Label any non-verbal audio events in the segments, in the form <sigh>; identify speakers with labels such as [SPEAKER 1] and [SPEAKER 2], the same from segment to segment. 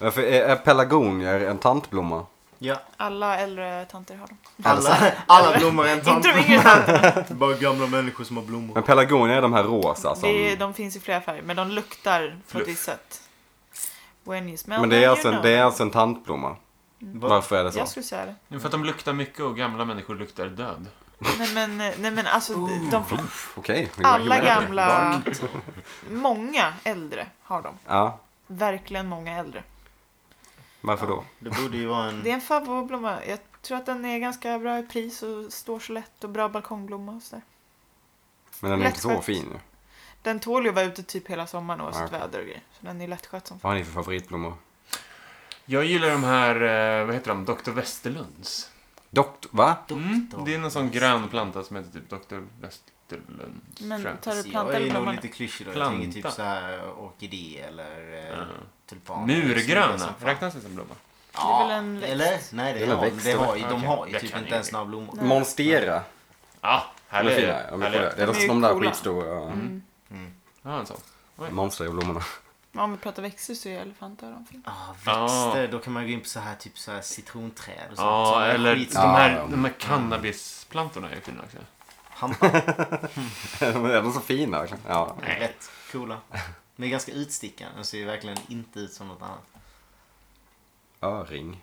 [SPEAKER 1] Varför är, är pelargonier en tantblomma?
[SPEAKER 2] Ja,
[SPEAKER 3] Alla äldre tanter har dem.
[SPEAKER 2] alla, <laughs> alla blommor är en tant.
[SPEAKER 3] Inte de yngre tanterna.
[SPEAKER 2] Bara gamla människor som har blommor.
[SPEAKER 1] Men pelargonier är de här rosa som...
[SPEAKER 3] Det är- De finns i flera färger, men de luktar på ett
[SPEAKER 1] Luft.
[SPEAKER 3] visst sätt. When you smell
[SPEAKER 1] Men det är,
[SPEAKER 3] them,
[SPEAKER 1] alltså
[SPEAKER 3] you
[SPEAKER 1] en,
[SPEAKER 3] know.
[SPEAKER 1] det är alltså en tantblomma.
[SPEAKER 2] Va?
[SPEAKER 1] Varför är det så?
[SPEAKER 3] Jag skulle säga det.
[SPEAKER 4] Jo, För att de luktar mycket och gamla människor luktar död.
[SPEAKER 3] Nej men, nej, men alltså, de,
[SPEAKER 1] Okej. vi går
[SPEAKER 3] alla
[SPEAKER 1] vidare.
[SPEAKER 3] gamla... Många äldre har dem.
[SPEAKER 1] Ja,
[SPEAKER 3] Verkligen många äldre.
[SPEAKER 1] Mm. varför då?
[SPEAKER 2] Det borde ju vara
[SPEAKER 3] Det
[SPEAKER 2] en...
[SPEAKER 3] är en favoritblomma. Jag tror att den är ganska bra i pris och står så lätt och bra balkongblomma och sådär.
[SPEAKER 1] Men den är inte så
[SPEAKER 3] Lättskött.
[SPEAKER 1] fin ju.
[SPEAKER 3] Den tål ju att vara ute typ hela sommaren oavsett
[SPEAKER 1] Ja.
[SPEAKER 3] väder och grejer. Så den är lättskött som fan.
[SPEAKER 1] Vad har ni för favoritblommor?
[SPEAKER 4] Jag gillar de här, eh, vad heter de, Dr. Westerlunds.
[SPEAKER 1] Dokt... Va?
[SPEAKER 4] Mm, det är någon sån grön planta som heter typ Dr. Westerlunds.
[SPEAKER 3] Men
[SPEAKER 4] tror jag.
[SPEAKER 3] tar du
[SPEAKER 2] Jag
[SPEAKER 3] plantan eller
[SPEAKER 2] är nog
[SPEAKER 3] blomman?
[SPEAKER 2] lite klyschig då. Jag
[SPEAKER 4] Planta.
[SPEAKER 2] tänker typ så här orkidé eller eh,
[SPEAKER 4] Ja.
[SPEAKER 2] tulpaner. Snygga
[SPEAKER 4] Murgröna,
[SPEAKER 2] som fan.
[SPEAKER 4] räknas det som blomma?
[SPEAKER 3] är väl en växt?
[SPEAKER 2] Eller? Nej, det
[SPEAKER 1] Eller
[SPEAKER 2] är har,
[SPEAKER 1] växt,
[SPEAKER 2] det har,
[SPEAKER 4] eller?
[SPEAKER 2] de
[SPEAKER 4] Okej,
[SPEAKER 2] har ju
[SPEAKER 4] jag
[SPEAKER 2] typ
[SPEAKER 4] kan
[SPEAKER 2] inte
[SPEAKER 4] ju
[SPEAKER 2] ens
[SPEAKER 4] ingenting.
[SPEAKER 2] några blommor.
[SPEAKER 1] Monstera.
[SPEAKER 4] Ja,
[SPEAKER 1] De är
[SPEAKER 4] härligt.
[SPEAKER 1] fina, de är coola.
[SPEAKER 4] härligt.
[SPEAKER 1] Det är
[SPEAKER 3] De är
[SPEAKER 1] de,
[SPEAKER 3] ju
[SPEAKER 1] de där
[SPEAKER 3] coola. Mm.
[SPEAKER 1] skitstora
[SPEAKER 4] Ja, en sån.
[SPEAKER 1] monsterblommorna.
[SPEAKER 3] Men Om vi pratar växter så är elefanter de fina.
[SPEAKER 2] Ah, växter, då kan man gå in på så här typ så här citronträd och sånt.
[SPEAKER 4] Ja,
[SPEAKER 2] Såna här
[SPEAKER 4] eller de
[SPEAKER 2] skit-
[SPEAKER 1] Ja.
[SPEAKER 4] här, de här cannabisplantorna är fina också.
[SPEAKER 2] Hampa,
[SPEAKER 1] <laughs> de är de så fina? verkligen? Ja.
[SPEAKER 4] Nej.
[SPEAKER 2] rätt coola. Men är ganska utstickande. Den ser ju verkligen inte ut som något annat.
[SPEAKER 1] Öring.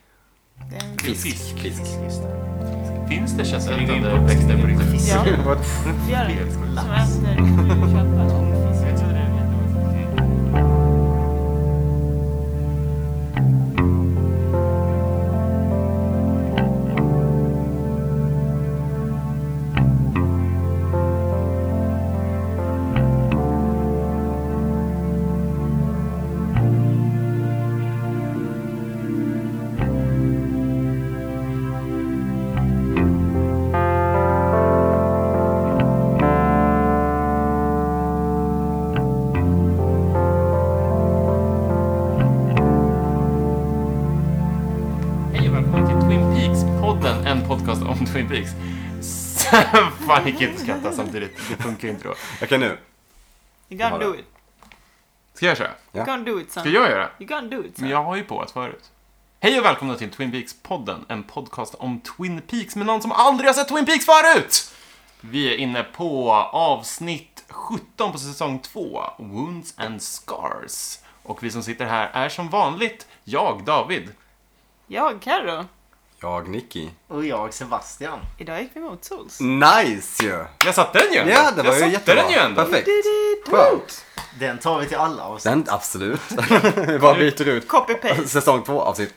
[SPEAKER 3] Det är en...
[SPEAKER 1] Fisk. Fisk.
[SPEAKER 4] Finns det köttätande växter på riktigt?
[SPEAKER 3] Ja,
[SPEAKER 1] Vad-
[SPEAKER 3] fjäril
[SPEAKER 2] liksom
[SPEAKER 3] som äter
[SPEAKER 2] Mm.
[SPEAKER 3] djurköttare.
[SPEAKER 4] Hej och välkomna till Twin Peaks-podden, en podcast om Twin Peaks. <laughs> Fan, jag kan inte skratta samtidigt. Det funkar ju inte då.
[SPEAKER 1] Okej nu.
[SPEAKER 3] You gonna do it.
[SPEAKER 4] Ska jag köra?
[SPEAKER 3] You gonna do it
[SPEAKER 4] Ska
[SPEAKER 3] son.
[SPEAKER 4] jag göra?
[SPEAKER 3] You gonna do it
[SPEAKER 4] Men
[SPEAKER 3] son.
[SPEAKER 4] jag har ju på ett förut. Hej och välkomna till Twin Peaks-podden, en podcast om Twin Peaks med någon som aldrig har sett Twin Peaks förut! Vi är inne på avsnitt 17 på säsong 2, Wounds and Scars. Och vi som sitter här är som vanligt jag, David.
[SPEAKER 3] Jag, Carro.
[SPEAKER 1] Jag, Nicky.
[SPEAKER 2] Och jag, Sebastian.
[SPEAKER 3] Idag gick vi mot sols.
[SPEAKER 1] Mm. Nice ju!
[SPEAKER 4] Jag satte den ju! ändå.
[SPEAKER 1] Ja, det var
[SPEAKER 4] jag
[SPEAKER 1] ju
[SPEAKER 4] satte
[SPEAKER 1] jättebra.
[SPEAKER 4] den ju ändå!
[SPEAKER 1] Perfekt.
[SPEAKER 3] Diddy.
[SPEAKER 1] Skönt.
[SPEAKER 2] Den tar vi till alla avsnitt.
[SPEAKER 1] Den, absolut. <laughs> Vi bara byter ut <laughs>
[SPEAKER 3] Copy-paste.
[SPEAKER 1] säsong två avsnitt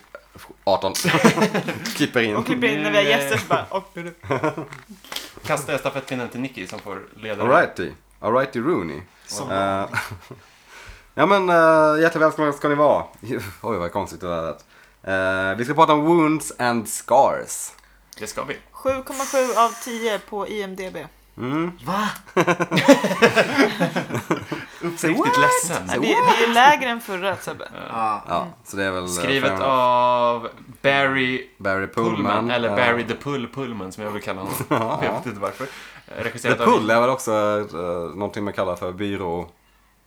[SPEAKER 1] 18. Klipper in.
[SPEAKER 3] Och klipper in när vi har
[SPEAKER 2] Eh,
[SPEAKER 3] gäster så bara... Och,
[SPEAKER 4] Kastar jag stafettpinnen till Nicky som får leda
[SPEAKER 1] Alrighty. Alrighty Rooney.
[SPEAKER 2] Som
[SPEAKER 1] Eh, <laughs> ja men uh, jättevälkomna ska ni vara. <laughs> Oj vad konstigt det där lät. Eh, vi ska prata om Wounds and Scars.
[SPEAKER 4] Det ska vi.
[SPEAKER 3] 7,7 av 10 på IMDB.
[SPEAKER 2] Va?
[SPEAKER 4] Uppriktigt ledsen.
[SPEAKER 3] Nej, Det, det är lägre än förra Sebbe.
[SPEAKER 2] Ja.
[SPEAKER 1] Ja, så det är väl eh, fair
[SPEAKER 4] Skrivet
[SPEAKER 1] enough.
[SPEAKER 4] av Barry
[SPEAKER 1] Barry Pullman.
[SPEAKER 4] Pullman, eller Barry
[SPEAKER 1] eh,
[SPEAKER 4] the Pull Pullman som jag vill kalla
[SPEAKER 1] <laughs>
[SPEAKER 4] honom. jag vet inte varför. Eh,
[SPEAKER 1] The
[SPEAKER 4] Regisserat
[SPEAKER 1] Pull är väl också uh, någonting man kallar för byrå...
[SPEAKER 4] av...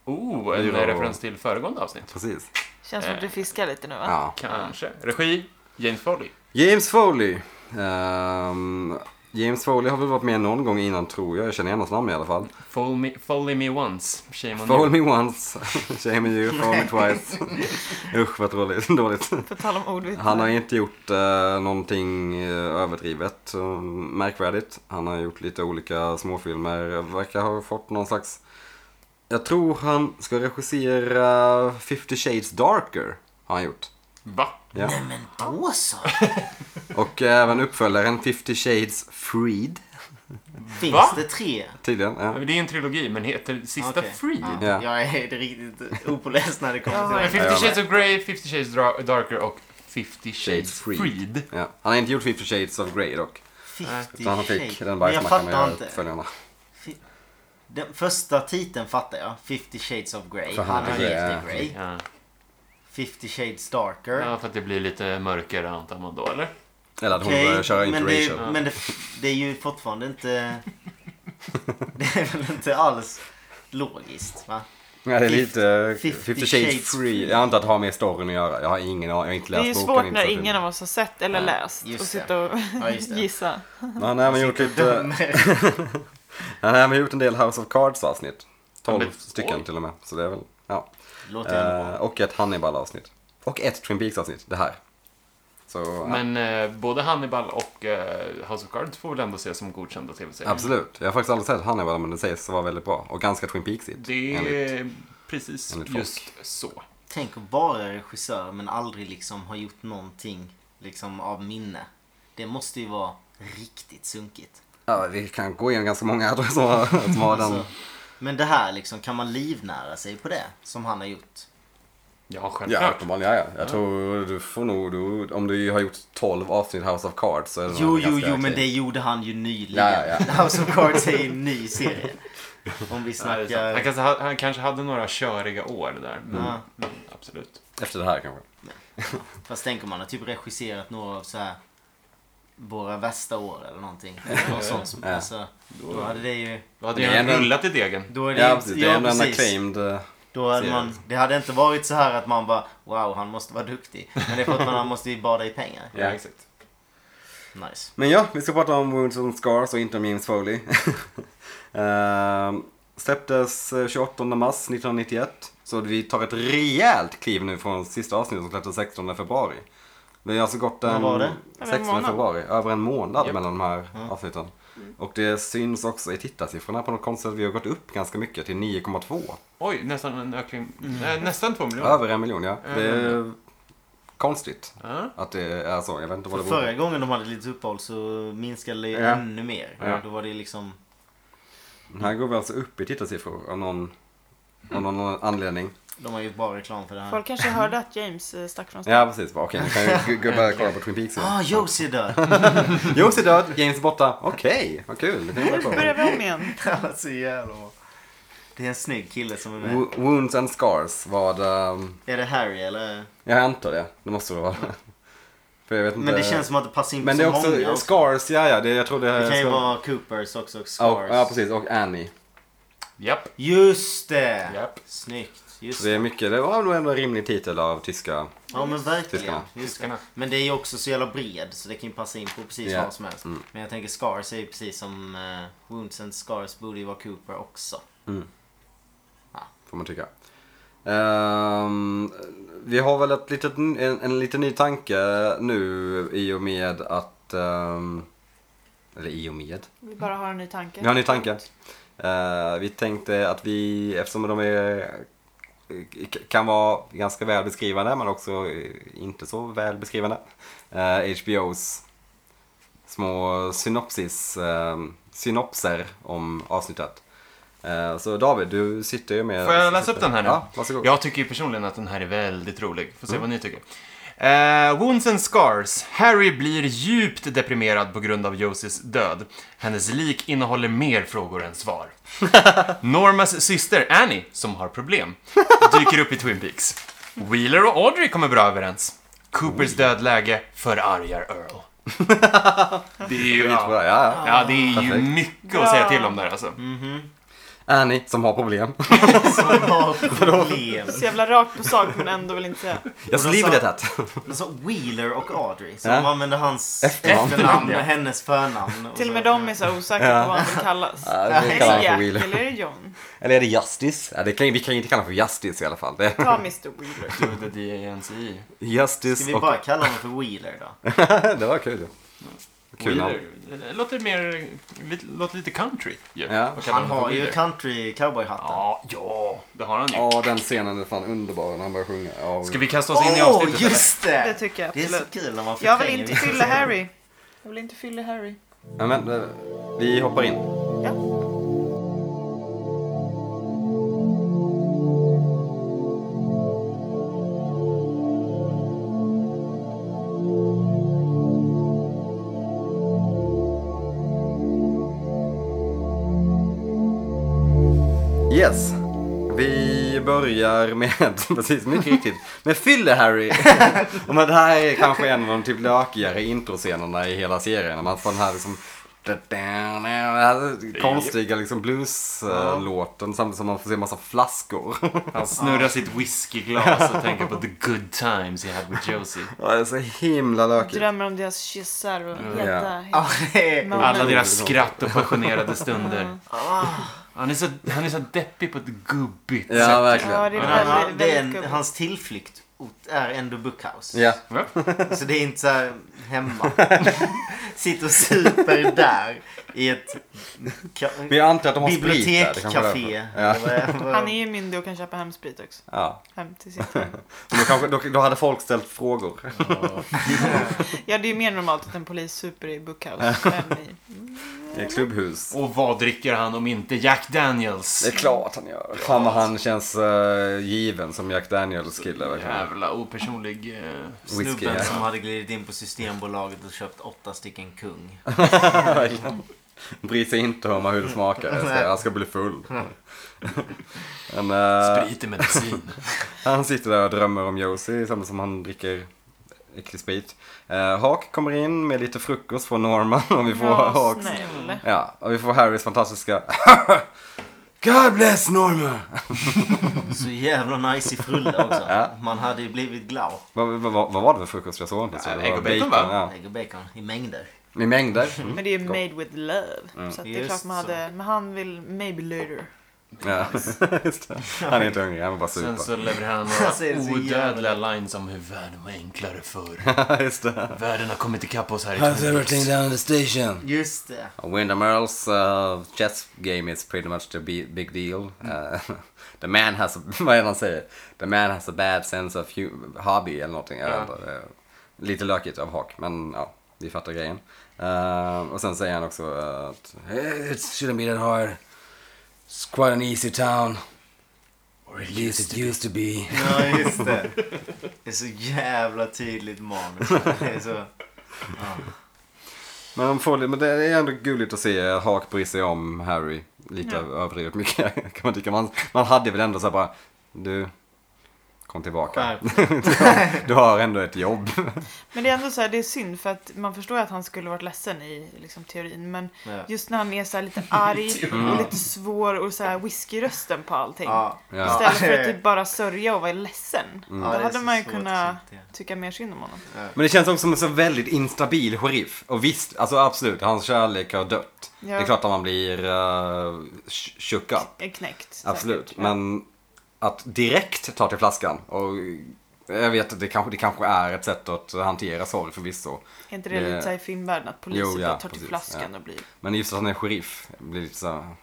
[SPEAKER 4] Oh, en
[SPEAKER 1] Byrå.
[SPEAKER 4] referens till föregående avsnitt.
[SPEAKER 1] Precis.
[SPEAKER 3] Känns
[SPEAKER 2] Eh.
[SPEAKER 3] som att du fiskar lite nu va?
[SPEAKER 1] Ja.
[SPEAKER 4] Kanske. Regi, James Foley.
[SPEAKER 1] James Foley. Ehm, James Foley har väl varit med någon gång innan tror jag. Jag känner igen hans namn i alla fall.
[SPEAKER 4] Follow me, follow me once, shame on
[SPEAKER 1] Follow
[SPEAKER 4] you.
[SPEAKER 1] me once, <laughs> shame you, follow me twice.
[SPEAKER 2] <laughs>
[SPEAKER 1] Usch vad dåligt. <laughs> dåligt.
[SPEAKER 3] På tal om ordvitsar.
[SPEAKER 1] Han har inte gjort eh, någonting eh, överdrivet eh, märkvärdigt. Han har gjort lite olika småfilmer. Verkar ha fått någon slags... Jag tror han ska regissera 50 shades darker. Har han gjort.
[SPEAKER 4] Va?
[SPEAKER 1] Ja.
[SPEAKER 2] Mm. Då så.
[SPEAKER 1] Och även uppföljaren 50 shades freed.
[SPEAKER 2] Finns
[SPEAKER 4] Va?
[SPEAKER 2] det tre?
[SPEAKER 1] Tydligen. Ja.
[SPEAKER 4] Men Det är en trilogi, men heter sista
[SPEAKER 2] Okej.
[SPEAKER 4] Freed?
[SPEAKER 2] Ja.
[SPEAKER 1] Ja.
[SPEAKER 2] Jag är riktigt opoläst när det
[SPEAKER 3] Ja,
[SPEAKER 2] kommer
[SPEAKER 3] ja.
[SPEAKER 2] till det.
[SPEAKER 4] 50 Shades of Grey, 50 Shades Dra- Darker och 50 Shades
[SPEAKER 1] Shades Freed.
[SPEAKER 4] Freed.
[SPEAKER 1] Ja. Han har inte gjort 50 shades of grey dock.
[SPEAKER 2] Fifty
[SPEAKER 1] Utan han fick
[SPEAKER 2] Shades.
[SPEAKER 1] den
[SPEAKER 2] Men jag
[SPEAKER 1] bajsmackan
[SPEAKER 2] fattar
[SPEAKER 1] med
[SPEAKER 2] inte.
[SPEAKER 1] uppföljarna.
[SPEAKER 2] Fi- Den första titeln fattar jag. 50 shades of Grey.
[SPEAKER 1] För
[SPEAKER 2] Han har
[SPEAKER 1] Grey, ja.
[SPEAKER 2] gett Grey.
[SPEAKER 4] Ja.
[SPEAKER 2] 50 shades darker.
[SPEAKER 4] ja, för att det blir lite mörkare antar man då, eller?
[SPEAKER 1] Eller att hon
[SPEAKER 2] Okej,
[SPEAKER 1] började köra
[SPEAKER 2] men,
[SPEAKER 1] interracial.
[SPEAKER 2] det, men det, det är ju
[SPEAKER 1] <laughs>
[SPEAKER 2] fortfarande inte... Det är väl inte alls logiskt va?
[SPEAKER 1] Ja, det är lite eh,
[SPEAKER 2] 50
[SPEAKER 1] Fifty
[SPEAKER 2] Shades
[SPEAKER 1] Shades
[SPEAKER 2] Free.
[SPEAKER 1] Free. Jag antar att det har med storyn att göra. Jag har ingen aning. Jag har inte
[SPEAKER 3] Det
[SPEAKER 1] läst
[SPEAKER 3] är ju
[SPEAKER 1] boken.
[SPEAKER 3] svårt
[SPEAKER 1] inte
[SPEAKER 3] när
[SPEAKER 1] sett
[SPEAKER 3] ingen
[SPEAKER 1] filmen.
[SPEAKER 3] av oss har sett eller
[SPEAKER 1] Nej,
[SPEAKER 3] läst och
[SPEAKER 2] just
[SPEAKER 3] sitta och
[SPEAKER 2] Ja, just det.
[SPEAKER 3] gissa.
[SPEAKER 1] Han har även gjort lite... <laughs> Han har även gjort en del House of Cards avsnitt. 12
[SPEAKER 4] Ja, men-
[SPEAKER 1] stycken
[SPEAKER 4] oj.
[SPEAKER 1] till och med. Så det är väl, ja.
[SPEAKER 2] Låter jag
[SPEAKER 1] Eh, och ett Hannibal avsnitt. Och ett Twin Peaks avsnitt. Det här. Så ja,
[SPEAKER 4] Men eh, både Hannibal och eh, House of Cards får väl ändå ses som godkända tv-serier.
[SPEAKER 1] absolut. Jag har faktiskt aldrig sett Hannibal men det sägs vara väldigt bra. Och ganska Twin Peaksigt.
[SPEAKER 4] Det
[SPEAKER 1] enligt-
[SPEAKER 4] är precis
[SPEAKER 1] enligt folk.
[SPEAKER 4] just så.
[SPEAKER 2] Tänk att vara regissör men aldrig liksom ha gjort någonting liksom av minne. Det måste ju vara riktigt sunkigt.
[SPEAKER 1] Ja, vi kan gå igenom ganska många andra som har, som har den.
[SPEAKER 2] Alltså, men det här liksom, kan man livnära sig på det som han har gjort?
[SPEAKER 4] Ja,
[SPEAKER 1] Ja,
[SPEAKER 4] självklart.
[SPEAKER 1] uppenbarligen. Ja, ja. Jag tror du får nog... Du, om du har gjort 12 avsnitt House of Cards så är det
[SPEAKER 2] Jo,
[SPEAKER 1] nog
[SPEAKER 2] jo,
[SPEAKER 1] ganska
[SPEAKER 2] jo, men
[SPEAKER 1] okej.
[SPEAKER 2] det gjorde han ju nyligen.
[SPEAKER 1] Ja, ja,
[SPEAKER 2] <laughs> House of Cards är ju en ny serie. Om vi
[SPEAKER 4] Ja, det är sant.
[SPEAKER 2] snackar...
[SPEAKER 4] han, kanske, ha- han kanske hade några köriga år där. Men,
[SPEAKER 2] Ja.
[SPEAKER 4] men absolut.
[SPEAKER 1] Efter det här kanske.
[SPEAKER 2] Fast tänk om han har typ regisserat några av så här våra värsta år eller någonting. Något sånt.
[SPEAKER 1] Ja.
[SPEAKER 2] Alltså, då hade det ju...
[SPEAKER 4] Då hade
[SPEAKER 1] Det
[SPEAKER 4] jag
[SPEAKER 1] är ändå-
[SPEAKER 4] rullat i degen.
[SPEAKER 2] Då är det,
[SPEAKER 1] Ja,
[SPEAKER 2] ju-
[SPEAKER 1] precis. Det är ändå en
[SPEAKER 2] precis.
[SPEAKER 1] acclaimed... eh,
[SPEAKER 2] Då hade man, det hade inte varit så här att man bara wow han måste vara duktig. Men det är för att man han måste ju bada i pengar.
[SPEAKER 4] Ja, exakt.
[SPEAKER 2] Nice.
[SPEAKER 1] Men ja, vi ska prata om Wounds and Scars och inte om James Foley. <laughs> Ehm, släpptes eh, 28 mars 1991. Så vi tar ett rejält kliv nu från sista avsnittet som släpptes 16 februari. Det har alltså gått
[SPEAKER 2] Vad
[SPEAKER 1] en...
[SPEAKER 2] var det?
[SPEAKER 3] Över en
[SPEAKER 1] 16
[SPEAKER 3] månad.
[SPEAKER 1] februari. Över en månad
[SPEAKER 4] Japp.
[SPEAKER 1] mellan de här
[SPEAKER 2] Mm.
[SPEAKER 1] avsnitten. Och det syns också i tittarsiffrorna på något konstigt sätt. Vi har gått upp ganska mycket till 9,2.
[SPEAKER 4] Oj, nästan en ökning.
[SPEAKER 2] Mm.
[SPEAKER 4] Eh, nästan två miljoner.
[SPEAKER 1] Över en miljon ja. Det är konstigt
[SPEAKER 4] Ja.
[SPEAKER 1] att det är så. Jag vet inte vad
[SPEAKER 2] För
[SPEAKER 1] det beror på.
[SPEAKER 2] förra gången de hade lite uppehåll så minskade det ju
[SPEAKER 1] Ja.
[SPEAKER 2] ännu mer.
[SPEAKER 1] Ja.
[SPEAKER 2] Då var det liksom...
[SPEAKER 1] Den
[SPEAKER 2] Mm.
[SPEAKER 1] här går vi alltså upp i tittarsiffror av någon, av någon anledning.
[SPEAKER 2] De har ju bara reklam för det här.
[SPEAKER 3] Folk kanske hörde att James eh, stack från stan.
[SPEAKER 1] Ja precis, Bara, okej nu kan vi gå- gå- börja kolla på Twin Peaks igen.
[SPEAKER 2] Ah, Josie är död!
[SPEAKER 1] Josie är död, James är borta. Okej, vad kul. Nu kan vi börja kolla.
[SPEAKER 2] <laughs>
[SPEAKER 3] Börjar vi om igen?
[SPEAKER 2] <laughs> så jävla bra. Det är en snygg kille som är med.
[SPEAKER 1] Wo- Wounds and Scars vad... ehm,
[SPEAKER 2] Är det Harry eller?
[SPEAKER 1] jag antar det, det måste det vara. För jag vet inte.
[SPEAKER 2] Men det känns som att det passar in på
[SPEAKER 1] Men det
[SPEAKER 2] så
[SPEAKER 1] är också
[SPEAKER 2] många. också.
[SPEAKER 1] Scars, ja ja. Det, jag tror det,
[SPEAKER 2] Det kan ju
[SPEAKER 1] ska-
[SPEAKER 2] vara Coopers också, och
[SPEAKER 1] Ja,
[SPEAKER 2] Scars.
[SPEAKER 1] ja precis, och Annie.
[SPEAKER 4] Japp.
[SPEAKER 2] Just det!
[SPEAKER 4] Japp.
[SPEAKER 2] Snyggt. Just
[SPEAKER 1] Så det är mycket, det var nog ändå en rimlig titel av tyska.
[SPEAKER 2] Ja men verkligen.
[SPEAKER 1] Tyskarna.
[SPEAKER 2] Just det.
[SPEAKER 4] Tyskarna.
[SPEAKER 2] Men det är ju också så jävla bred så det kan ju passa in på precis
[SPEAKER 1] Ja. Mm.
[SPEAKER 2] vad som helst. Men jag tänker Scars är ju precis som eh, Wounds and Scars borde ju vara Cooper också.
[SPEAKER 1] Får man tycka. Ehm, vi har väl ett litet, en, en liten ny tanke nu i och med att... ehm, eller i och med.
[SPEAKER 3] Vi bara har en ny tanke.
[SPEAKER 1] Vi har en ny tanke. Eh, vi tänkte att vi, eftersom de är, eh, kan vara ganska välbeskrivande men också eh, inte så välbeskrivande. eh, HBOs små synopsis, eh, synopser om avsnittet. Eh, så David, du sitter ju med...
[SPEAKER 4] Får jag läsa upp den här nu?
[SPEAKER 1] Ja, varsågod.
[SPEAKER 4] Jag tycker ju personligen att den här är väldigt rolig. Får se vad ni tycker. Eh, Wounds and Scars. Harry blir djupt deprimerad på grund av Josies död. Hennes lik innehåller mer frågor än svar. Normas syster Annie, som har problem, dyker upp i Twin Peaks. Wheeler och Audrey kommer bra överens. Coopers dödläge förargar Earl. Det är ju... Ja,
[SPEAKER 1] Skitbra, ja, ja.
[SPEAKER 4] ja, det är ju
[SPEAKER 1] Perfekt.
[SPEAKER 4] mycket att säga till om där alltså.
[SPEAKER 1] Annie, som har problem.
[SPEAKER 2] Som
[SPEAKER 1] <laughs>
[SPEAKER 2] har problem.
[SPEAKER 3] Så jävla rakt på sak men ändå vill inte säga.
[SPEAKER 1] Jag
[SPEAKER 2] Och då
[SPEAKER 1] skriver
[SPEAKER 2] sa-
[SPEAKER 1] det här.
[SPEAKER 2] Men så Alltså, Wheeler och Audrey som
[SPEAKER 1] Ja.
[SPEAKER 2] använder hans
[SPEAKER 1] Efternamn.
[SPEAKER 2] efternamn och hennes förnamn. Och
[SPEAKER 3] Till och med
[SPEAKER 2] så-
[SPEAKER 3] de är så här osäkra på vad han vill kallas.
[SPEAKER 1] Ja, vi kallar
[SPEAKER 3] Är det
[SPEAKER 1] honom
[SPEAKER 3] Jack
[SPEAKER 1] för Wheeler.
[SPEAKER 3] eller är det John?
[SPEAKER 1] Eller är det Justice? Ja, det kan, vi kan ju inte kalla honom för Justice i alla fall. Det,
[SPEAKER 3] Ta Mr Wheeler.
[SPEAKER 4] Du, det är DNCI.
[SPEAKER 2] Ska vi
[SPEAKER 1] Justice och...
[SPEAKER 2] bara kalla honom för Wheeler
[SPEAKER 1] <laughs>
[SPEAKER 2] då?
[SPEAKER 1] det var kul. Kul namn.
[SPEAKER 4] Wheeler. Det låter mer, lite, låter lite country ju.
[SPEAKER 1] Ja.
[SPEAKER 4] Vad kallar
[SPEAKER 2] Han
[SPEAKER 4] man
[SPEAKER 2] har
[SPEAKER 4] för
[SPEAKER 2] ju
[SPEAKER 4] Wheeler?
[SPEAKER 2] country cowboyhatten.
[SPEAKER 4] Ja, ja, det har han ju.
[SPEAKER 1] Ja, den scenen är fan underbar när han börjar sjunga. Ja,
[SPEAKER 4] Ska vi kasta oss in i
[SPEAKER 2] Åh,
[SPEAKER 4] avsnittet
[SPEAKER 2] just det!
[SPEAKER 3] Det tycker jag
[SPEAKER 2] Det är så
[SPEAKER 3] absolut.
[SPEAKER 2] kul när man
[SPEAKER 3] Jag vill
[SPEAKER 2] förtränger
[SPEAKER 3] inte
[SPEAKER 2] vissa
[SPEAKER 3] fylla
[SPEAKER 2] saker.
[SPEAKER 3] Harry. Jag vill inte fylla Harry.
[SPEAKER 1] Ja, men, eh, vi hoppar in.
[SPEAKER 3] Ja.
[SPEAKER 1] Yes. Vi börjar med, <laughs> precis mycket riktigt, med <laughs> Fylle-Harry. Men det här är kanske en av de typ lökigare introscenerna i hela serien. När man får den här liksom Konstiga liksom blues-låten samtidigt som man får se massa flaskor. <laughs>
[SPEAKER 4] Han snurrar sitt whiskyglas och tänker på the good times he had with Josie.
[SPEAKER 1] Ja, det är så himla lökigt.
[SPEAKER 3] Drömmer om deras kyssar och
[SPEAKER 1] Mm.
[SPEAKER 3] heta...
[SPEAKER 2] Ja, det är-
[SPEAKER 3] moment.
[SPEAKER 4] Alla deras skratt och passionerade stunder.
[SPEAKER 2] Ah.
[SPEAKER 4] Han är så, han är så deppig på ett gubbigt
[SPEAKER 1] Ja,
[SPEAKER 4] sätt.
[SPEAKER 1] verkligen.
[SPEAKER 3] Ja, det är
[SPEAKER 4] Ja.
[SPEAKER 2] Men
[SPEAKER 3] väldigt,
[SPEAKER 2] han- det är
[SPEAKER 3] väldigt
[SPEAKER 2] en,
[SPEAKER 3] gubbigt.
[SPEAKER 2] hans tillflykt ort är ändå Bookhouse.
[SPEAKER 1] Ja,
[SPEAKER 4] Va?
[SPEAKER 2] Så det är inte så här hemma. <laughs> Sitter och super där i ett ka-
[SPEAKER 1] men jag antar att de har sprit där. det kanske är
[SPEAKER 2] bibliotekcafé.
[SPEAKER 1] därför. Ja.
[SPEAKER 2] Eller vad-
[SPEAKER 3] Han är ju myndig och kan köpa hem sprit också.
[SPEAKER 1] ja.
[SPEAKER 3] Hem till sitt hem.
[SPEAKER 1] Men Då, kanske, då, då hade folk ställt frågor.
[SPEAKER 3] Ja, det är ju mer normalt att en polis super i Bookhouse. än i-
[SPEAKER 1] I klubbhus.
[SPEAKER 4] Och vad dricker han om inte Jack
[SPEAKER 1] Det är
[SPEAKER 4] Daniels?
[SPEAKER 1] klart han gör. Fan vad han känns eh, given som Jack Daniels kille verkligen.
[SPEAKER 4] Jävla opersonlig... eh,
[SPEAKER 1] Whisky,
[SPEAKER 2] Snubben
[SPEAKER 1] ja.
[SPEAKER 2] som hade glidit in på Systembolaget och köpt åtta stycken kung.
[SPEAKER 1] Bryr sig inte om hur det smakar. Jag ska, jag ska bli full. Men, eh,
[SPEAKER 4] Sprit är medicin.
[SPEAKER 1] han sitter där och drömmer om Josie samtidigt som han dricker äcklig sprit. Eh, Hawk kommer in med lite frukost från Norman och vi får
[SPEAKER 3] Ja,
[SPEAKER 1] Hawks.
[SPEAKER 3] snäll.
[SPEAKER 1] Ja, och vi får Harrys fantastiska <laughs> God bless Norman!
[SPEAKER 2] Så jävla nice i frulle också.
[SPEAKER 1] Ja.
[SPEAKER 2] Man hade ju blivit glad.
[SPEAKER 1] Vad, vad, vad vad var det för frukost jag såg?
[SPEAKER 4] Ja,
[SPEAKER 1] Det var
[SPEAKER 4] ägg och bacon, va?
[SPEAKER 1] Ja.
[SPEAKER 2] Ägg och bacon i mängder.
[SPEAKER 1] I mängder. <laughs> Mm.
[SPEAKER 3] Men det är ju
[SPEAKER 1] Gott.
[SPEAKER 3] made with love. Så att det är
[SPEAKER 2] Just
[SPEAKER 3] klart man hade... Men han vill maybe later.
[SPEAKER 1] Ja. <laughs> Just det. Han är inte hungrig, han vill bara
[SPEAKER 4] Sen
[SPEAKER 1] supa.
[SPEAKER 4] så levererar han
[SPEAKER 2] <laughs> Alltså, det är
[SPEAKER 4] några
[SPEAKER 2] så
[SPEAKER 4] odödliga
[SPEAKER 2] jävla-
[SPEAKER 4] lines om hur världen var
[SPEAKER 2] <laughs>
[SPEAKER 4] enklare
[SPEAKER 1] <laughs>
[SPEAKER 4] förr.
[SPEAKER 1] Just det.
[SPEAKER 4] Världen har kommit ikapp oss här i Twinpeaks.
[SPEAKER 1] down the station?
[SPEAKER 2] Just det.
[SPEAKER 1] Wyndham Earls uh, chess game is pretty much the bi- big deal. Uh, <laughs> the man has, a, <laughs> vad är det han säger? The man has a bad sense of hu- hobby eller någonting. Jag
[SPEAKER 4] Ja.
[SPEAKER 1] vet inte. Det är Lite lökigt av Hawk, men ja, vi fattar grejen. Uh, och sen säger han också att "Eh, It shouldn't be that hard. It's quite an easy town. Or at least it used to be.
[SPEAKER 2] Ja, just det. Det är så jävla tydligt manus. Det är så...
[SPEAKER 1] Men, de får, men det är ändå gulligt att se att Hawk bryr sig om Harry. Lite
[SPEAKER 3] Ja.
[SPEAKER 1] överdrivet mycket <laughs> kan man tycka. Man, man hade väl ändå så här bara, du, kom tillbaka.
[SPEAKER 2] skärp.
[SPEAKER 3] <laughs>
[SPEAKER 1] Du har ändå ett jobb.
[SPEAKER 3] Men det är ändå så här, det är synd för att man förstår ju att han skulle varit ledsen i liksom, teorin. Men
[SPEAKER 2] Ja.
[SPEAKER 3] just när han är så här lite
[SPEAKER 1] <laughs>
[SPEAKER 3] arg och lite svår och så här whiskyrösten på allting.
[SPEAKER 2] Ja.
[SPEAKER 1] Ja. Mm.
[SPEAKER 3] Istället
[SPEAKER 2] <laughs>
[SPEAKER 3] för att typ bara sörja och vara ledsen.
[SPEAKER 2] Ja,
[SPEAKER 3] Då
[SPEAKER 2] det är
[SPEAKER 3] hade
[SPEAKER 2] så
[SPEAKER 3] man ju
[SPEAKER 2] svårt,
[SPEAKER 3] kunnat
[SPEAKER 2] sånt, ja.
[SPEAKER 3] tycka mer synd om honom.
[SPEAKER 1] Men det känns också som en så väldigt instabil sheriff. Och visst, alltså absolut, hans kärlek har dött.
[SPEAKER 3] Ja.
[SPEAKER 1] Det är klart att man blir uh, shook up.
[SPEAKER 3] Är knäckt. säkert.
[SPEAKER 1] Absolut,
[SPEAKER 3] Ja.
[SPEAKER 1] men att direkt ta till flaskan och jag vet att det kanske, det kanske är ett sätt att hantera sorg förvisso.
[SPEAKER 3] Är inte det lite så här i filmvärlden att polisen
[SPEAKER 1] Jo, ja,
[SPEAKER 3] bara tar till
[SPEAKER 1] precis,
[SPEAKER 3] flaskan
[SPEAKER 1] ja.
[SPEAKER 3] och blir...
[SPEAKER 1] Men just att han är sheriff blir lite så här-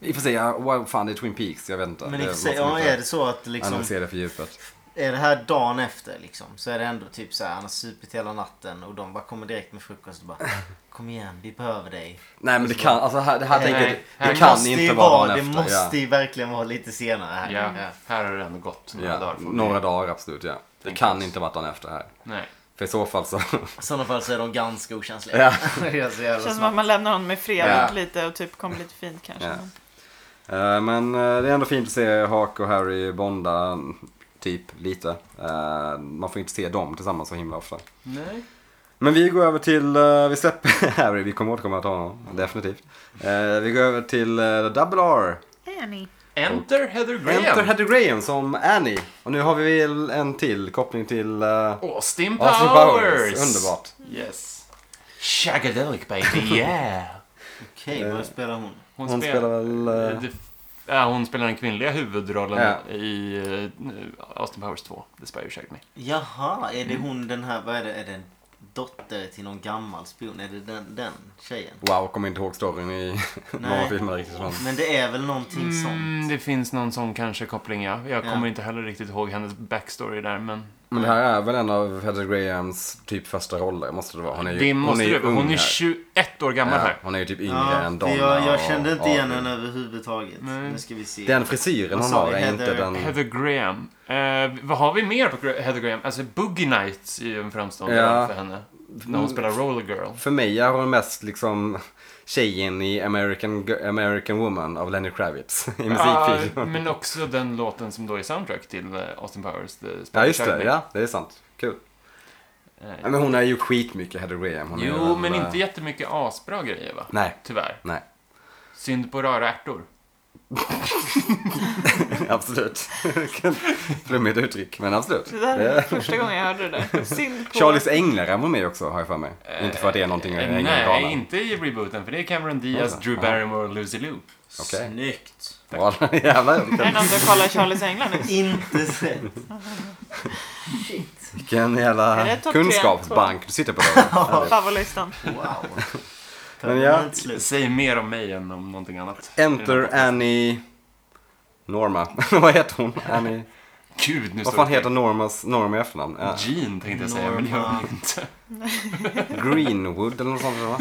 [SPEAKER 1] I och för sig, ja, wow, fan det är Twin Peaks, jag vet inte.
[SPEAKER 2] Men i och för
[SPEAKER 1] Det
[SPEAKER 2] sig,
[SPEAKER 1] måste
[SPEAKER 2] ja,
[SPEAKER 1] man
[SPEAKER 2] är
[SPEAKER 1] inte
[SPEAKER 2] det så att liksom...
[SPEAKER 1] Analysera för djupet.
[SPEAKER 2] Är det här dagen efter liksom, så är det ändå typ så här, han har supit hela natten och de bara kommer direkt med frukost och bara Kom igen, vi behöver dig.
[SPEAKER 1] Nej men det kan, alltså här, det här
[SPEAKER 4] Nej,
[SPEAKER 1] tänker jag,
[SPEAKER 4] här
[SPEAKER 1] det kan
[SPEAKER 2] måste ju
[SPEAKER 1] inte vara dagen
[SPEAKER 2] Det
[SPEAKER 1] efter.
[SPEAKER 2] måste ju verkligen vara lite senare här.
[SPEAKER 4] Ja, här har det ändå gått några
[SPEAKER 1] ja.
[SPEAKER 4] dagar.
[SPEAKER 1] Ja,
[SPEAKER 4] får vi-
[SPEAKER 1] några dagar absolut ja. Det
[SPEAKER 4] Tänk
[SPEAKER 1] kan
[SPEAKER 4] oss.
[SPEAKER 1] inte vara dagen efter här.
[SPEAKER 4] Nej.
[SPEAKER 1] För i så fall så, <laughs>
[SPEAKER 2] I sådana fall så är de ganska okänsliga.
[SPEAKER 1] Ja.
[SPEAKER 2] <laughs> det är så jävla
[SPEAKER 3] Känns som att
[SPEAKER 2] snabbt.
[SPEAKER 3] man lämnar honom i fred
[SPEAKER 1] Ja.
[SPEAKER 3] lite och typ kommer lite fint kanske.
[SPEAKER 1] Ja.
[SPEAKER 3] Men-
[SPEAKER 1] Eh, Men eh, det är ändå fint att se Hawk och Harry bonda, typ lite. Eh, Man får inte se dem tillsammans så himla ofta.
[SPEAKER 4] Nej.
[SPEAKER 1] Men vi går över till, eh, vi släpper <laughs> Harry, vi kommer återkomma till honom, definitivt. Eh, Vi går över till eh, Double R.
[SPEAKER 3] Annie.
[SPEAKER 4] Enter Heather Graham.
[SPEAKER 1] Enter Heather Graham som Annie. Och nu har vi väl en till koppling till eh,
[SPEAKER 4] Austin Powers.
[SPEAKER 1] Austin Powers. Underbart.
[SPEAKER 4] Yes.
[SPEAKER 1] <laughs>
[SPEAKER 4] Shagadelic baby, yeah.
[SPEAKER 2] Okej, vad spelar hon?
[SPEAKER 4] Hon,
[SPEAKER 1] Hon spelar väl... eh,
[SPEAKER 4] Det- Ja, hon spelar den kvinnliga huvudrollen
[SPEAKER 1] Ja.
[SPEAKER 4] i eh, Austin Powers 2, The Spy Who Shagged Me.
[SPEAKER 2] Jaha, är det hon den här, vad är det, är det en dotter till någon gammal spion? Är det den, den tjejen?
[SPEAKER 1] Wow, kommer inte ihåg storyn i <laughs> många filmer riktigt. Men...
[SPEAKER 2] Men det är väl någonting
[SPEAKER 4] Mm,
[SPEAKER 2] sånt?
[SPEAKER 4] det finns någon sån kanske koppling, ja. Jag
[SPEAKER 2] Ja.
[SPEAKER 4] kommer inte heller riktigt ihåg hennes backstory där, men...
[SPEAKER 1] men det här är väl en av Heather Grahams typ första roller, måste det vara. Hon är ju,
[SPEAKER 4] det måste
[SPEAKER 1] hon är
[SPEAKER 4] du.
[SPEAKER 1] ju ung
[SPEAKER 4] Hon är
[SPEAKER 1] här.
[SPEAKER 4] 21 år gammal
[SPEAKER 1] Ja,
[SPEAKER 4] här.
[SPEAKER 1] Hon är ju typ yngre
[SPEAKER 2] Ja,
[SPEAKER 1] än
[SPEAKER 2] för
[SPEAKER 1] Donna.
[SPEAKER 2] jag, jag
[SPEAKER 1] och
[SPEAKER 2] kände inte igen
[SPEAKER 1] Adrian.
[SPEAKER 2] henne överhuvudtaget.
[SPEAKER 4] Nej.
[SPEAKER 2] Nu ska vi se.
[SPEAKER 1] Den frisyren
[SPEAKER 2] Vad
[SPEAKER 1] hon
[SPEAKER 2] sa
[SPEAKER 1] har
[SPEAKER 2] vi,
[SPEAKER 1] är inte
[SPEAKER 2] Heather-
[SPEAKER 1] den...
[SPEAKER 4] Heather Graham. Eh, vad har vi mer på Gra- Heather Graham? Alltså, Boogie Nights är ju en framstående
[SPEAKER 1] Ja. Mm.
[SPEAKER 4] roll för henne. När hon spelar Roller Girl.
[SPEAKER 1] För mig är hon mest liksom tjejen i American, G- American Woman av Lenny Kravitz <laughs> i musikvideon.
[SPEAKER 4] Ja, men också den låten som då är soundtrack till eh, Austin Powers, The Spy
[SPEAKER 1] Ja,
[SPEAKER 4] Who
[SPEAKER 1] just
[SPEAKER 4] Shagged
[SPEAKER 1] det.
[SPEAKER 4] Me.
[SPEAKER 1] Ja, det är sant. Kul.
[SPEAKER 4] Eh,
[SPEAKER 1] Nej, men hon har gjort skitmycket Heather Graham. Hon är
[SPEAKER 4] jo,
[SPEAKER 1] väl-
[SPEAKER 4] men inte jättemycket asbra grejer va?
[SPEAKER 1] Nej, <laughs>
[SPEAKER 4] Tyvärr.
[SPEAKER 1] nej.
[SPEAKER 4] Synd på röra ärtor.
[SPEAKER 1] absolut. Vilken Flummigt uttryck, men absolut.
[SPEAKER 3] Det där är första gången jag hörde det
[SPEAKER 1] <laughs>
[SPEAKER 3] där. Synd på...
[SPEAKER 1] Charlies änglar är med också, har jag för mig. inte för att det är någonting med
[SPEAKER 4] Eh,
[SPEAKER 1] Ängelgalan.
[SPEAKER 4] Nej, inte i rebooten, för det är Cameron Diaz,
[SPEAKER 1] Ja,
[SPEAKER 4] Drew
[SPEAKER 1] ja.
[SPEAKER 4] Barrymore och Lucy Liu.
[SPEAKER 1] Okej.
[SPEAKER 2] Snyggt.
[SPEAKER 1] Wow, <laughs> Jävlar,
[SPEAKER 3] Är det
[SPEAKER 1] vilken,
[SPEAKER 3] någon du kollar Charlies änglar nu?
[SPEAKER 2] Inte
[SPEAKER 1] <laughs>
[SPEAKER 2] sett. Shit.
[SPEAKER 1] vilken
[SPEAKER 3] Är
[SPEAKER 1] jävla
[SPEAKER 3] det topp tre,
[SPEAKER 1] kunskapsbank du sitter på.
[SPEAKER 4] <laughs>
[SPEAKER 1] Där.
[SPEAKER 3] Favoritlistan.
[SPEAKER 2] Wow.
[SPEAKER 1] Men ja.
[SPEAKER 2] Permanent slut.
[SPEAKER 4] Säg mer om mig än om någonting annat.
[SPEAKER 1] Enter Annie... Norma. <laughs> Vad heter hon? Annie...
[SPEAKER 4] Gud, nu
[SPEAKER 1] Vad
[SPEAKER 4] står
[SPEAKER 1] fan
[SPEAKER 4] det
[SPEAKER 1] heter Normas, Norma i efternamn? Ja.
[SPEAKER 4] Jean tänkte jag säga, men det gör hon inte. <laughs>
[SPEAKER 1] Greenwood eller något sånt va?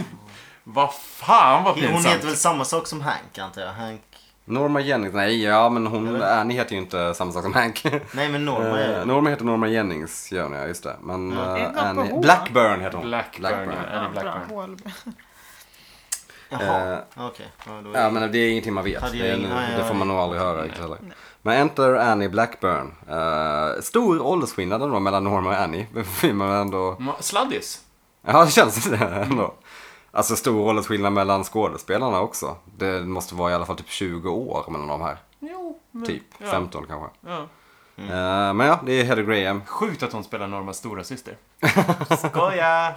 [SPEAKER 4] Vad fan vad
[SPEAKER 2] Hon
[SPEAKER 4] pinsamt.
[SPEAKER 2] heter väl samma sak som Hank antar jag. Hank.
[SPEAKER 1] Norma Jennings, nej ja men
[SPEAKER 2] Jag
[SPEAKER 1] hon,
[SPEAKER 2] vet.
[SPEAKER 1] Annie heter ju inte samma sak som Hank.
[SPEAKER 2] Nej men Norma är
[SPEAKER 1] Eh, Norma heter Norma Jennings gör hon ja, just det. Men
[SPEAKER 2] Ja.
[SPEAKER 1] eh,
[SPEAKER 3] Är det något på
[SPEAKER 1] Annie...
[SPEAKER 3] H?
[SPEAKER 1] Blackburn heter hon.
[SPEAKER 4] Blackburn, ja. Är det
[SPEAKER 3] Ja, bra.
[SPEAKER 4] Blackburn?
[SPEAKER 3] Hål.
[SPEAKER 2] Jaha.
[SPEAKER 1] eh,
[SPEAKER 2] Okej. Ja, då är
[SPEAKER 1] Ja
[SPEAKER 2] det-
[SPEAKER 1] men det är ingenting man vet.
[SPEAKER 2] Hade
[SPEAKER 1] Det,
[SPEAKER 2] jag
[SPEAKER 1] är,
[SPEAKER 2] ingen- nej,
[SPEAKER 1] det får
[SPEAKER 2] nej.
[SPEAKER 1] man nog aldrig höra riktigt
[SPEAKER 4] Nej.
[SPEAKER 1] heller. Men Enter Annie Blackburn. Eh, stor åldersskillnad ändå mellan Norma och Annie. <laughs> Filmen är ändå...
[SPEAKER 4] Ma- Sladdis?
[SPEAKER 1] Ja, det känns det ändå. Alltså stor åldersskillnad mellan skådespelarna också. Det måste vara i alla fall typ 20 år mellan de här.
[SPEAKER 4] Jo, men,
[SPEAKER 1] Typ
[SPEAKER 4] ja,
[SPEAKER 1] 15 kanske.
[SPEAKER 4] Ja.
[SPEAKER 1] Eh, men ja, det är Heather Graham.
[SPEAKER 4] Sjukt att hon spelar Normas stora syster.
[SPEAKER 1] <laughs>
[SPEAKER 4] Skoja!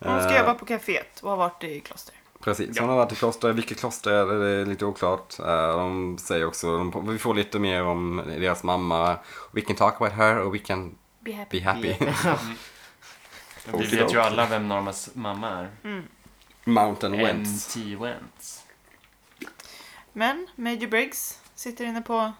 [SPEAKER 3] Hon
[SPEAKER 1] Eh.
[SPEAKER 3] ska jobba på kaféet och har varit i kloster.
[SPEAKER 1] Precis,
[SPEAKER 4] Ja.
[SPEAKER 1] hon har varit i kloster. Vilket kloster är det? det är lite oklart. Eh, de säger också, de, vi får lite mer om deras mamma. We can talk about her or we can
[SPEAKER 3] Be happy.
[SPEAKER 1] be happy.
[SPEAKER 4] Mm.
[SPEAKER 1] <laughs>
[SPEAKER 4] Vi vet ju alla vem Normas mamma är.
[SPEAKER 1] Mountain Mm. Wentz.
[SPEAKER 4] M.T. Wentz.
[SPEAKER 3] Men Major Briggs sitter inne på...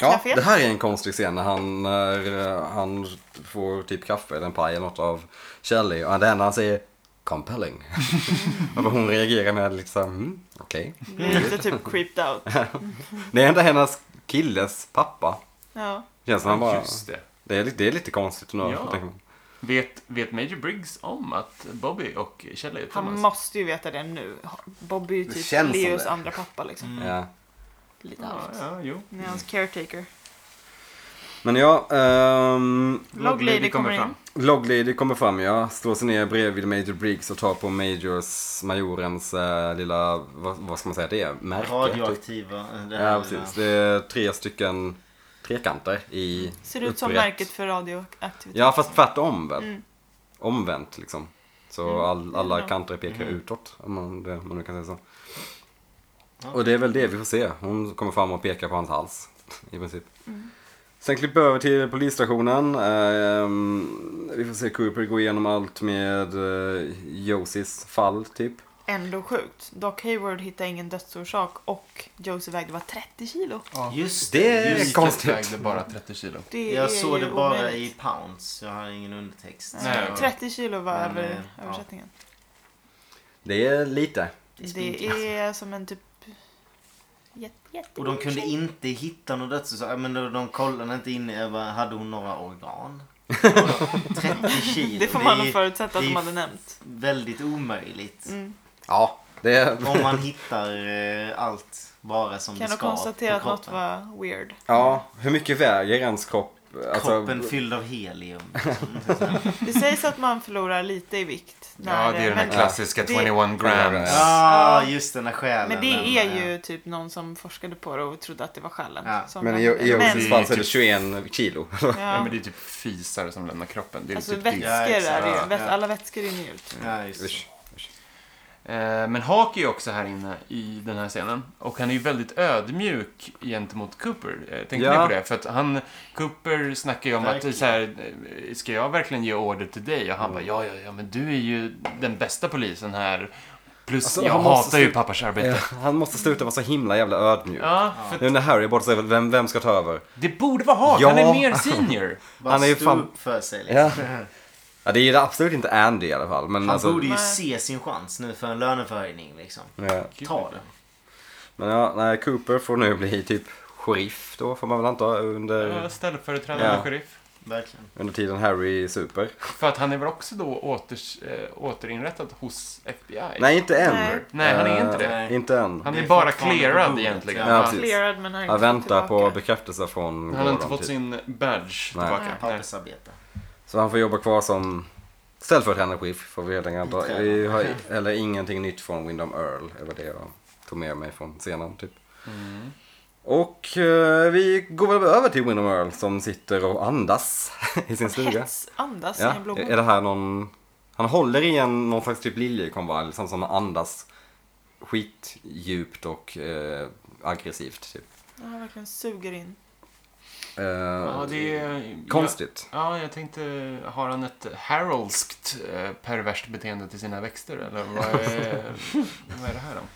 [SPEAKER 1] Ja,
[SPEAKER 3] Kaffe.
[SPEAKER 1] det här är en konstig scen när han, när han får typ kaffe eller en paj eller något av Shelley och det enda han säger compelling. <laughs> och hon reagerar med liksom, mm, okej.
[SPEAKER 3] Blir lite typ creeped
[SPEAKER 1] <laughs>
[SPEAKER 3] out.
[SPEAKER 1] Det är inte hennes killes pappa.
[SPEAKER 3] Ja.
[SPEAKER 1] Känns som han bara,
[SPEAKER 4] Just det.
[SPEAKER 1] det är, lite- det är lite konstigt ändå.
[SPEAKER 4] Ja.
[SPEAKER 1] tänker man.
[SPEAKER 4] Vet, vet Major Briggs om att Bobby och Kjell är
[SPEAKER 3] Han
[SPEAKER 4] tillsammans?
[SPEAKER 3] måste ju veta det nu. Bobby är ju
[SPEAKER 1] Det
[SPEAKER 3] typ
[SPEAKER 1] känns som
[SPEAKER 3] Leos
[SPEAKER 1] det. Mm.
[SPEAKER 3] andra pappa liksom.
[SPEAKER 4] Mm.
[SPEAKER 1] Ja.
[SPEAKER 3] Lite
[SPEAKER 4] Ja,
[SPEAKER 3] halvt.
[SPEAKER 4] ja, jo.
[SPEAKER 3] Han är hans
[SPEAKER 1] Mm.
[SPEAKER 3] caretaker.
[SPEAKER 1] Men ja, ehm,
[SPEAKER 3] Log Lady kommer in.
[SPEAKER 1] Loglady kommer fram ja, slår sig ner bredvid Major Briggs och tar på Majors, majorens eh, lilla, vad, vad ska man säga det är? Märke? typ.
[SPEAKER 2] Radioaktiva. eh, Det här
[SPEAKER 1] Ja, precis. Det är tre stycken trekanter i
[SPEAKER 3] Ser ut som
[SPEAKER 1] upprätt.
[SPEAKER 3] märket för radioaktivitet.
[SPEAKER 1] Ja, fast tvärtom väl?
[SPEAKER 3] Mm.
[SPEAKER 1] Omvänt liksom. Så all, alla
[SPEAKER 3] Ja.
[SPEAKER 1] kanter pekar
[SPEAKER 2] Mhm.
[SPEAKER 1] utåt, om man, det, om man nu kan säga så.
[SPEAKER 2] Ja.
[SPEAKER 1] Och det är väl det vi får se. Hon kommer fram och pekar på hans hals, i princip.
[SPEAKER 3] Mm.
[SPEAKER 1] Sen klipper vi över till polisstationen. Ehm, vi får se Cooper gå igenom allt med uh, Josis fall, typ.
[SPEAKER 3] Ändå sjukt. Doc Hayward hittade ingen dödsorsak och Josie vägde bara 30 kilo.
[SPEAKER 2] Just
[SPEAKER 1] Det är
[SPEAKER 2] just
[SPEAKER 1] konstigt.
[SPEAKER 4] vägde bara 30 kilo.
[SPEAKER 3] Det är
[SPEAKER 2] Jag såg
[SPEAKER 3] ju
[SPEAKER 2] det bara
[SPEAKER 3] omöjligt.
[SPEAKER 2] i pounds. Jag har ingen undertext.
[SPEAKER 4] Nej,
[SPEAKER 3] Nej, 30 kilo var
[SPEAKER 2] Men,
[SPEAKER 3] över,
[SPEAKER 2] eh, ja.
[SPEAKER 3] översättningen.
[SPEAKER 1] Det är lite.
[SPEAKER 3] Det är som en typ... jätte- jätte-
[SPEAKER 2] Och de kunde inte hitta någon dödsorsak. Men de, de kollade inte in över, hade hon några
[SPEAKER 1] <laughs>
[SPEAKER 2] organ? 30 kilo.
[SPEAKER 3] Det får man
[SPEAKER 2] är
[SPEAKER 3] nog förutsätta att
[SPEAKER 2] det
[SPEAKER 3] de
[SPEAKER 2] är-
[SPEAKER 3] hade nämnt.
[SPEAKER 2] Väldigt omöjligt.
[SPEAKER 3] Mm.
[SPEAKER 1] Ja, det är...
[SPEAKER 2] Om man hittar eh, allt bara som
[SPEAKER 3] Kan
[SPEAKER 2] det
[SPEAKER 3] nog
[SPEAKER 2] ska på
[SPEAKER 3] konstatera att något
[SPEAKER 2] kroppen.
[SPEAKER 3] var weird.
[SPEAKER 1] <laughs> Ja, hur mycket väger ens kropp? Alltså,
[SPEAKER 2] Kroppen fylld av helium. liksom.
[SPEAKER 3] Det sägs att man förlorar lite
[SPEAKER 2] <laughs>
[SPEAKER 3] i vikt.
[SPEAKER 4] Ja, det är den här
[SPEAKER 3] men-
[SPEAKER 4] klassiska
[SPEAKER 3] det-
[SPEAKER 4] 21 grams.
[SPEAKER 2] Ja, Ah, just den här själen.
[SPEAKER 3] Men
[SPEAKER 2] den,
[SPEAKER 3] det är
[SPEAKER 2] eh,
[SPEAKER 3] ju typ någon som forskade på det och trodde att det var skallen.
[SPEAKER 2] Ja.
[SPEAKER 3] som
[SPEAKER 1] Men i
[SPEAKER 3] lämnade.
[SPEAKER 1] i Josies
[SPEAKER 3] Men-
[SPEAKER 1] fall så är
[SPEAKER 2] Typ.
[SPEAKER 1] det 21 kilo.
[SPEAKER 4] Ja,
[SPEAKER 3] Ja.
[SPEAKER 4] men det är typ fisar som lämnar kroppen. Det är
[SPEAKER 3] Alltså
[SPEAKER 4] typ det.
[SPEAKER 3] vätskor
[SPEAKER 2] Ja,
[SPEAKER 3] är
[SPEAKER 2] exakt.
[SPEAKER 3] det ju.
[SPEAKER 2] Ja,
[SPEAKER 3] Väts-
[SPEAKER 2] ja.
[SPEAKER 3] Alla vätskor är njut.
[SPEAKER 2] Ja, just det.
[SPEAKER 1] Usch.
[SPEAKER 4] Eh, Men Hawk är ju också här inne i den här scenen. Och han är ju väldigt ödmjuk gentemot Cooper. Eh, Tänkte
[SPEAKER 1] Ja.
[SPEAKER 4] ni på det? För att han, Cooper snackar ju om
[SPEAKER 2] Verkligen.
[SPEAKER 4] att så här, eh, ska jag verkligen ge order till dig? Och han bara, ja, ja, ja, men du är ju den bästa polisen här. Plus,
[SPEAKER 1] Alltså,
[SPEAKER 4] jag
[SPEAKER 1] han måste
[SPEAKER 4] hatar ju
[SPEAKER 1] sluta-
[SPEAKER 4] pappas arbete.
[SPEAKER 1] Ja,
[SPEAKER 4] Ja,
[SPEAKER 1] han måste sluta vara så himla jävla ödmjuk.
[SPEAKER 4] för att
[SPEAKER 1] Nu när Harry är borta så är väl vem, vem ska ta över?
[SPEAKER 4] det borde vara Hawk.
[SPEAKER 1] Ja.
[SPEAKER 4] Han är mer
[SPEAKER 2] <laughs>
[SPEAKER 4] senior.
[SPEAKER 2] Bara
[SPEAKER 1] Han är ju
[SPEAKER 2] stå
[SPEAKER 1] fan-
[SPEAKER 2] upp för sig.
[SPEAKER 1] Ja.
[SPEAKER 2] Liksom.
[SPEAKER 1] Ja, det är ju absolut inte Andy i alla fall. Men
[SPEAKER 2] Han
[SPEAKER 1] alltså,
[SPEAKER 2] borde ju
[SPEAKER 3] Nej.
[SPEAKER 2] se sin chans nu för en löneförhöjning liksom.
[SPEAKER 1] ja.
[SPEAKER 2] Ta den.
[SPEAKER 1] Men ja, nej, Cooper får nu bli typ sheriff då, får man väl anta, under,
[SPEAKER 4] Ja, Ställföreträdande
[SPEAKER 1] Ja.
[SPEAKER 4] sheriff.
[SPEAKER 2] Verkligen.
[SPEAKER 1] under tiden Harry super.
[SPEAKER 4] För att han är väl också då åters, eh, återinrättad hos FBI?
[SPEAKER 1] Nej, inte än.
[SPEAKER 3] Nej.
[SPEAKER 4] Nej, han är inte
[SPEAKER 1] Eh,
[SPEAKER 4] det.
[SPEAKER 1] Inte än.
[SPEAKER 4] Han
[SPEAKER 2] Det
[SPEAKER 4] är
[SPEAKER 2] är
[SPEAKER 4] bara
[SPEAKER 2] fortfarande på
[SPEAKER 4] clearad
[SPEAKER 2] bordet,
[SPEAKER 4] egentligen.
[SPEAKER 1] ja. Ja, precis.
[SPEAKER 3] Clearad men har inte
[SPEAKER 1] Han
[SPEAKER 3] fått
[SPEAKER 1] väntar på
[SPEAKER 3] tillbaka.
[SPEAKER 1] bekräftelse från
[SPEAKER 4] Han har inte
[SPEAKER 1] Gordon,
[SPEAKER 4] fått
[SPEAKER 1] typ.
[SPEAKER 4] sin badge
[SPEAKER 1] Nej.
[SPEAKER 4] tillbaka. Nej.
[SPEAKER 2] Pappersarbete.
[SPEAKER 1] Så han får jobba kvar som ställföreträdande chef får vi helt enkelt anta.
[SPEAKER 2] Biträdande.
[SPEAKER 1] Vi har eller ingenting nytt från Windom Earl. Det var det jag tog med mig från scenen typ.
[SPEAKER 4] Mm.
[SPEAKER 1] Och eh, vi går väl över till Windom Earl som sitter och andas <laughs> i sin stuga.
[SPEAKER 3] Hets andas i
[SPEAKER 1] Ja,
[SPEAKER 3] en blomma.
[SPEAKER 1] är det här någon... Han håller i en, någon slags typ liljekonvalj som, som andas skitdjupt och eh, aggressivt typ.
[SPEAKER 3] Ja, Han verkligen suger in.
[SPEAKER 1] Eh,
[SPEAKER 4] Ja, det är...
[SPEAKER 1] Konstigt.
[SPEAKER 4] Ja, jag tänkte, har han ett harolskt eh, perverst beteende till sina växter eller vad är, vad är det här om?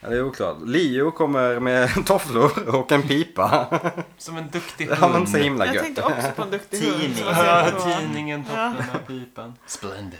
[SPEAKER 1] Ja, det är oklart. Leo kommer med <laughs> tofflor och en pipa.
[SPEAKER 4] Som en duktig
[SPEAKER 1] Det har man
[SPEAKER 4] hund.
[SPEAKER 1] så himla
[SPEAKER 3] Mm. Jag
[SPEAKER 1] gött.
[SPEAKER 3] tänkte också på
[SPEAKER 2] <laughs>
[SPEAKER 3] en duktig
[SPEAKER 2] Tidning.
[SPEAKER 3] hund. som var
[SPEAKER 4] Ja,
[SPEAKER 2] <laughs>
[SPEAKER 3] sen på-
[SPEAKER 4] tidningen, toppen av pipan. Splendid.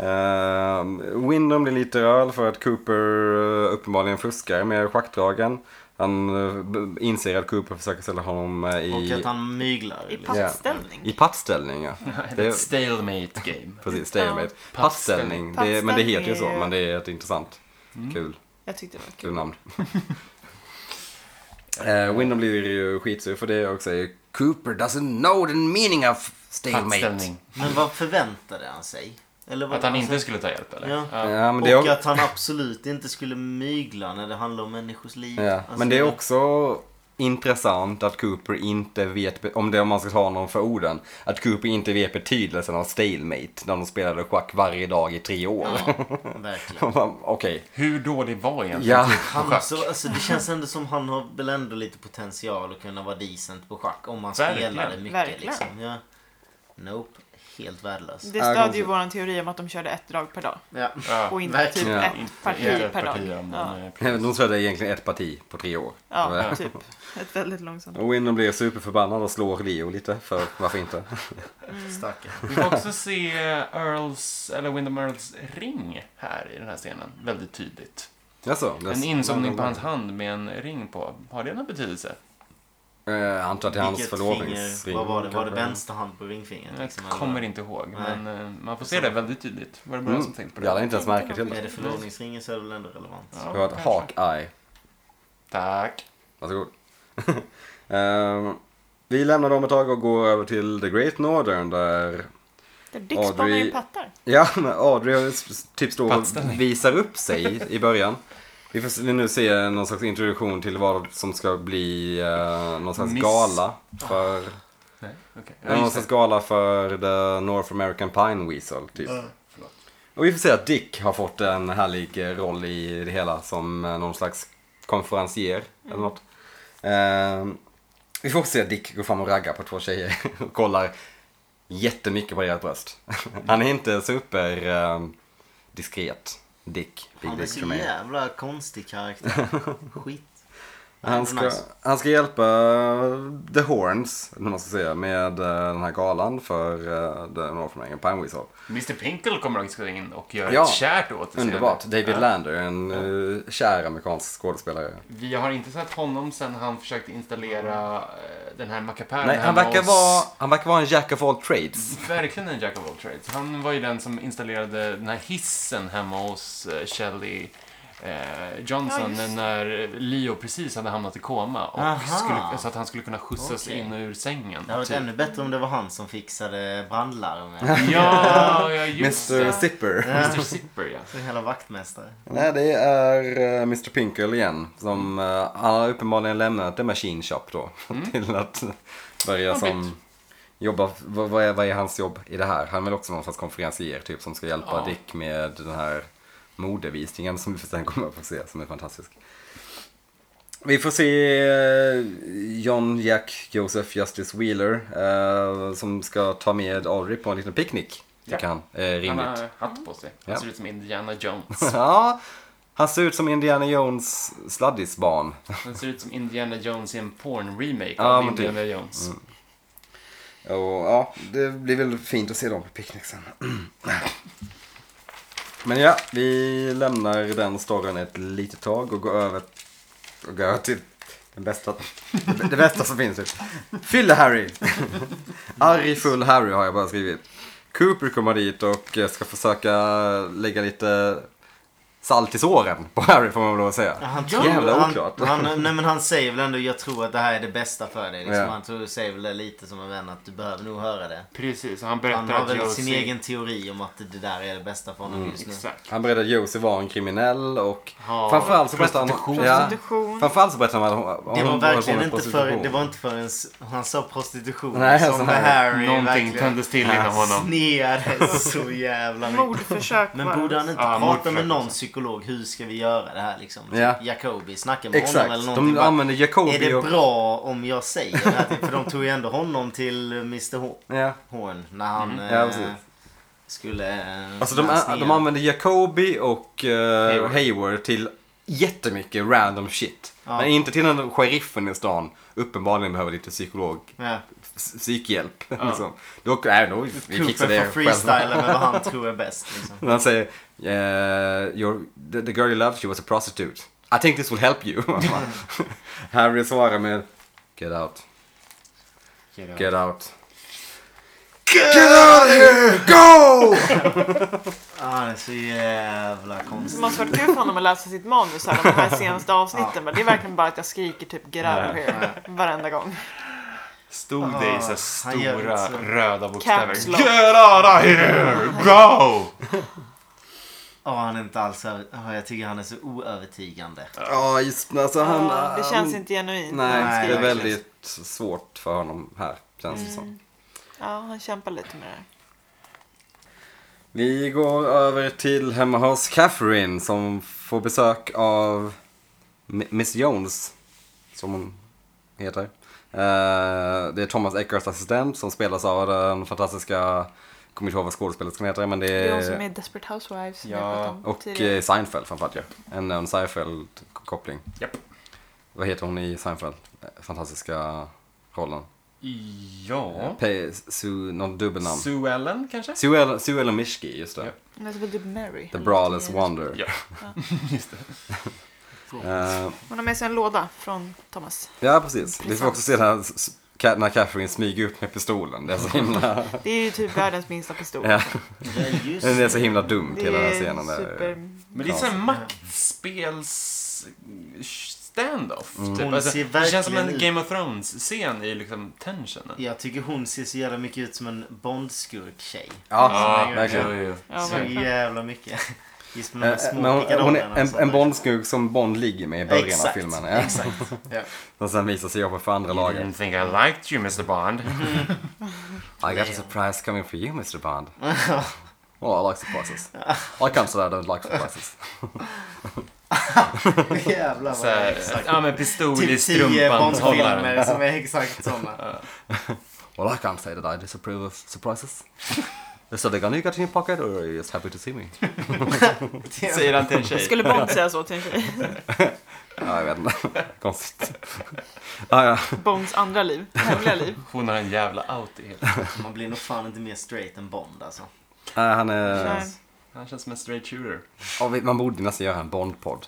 [SPEAKER 1] Uh, Windom blir lite rörd för att Cooper eh, uppenbarligen fuskar med schackdragen. Han eh, b- inser att Cooper försöker ställa honom eh,
[SPEAKER 2] Och
[SPEAKER 1] i,
[SPEAKER 2] att han myglar.
[SPEAKER 3] I
[SPEAKER 2] liksom.
[SPEAKER 1] Ja.
[SPEAKER 3] pappställning.
[SPEAKER 1] i pattställning. Ja. Det
[SPEAKER 4] Ett
[SPEAKER 1] är,
[SPEAKER 4] stalemate game.
[SPEAKER 1] precis, stalemate.
[SPEAKER 4] Ja.
[SPEAKER 1] Pattställning, det är, men det heter ju så.
[SPEAKER 3] Pattställning är-
[SPEAKER 1] Men det är ett intressant,
[SPEAKER 4] Mm.
[SPEAKER 1] kul,
[SPEAKER 3] Jag tyckte det var
[SPEAKER 1] kul
[SPEAKER 3] kul.
[SPEAKER 4] <laughs>
[SPEAKER 1] namn. uh, Windom blir ju skitsur för det och säger Cooper doesn't know the meaning of stalemate.
[SPEAKER 4] Pattställning.
[SPEAKER 2] Men vad förväntade han sig? Eller vad
[SPEAKER 4] Att han inte
[SPEAKER 2] alltså-
[SPEAKER 4] skulle ta hjälp eller?
[SPEAKER 2] Ja.
[SPEAKER 1] Ja, men det är
[SPEAKER 2] Och
[SPEAKER 1] också-
[SPEAKER 2] att han absolut inte skulle mygla när det handlar om människors liv.
[SPEAKER 1] Ja,
[SPEAKER 2] Alltså,
[SPEAKER 1] men det är också intressant att Cooper inte vet, be- om det om man ska ta honom för orden, att Cooper inte vet betydelsen av stalemate när de spelade schack varje dag i tre år. <laughs>
[SPEAKER 2] Ja, verkligen.
[SPEAKER 1] Okej,
[SPEAKER 4] Hur dålig var egentligen
[SPEAKER 1] ja.
[SPEAKER 2] Han, så, alltså, det känns ändå som han har väl ändå lite potential att kunna vara decent på schack om man
[SPEAKER 4] Verkligen.
[SPEAKER 2] spelade mycket.
[SPEAKER 3] Verkligen.
[SPEAKER 2] Liksom. Ja. Nope, helt värdelös.
[SPEAKER 3] Det
[SPEAKER 1] Ja,
[SPEAKER 3] stödjer ju
[SPEAKER 1] konstigt.
[SPEAKER 3] vår teori om att de körde ett drag per dag.
[SPEAKER 2] Ja.
[SPEAKER 4] Ja,
[SPEAKER 3] Och inte
[SPEAKER 2] verkligen.
[SPEAKER 3] typ
[SPEAKER 1] Ja,
[SPEAKER 3] ett
[SPEAKER 4] inte-
[SPEAKER 3] parti
[SPEAKER 4] inte ett
[SPEAKER 3] per dag.
[SPEAKER 4] parti, ja, men,
[SPEAKER 3] ja.
[SPEAKER 4] eh,
[SPEAKER 1] <laughs>
[SPEAKER 4] precis.
[SPEAKER 1] De stödde egentligen ett parti på tre år.
[SPEAKER 3] Ja,
[SPEAKER 1] Det var-
[SPEAKER 3] typ. Ett väldigt långsamt.
[SPEAKER 1] Och Windom blir superförbannad och slår Leo lite, för varför inte? <laughs>
[SPEAKER 2] Stackarn.
[SPEAKER 4] Vi får också se eh, Earls, eller Windham Earls ring här i den här scenen. Väldigt tydligt.
[SPEAKER 1] Jaså, det-
[SPEAKER 4] En insomning på hans hand med en ring på. Har det någon betydelse?
[SPEAKER 1] Eh, Jag antar att det är hans
[SPEAKER 2] Vilket
[SPEAKER 1] förlovningsring.
[SPEAKER 2] finger, vad var det? Var det
[SPEAKER 1] kanske.
[SPEAKER 2] vänster hand på ringfingret?
[SPEAKER 4] Jag
[SPEAKER 2] liksom, eller?
[SPEAKER 4] kommer inte ihåg,
[SPEAKER 2] Nej.
[SPEAKER 4] men eh, man får se det väldigt tydligt. Var det bara jag som tänkte på
[SPEAKER 1] Mm.
[SPEAKER 4] det?
[SPEAKER 1] Jag hade inte ens märke till
[SPEAKER 2] Är det
[SPEAKER 1] det.
[SPEAKER 2] förlovningsringen så är det väl ändå relevant.
[SPEAKER 1] Det var ett
[SPEAKER 4] kanske.
[SPEAKER 1] hawk-eye.
[SPEAKER 4] Tack.
[SPEAKER 1] Varsågod. <laughs> um, vi lämnar dem ett tag och går över till The Great Northern där
[SPEAKER 3] Där Dick spångar
[SPEAKER 1] Audrey-
[SPEAKER 3] in pattar.
[SPEAKER 1] ja, men Audrey s- typ står och
[SPEAKER 4] Pattställning.
[SPEAKER 1] visar upp sig i början. Vi får nu se någon slags introduktion till vad som ska bli eh, någon slags
[SPEAKER 4] Miss-
[SPEAKER 1] gala för,
[SPEAKER 4] Nej, okej.
[SPEAKER 1] ja, någon slags gala för The North American Pine Weasel typ. Och vi får se att Dick har fått en härlig eh, roll i det hela som eh, någon slags konferencier eller något. Ehm, vi får också se att Dick gå fram och ragga på två tjejer <laughs> och kollar jättemycket på deras bröst. <laughs> Han är inte super ehm, diskret, Dick. Big
[SPEAKER 2] Han är
[SPEAKER 1] Dick
[SPEAKER 2] så
[SPEAKER 1] för mig.
[SPEAKER 2] jävla
[SPEAKER 1] <laughs>
[SPEAKER 2] konstig karaktär. Skit.
[SPEAKER 1] Han
[SPEAKER 2] Det är
[SPEAKER 1] ska,
[SPEAKER 2] nice.
[SPEAKER 1] han ska hjälpa The Horns, eller vad man ska säga, med eh, den här galan för eh, The North American Pine Weasel.
[SPEAKER 4] Mr Pinkle kommer också in och gör
[SPEAKER 1] Ja.
[SPEAKER 4] ett kärt åt det
[SPEAKER 1] Underbart.
[SPEAKER 4] senare.
[SPEAKER 1] David Lander, en eh, kär amerikansk skådespelare.
[SPEAKER 4] Vi har inte sett honom sen han försökte installera eh, den här mackapären
[SPEAKER 1] Nej, han
[SPEAKER 4] hemma
[SPEAKER 1] verkar,
[SPEAKER 4] hos-
[SPEAKER 1] vara, han verkar vara en jack of all trades.
[SPEAKER 4] Verkligen en jack of all trades. Han var ju den som installerade den här hissen hemma hos eh, Shelley eh,
[SPEAKER 3] Ja,
[SPEAKER 4] Johnson
[SPEAKER 3] just det.
[SPEAKER 4] när Leo precis hade hamnat i koma.
[SPEAKER 2] Aha.
[SPEAKER 4] Och skulle, så att han skulle kunna skjutsas
[SPEAKER 2] Okej.
[SPEAKER 4] in och ur sängen.
[SPEAKER 2] Det hade varit
[SPEAKER 4] typ.
[SPEAKER 2] ännu bättre om det var han som fixade brandlarmet. <laughs>
[SPEAKER 4] Ja, ja just
[SPEAKER 1] Mr
[SPEAKER 4] det.
[SPEAKER 1] Zipper.
[SPEAKER 4] Mr Zipper, ja.
[SPEAKER 2] Så Hela vaktmästare.
[SPEAKER 1] Mm. Nej, det är eh, Mr Pinkle igen. Som,
[SPEAKER 4] Mm.
[SPEAKER 1] eh, han har uppenbarligen lämnat The Machine Shop då. <laughs> Till att börja
[SPEAKER 4] Har bytt.
[SPEAKER 1] som... Jobba, vad, vad, är, vad är hans jobb i det här? Han är väl också någon slags konferencier typ som ska hjälpa
[SPEAKER 4] Ja.
[SPEAKER 1] Dick med den här modevisningen som vi sen kommer att få se som är fantastisk. Vi får se eh, John Jack Joseph Justice Wheeler eh, som ska ta med Audrey på en liten picknick. Tycker
[SPEAKER 4] Ja.
[SPEAKER 1] han är rimligt.
[SPEAKER 4] Han har hatt på sig. Han
[SPEAKER 1] Ja.
[SPEAKER 4] ser ut som Indiana
[SPEAKER 1] <laughs>
[SPEAKER 4] Jones.
[SPEAKER 1] Ja, han ser ut som Indiana Jones sladdisbarn.
[SPEAKER 4] Han ser ut som Indiana Jones i en porn-remake
[SPEAKER 1] Ja,
[SPEAKER 4] av
[SPEAKER 1] men typ.
[SPEAKER 4] Indiana Jones.
[SPEAKER 1] Och ja, det blir väl fint att se dem på picknick sen. <clears throat> Men ja, vi lämnar den storyn ett litet tag och går över, och går över till den bästa, det bästa som finns. Typ. Fylle-Harry! <laughs> Arg full Harry har jag bara skrivit. Cooper kommer dit och ska försöka lägga lite salt i såren på Harry får man väl lov att säga.
[SPEAKER 2] Ja, han
[SPEAKER 1] Ja, jävla oklart.
[SPEAKER 2] Han, han, nej, men han säger väl ändå jag tror att det här är det bästa för dig. Liksom.
[SPEAKER 1] Ja.
[SPEAKER 2] Han tror, säger väl det lite som en vän att du behöver nog höra det.
[SPEAKER 4] Precis, och han
[SPEAKER 2] Han
[SPEAKER 4] berättar
[SPEAKER 2] har
[SPEAKER 4] att
[SPEAKER 2] väl sin
[SPEAKER 4] Josie...
[SPEAKER 2] egen teori om att det där är det bästa för
[SPEAKER 1] Mm.
[SPEAKER 2] honom just nu.
[SPEAKER 4] Exakt.
[SPEAKER 1] Han berättade att Josie var en kriminell och
[SPEAKER 4] Ja,
[SPEAKER 1] framförallt så berättade han...
[SPEAKER 4] prostitution.
[SPEAKER 1] Ja,
[SPEAKER 3] Prostitution.
[SPEAKER 1] framförallt så berättade han om om
[SPEAKER 2] Det var
[SPEAKER 1] hon höll på
[SPEAKER 2] verkligen
[SPEAKER 1] med
[SPEAKER 2] inte för,
[SPEAKER 1] prostitution.
[SPEAKER 2] det var inte förrän han sa prostitution
[SPEAKER 1] Nej, alltså, så
[SPEAKER 2] som
[SPEAKER 1] här.
[SPEAKER 2] Harry
[SPEAKER 4] Någonting
[SPEAKER 2] verkligen
[SPEAKER 4] tändes till inom honom.
[SPEAKER 2] sneade så
[SPEAKER 4] <laughs>
[SPEAKER 2] jävla mycket.
[SPEAKER 3] Mordförsök var
[SPEAKER 2] Men
[SPEAKER 3] det.
[SPEAKER 2] borde han inte
[SPEAKER 4] Ja,
[SPEAKER 2] prata
[SPEAKER 4] mordförsök
[SPEAKER 2] med någon
[SPEAKER 4] också.
[SPEAKER 2] psykolog? Hur ska vi göra det här liksom?
[SPEAKER 1] Ja.
[SPEAKER 2] Jacobi, snacka med honom
[SPEAKER 1] Exakt,
[SPEAKER 2] eller
[SPEAKER 1] de
[SPEAKER 2] någonting. Bara,
[SPEAKER 1] använde Jacobi
[SPEAKER 2] är det
[SPEAKER 1] och...
[SPEAKER 2] bra om jag säger det här? För de tog ju ändå honom till Mr Ho-
[SPEAKER 1] Ja.
[SPEAKER 2] Horn när han
[SPEAKER 1] Ja,
[SPEAKER 2] eh,
[SPEAKER 1] precis.
[SPEAKER 2] skulle... eh,
[SPEAKER 1] Alltså de,
[SPEAKER 2] snäs ner.
[SPEAKER 1] de använde Jacobi och eh,
[SPEAKER 4] Hayward.
[SPEAKER 1] Hayward till jättemycket random shit.
[SPEAKER 2] Ja.
[SPEAKER 1] Men inte till när sheriffen i stan uppenbarligen behöver lite psykolog,
[SPEAKER 2] Ja.
[SPEAKER 1] s- psykhjälp. <laughs> Liksom. Då, nej, då, vi
[SPEAKER 2] Cooper
[SPEAKER 1] fixar det
[SPEAKER 2] får
[SPEAKER 1] själva.
[SPEAKER 2] freestyla med vad han tror är bäst. Liksom.
[SPEAKER 1] <laughs> När han säger eh, your, the, the girl you loved, she was a prostitute. I think this will help you. <laughs> Harry svarar med Get out, get out. Get out of here, <laughs> go!
[SPEAKER 2] Ah, det är så jävla
[SPEAKER 3] Det
[SPEAKER 2] konstigt.
[SPEAKER 3] måste varit kul för honom att läsa sitt manus här de här senaste avsnitten. Men det är verkligen bara att jag skriker typ get out of here varenda gång.
[SPEAKER 4] Stod det i så här
[SPEAKER 2] Ah, han gör
[SPEAKER 4] stora
[SPEAKER 2] inte så.
[SPEAKER 4] röda bokstäver.
[SPEAKER 3] Caps lock.
[SPEAKER 4] Get out of here! Go!
[SPEAKER 2] Ja, han är inte alls över... ah, Jag tycker han är så oövertygande.
[SPEAKER 1] Ja, <laughs> just alltså han...
[SPEAKER 3] Ja, det
[SPEAKER 1] han-
[SPEAKER 3] känns inte genuint.
[SPEAKER 1] Nej,
[SPEAKER 2] Nej,
[SPEAKER 1] det är
[SPEAKER 2] verkligen.
[SPEAKER 1] väldigt svårt för honom här, känns
[SPEAKER 3] Mm.
[SPEAKER 1] det som.
[SPEAKER 3] Ja, han kämpar lite med det.
[SPEAKER 1] Vi går över till hemma hos Catherine som får besök av M- Miss Jones, som hon heter. Eh, det är Thomas Eckers assistent som spelas av den fantastiska, jag kommer inte ihåg vad skådespelerskan heter, men det
[SPEAKER 3] Det är hon som
[SPEAKER 1] är...
[SPEAKER 3] är Desperate Housewives. som
[SPEAKER 4] Ja,
[SPEAKER 3] jag pratade om
[SPEAKER 1] Eh, Och
[SPEAKER 3] tidigare.
[SPEAKER 1] eh, Seinfeld framförallt ju. En, en Seinfeld-koppling.
[SPEAKER 4] Japp.
[SPEAKER 1] Vad heter hon i Seinfeld? Eh, Fantastiska rollen.
[SPEAKER 4] Ja.
[SPEAKER 1] Pe- Sue, någon dubbelnamn.
[SPEAKER 4] Sue Ellen kanske?
[SPEAKER 1] Sue Ellen- Sue Ellen Mishki, just det.
[SPEAKER 4] Ja.
[SPEAKER 3] Hon heter väl typ Mary.
[SPEAKER 1] The
[SPEAKER 3] eller
[SPEAKER 1] Brawless
[SPEAKER 3] någonting.
[SPEAKER 1] Wonder.
[SPEAKER 4] Ja. <laughs> Just det.
[SPEAKER 1] Eh,
[SPEAKER 3] Hon har med sig en låda från Thomas.
[SPEAKER 1] ja, precis. Vi får också se den här s- s- Ka- när Catherine smyger upp med pistolen. Det är så himla,
[SPEAKER 3] Det är ju typ världens minsta pistol.
[SPEAKER 1] ja,
[SPEAKER 2] Ja, just
[SPEAKER 1] det är så himla dumt,
[SPEAKER 3] Det
[SPEAKER 1] hela den här
[SPEAKER 3] är
[SPEAKER 1] scenen. Där.
[SPEAKER 3] super...
[SPEAKER 4] Men det är sån här maktspels... Standoff. Typ.
[SPEAKER 2] Hon
[SPEAKER 4] Alltså,
[SPEAKER 2] ser
[SPEAKER 4] det känns som
[SPEAKER 2] verkligen
[SPEAKER 4] en
[SPEAKER 2] ut.
[SPEAKER 4] Game of Thrones-scen i liksom tensionen.
[SPEAKER 2] Jag tycker hon ser så jävla mycket ut som en Bondskurk-tjej.
[SPEAKER 1] Ja,
[SPEAKER 2] Ja,
[SPEAKER 1] verkligen.
[SPEAKER 4] ja, ja.
[SPEAKER 3] Ja,
[SPEAKER 2] så
[SPEAKER 3] verkligen.
[SPEAKER 2] jävla mycket. Just med de här
[SPEAKER 1] Eh,
[SPEAKER 2] små
[SPEAKER 1] Men hon, hon är
[SPEAKER 2] pickadollerna och
[SPEAKER 1] en,
[SPEAKER 2] sånt
[SPEAKER 1] en
[SPEAKER 2] där.
[SPEAKER 1] Bondskugg som Bond ligger med i början
[SPEAKER 2] Exakt,
[SPEAKER 1] av filmen. Ja. <laughs>
[SPEAKER 2] Exakt. Ja.
[SPEAKER 1] Som sen visar sig jobba för andra
[SPEAKER 4] You
[SPEAKER 1] laget.
[SPEAKER 4] didn't think I liked you,
[SPEAKER 2] <laughs>
[SPEAKER 4] Mr Bond.
[SPEAKER 1] I got a surprise coming for you, Mr Bond. Well, I like surprises. I can't say I don't like surprises.
[SPEAKER 2] <laughs> Jävlar
[SPEAKER 4] Så
[SPEAKER 2] vad
[SPEAKER 4] här,
[SPEAKER 2] exakt.
[SPEAKER 4] ja, men pistol i
[SPEAKER 2] Typ 10
[SPEAKER 4] strumpan-hållaren.
[SPEAKER 2] <laughs> Bondfilmer som är exakt
[SPEAKER 4] <laughs>
[SPEAKER 2] såna.
[SPEAKER 1] Well, I can't say that I disapprove of surprises. Is that a gun you got in your pocket or are you just happy to see me?
[SPEAKER 4] Säger han till en tjej.
[SPEAKER 3] Skulle Bond säga så till en tjej? <laughs>
[SPEAKER 1] Ja, jag vet inte. Konstigt. Ja, ja.
[SPEAKER 3] Bonds andra liv, hemliga liv.
[SPEAKER 4] Hon har en jävla out i hela.
[SPEAKER 2] Man blir nog fan inte mer straight än Bond alltså.
[SPEAKER 1] Nej, han är...
[SPEAKER 3] Nej.
[SPEAKER 4] Han känns som en straight shooter.
[SPEAKER 1] Ja, vi- man borde nästan göra en Bond-podd.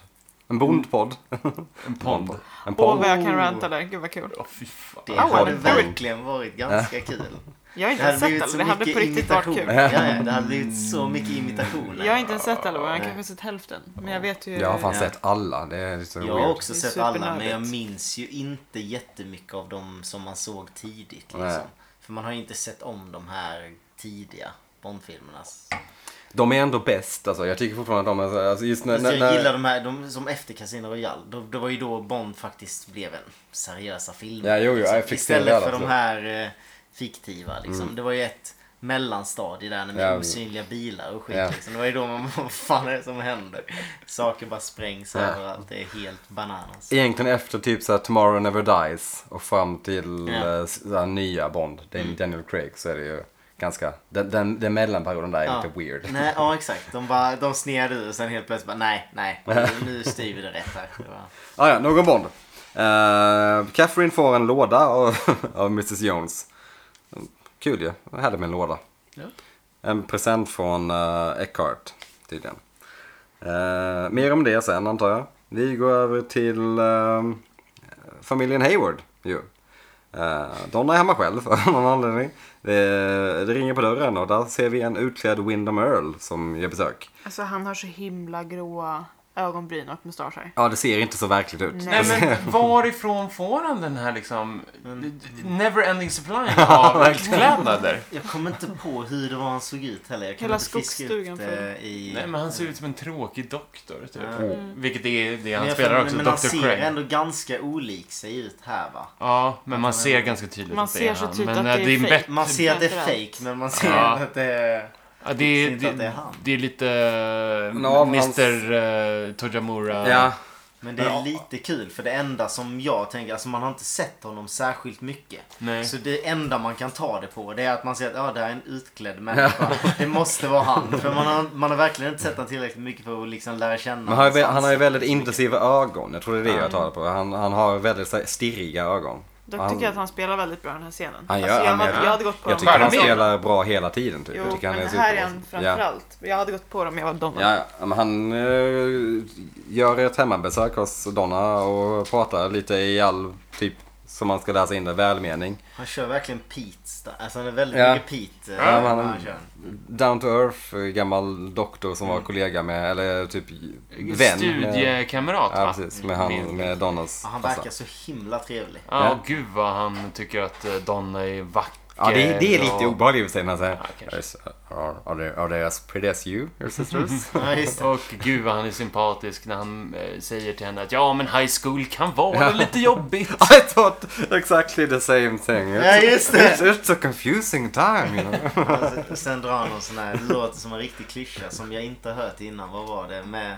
[SPEAKER 1] En Bond-podd.
[SPEAKER 2] Mm.
[SPEAKER 4] En pond.
[SPEAKER 1] En podd.
[SPEAKER 3] Åh, vad
[SPEAKER 2] Oh.
[SPEAKER 3] jag kan ranta där. Gud vad kul.
[SPEAKER 4] Åh fy fan.
[SPEAKER 2] Det
[SPEAKER 3] Ja,
[SPEAKER 2] hade
[SPEAKER 3] men-
[SPEAKER 2] verkligen varit ganska kul.
[SPEAKER 3] Jag har inte ens sett alla. Det hade på riktigt varit kul.
[SPEAKER 2] Ja, ja, det hade blivit så mycket imitationer.
[SPEAKER 3] Jag har inte ens sett alla, jag har
[SPEAKER 2] Nej.
[SPEAKER 3] kanske sett hälften. Men jag vet ju...
[SPEAKER 1] Jag har fan
[SPEAKER 2] Ja.
[SPEAKER 1] sett alla. Det är så
[SPEAKER 2] Jag har
[SPEAKER 1] weird.
[SPEAKER 2] också
[SPEAKER 3] Det är
[SPEAKER 2] sett alla, men
[SPEAKER 3] supernördigt.
[SPEAKER 2] jag minns ju inte jättemycket av dem som man såg tidigt.
[SPEAKER 1] Nej.
[SPEAKER 2] Liksom. För man har ju inte sett om de här tidiga Bondfilmerna.
[SPEAKER 1] De är ändå bäst. Alltså, jag tycker fortfarande att de är... så- Alltså, just när,
[SPEAKER 2] Fast
[SPEAKER 1] när,
[SPEAKER 2] jag
[SPEAKER 1] när,
[SPEAKER 2] gillar de här, de, som efter Casino Royale. Då, det var ju då Bond faktiskt blev en seriösa film.
[SPEAKER 1] Ja, jo, jo, jag fick se det
[SPEAKER 2] Istället
[SPEAKER 1] där, alltså.
[SPEAKER 2] för de
[SPEAKER 1] absolut.
[SPEAKER 2] här eh, fiktiva liksom. Det var ju ett mellanstadie där med
[SPEAKER 1] Ja.
[SPEAKER 2] osynliga bilar och skit.
[SPEAKER 1] Ja.
[SPEAKER 2] Liksom. Det var ju då man, <laughs> vad fan är det som händer? Saker bara sprängs
[SPEAKER 1] Ja.
[SPEAKER 2] överallt. Det är helt bananas.
[SPEAKER 1] Egentligen efter typ så här, Tomorrow Never Dies och fram till
[SPEAKER 2] Ja. Mm.
[SPEAKER 1] eh, så här, nya Bond, Dan- Daniel Craig, så är det ju ganska... Den, den, den mellanperioden där är
[SPEAKER 2] Ja.
[SPEAKER 1] lite weird.
[SPEAKER 2] Nej, ja exakt. De, bara, de sned ur och sen helt plötsligt bara nej, nej. Nu, nu styr vi det rätt här. Det var-
[SPEAKER 1] Ah, ja, någon Bond. Eh, Catherine får en låda av, <laughs> av Mrs Jones. Kul ju. Jag hade med en låda.
[SPEAKER 4] Ja.
[SPEAKER 1] En present från uh, Eckhart tydligen. Eh, mer om det sen antar jag. Vi går över till ehm, familjen Hayward eh, ju. Eh, Donna är hemma själv <laughs> av någon anledning. Det, det ringer på dörren och där ser vi en utklädd Windham Earl som gör besök.
[SPEAKER 3] Alltså han har så himla gråa ögonbryn och mustascher.
[SPEAKER 1] Ja, det ser inte så verkligt ut.
[SPEAKER 3] Nej.
[SPEAKER 4] Nej <laughs> men varifrån får han den här liksom
[SPEAKER 2] Mm.
[SPEAKER 4] never-ending <laughs> supply av kläder?
[SPEAKER 2] Jag kommer inte på hur det var han såg ut heller. Jag kan
[SPEAKER 3] Hela
[SPEAKER 2] inte fiska
[SPEAKER 3] skogsstugan
[SPEAKER 2] upp det i...
[SPEAKER 4] Nej men han ser ut som en tråkig doktor typ.
[SPEAKER 2] Ja.
[SPEAKER 3] Mm.
[SPEAKER 4] Vilket är det han
[SPEAKER 2] Men jag
[SPEAKER 4] spelar
[SPEAKER 2] får-
[SPEAKER 4] också,
[SPEAKER 2] Men han
[SPEAKER 4] Dr.
[SPEAKER 2] ser
[SPEAKER 4] Craig.
[SPEAKER 2] ändå ganska olik sig ut här va?
[SPEAKER 4] Ja, men man ser ganska tydligt
[SPEAKER 3] Man
[SPEAKER 4] att det
[SPEAKER 3] ser
[SPEAKER 4] är
[SPEAKER 3] så
[SPEAKER 4] han.
[SPEAKER 3] tydligt
[SPEAKER 4] Men
[SPEAKER 3] att
[SPEAKER 4] eh,
[SPEAKER 3] det är
[SPEAKER 4] en
[SPEAKER 3] fake.
[SPEAKER 4] bättre-
[SPEAKER 2] Man ser att det är
[SPEAKER 3] Framförallt.
[SPEAKER 2] fake men man ser
[SPEAKER 4] Ja.
[SPEAKER 2] ändå att det är...
[SPEAKER 4] Ja, det, är,
[SPEAKER 2] inte att det är
[SPEAKER 4] det,
[SPEAKER 2] han.
[SPEAKER 4] det är lite
[SPEAKER 1] Ja, men han-
[SPEAKER 4] Mr eh, Tojamura.
[SPEAKER 1] Ja,
[SPEAKER 2] Men det är lite kul för det enda som jag tänker, alltså man har inte sett honom särskilt mycket.
[SPEAKER 4] Nej.
[SPEAKER 2] Så det enda man kan ta det på det är att man ser att ja, det här är en utklädd
[SPEAKER 1] <laughs>
[SPEAKER 2] människa. det måste vara han. För man har, man har verkligen inte sett honom tillräckligt mycket för att liksom lära känna
[SPEAKER 1] men han, har ju,
[SPEAKER 2] hans
[SPEAKER 1] vä- han har ju
[SPEAKER 2] ansikte.
[SPEAKER 1] väldigt intensiva ögon. Jag tror det är det jag talar på. Han, han har väldigt så här stirriga ögon.
[SPEAKER 3] Dock
[SPEAKER 1] Han-
[SPEAKER 3] tycker jag att han spelar väldigt bra den här scenen.
[SPEAKER 1] Han gör-
[SPEAKER 3] alltså, jag,
[SPEAKER 1] han
[SPEAKER 3] hade,
[SPEAKER 1] gör-
[SPEAKER 3] jag hade gått på
[SPEAKER 1] Jag
[SPEAKER 3] dem.
[SPEAKER 1] tycker han
[SPEAKER 4] Charmig.
[SPEAKER 1] spelar bra hela tiden typ.
[SPEAKER 3] Jo,
[SPEAKER 1] jag tycker
[SPEAKER 3] men
[SPEAKER 1] så
[SPEAKER 3] här är
[SPEAKER 1] bra.
[SPEAKER 3] han framförallt. Jag hade gått på dem om jag var Donna.
[SPEAKER 1] Ja, ja, ja, men han eh, gör ett hemmabesök hos Donna och pratar lite i all typ som man ska läsa in det, välmening.
[SPEAKER 2] Han kör verkligen Pete. där. Alltså han är väldigt
[SPEAKER 1] Ja.
[SPEAKER 2] mycket Pete. eh,
[SPEAKER 1] Ja,
[SPEAKER 2] när
[SPEAKER 1] men
[SPEAKER 2] han
[SPEAKER 1] han,
[SPEAKER 2] kör.
[SPEAKER 1] down to earth, eh, gammal doktor som var kollega med, eller typ vän. med-
[SPEAKER 4] Studiekamrat
[SPEAKER 1] Ja,
[SPEAKER 4] va?
[SPEAKER 1] precis. Med, han, med Donnas
[SPEAKER 2] Ja, Han
[SPEAKER 1] farsa.
[SPEAKER 2] verkar så himla trevlig.
[SPEAKER 4] Ja,
[SPEAKER 1] Ja.
[SPEAKER 4] gud vad han tycker att eh, Donna är vacker.
[SPEAKER 1] Ja, det, det är lite
[SPEAKER 4] och-
[SPEAKER 1] obehagligt i och för sig när han säger
[SPEAKER 4] Ja, kanske.
[SPEAKER 1] "Yes, are, are, they, are they as pretty as you, <laughs> your sisters?
[SPEAKER 2] Ja, just det.
[SPEAKER 4] Och gud vad han är sympatisk när han eh, säger till henne att ja, men high school kan vara lite jobbigt.
[SPEAKER 1] I thought exactly the same thing.
[SPEAKER 2] Ja, just det.
[SPEAKER 1] It's, it's a confusing time, you know.
[SPEAKER 2] Alltså, sen drar han någon sån här, det låter som en riktig klyscha som jag inte har hört innan. Vad var det? Med,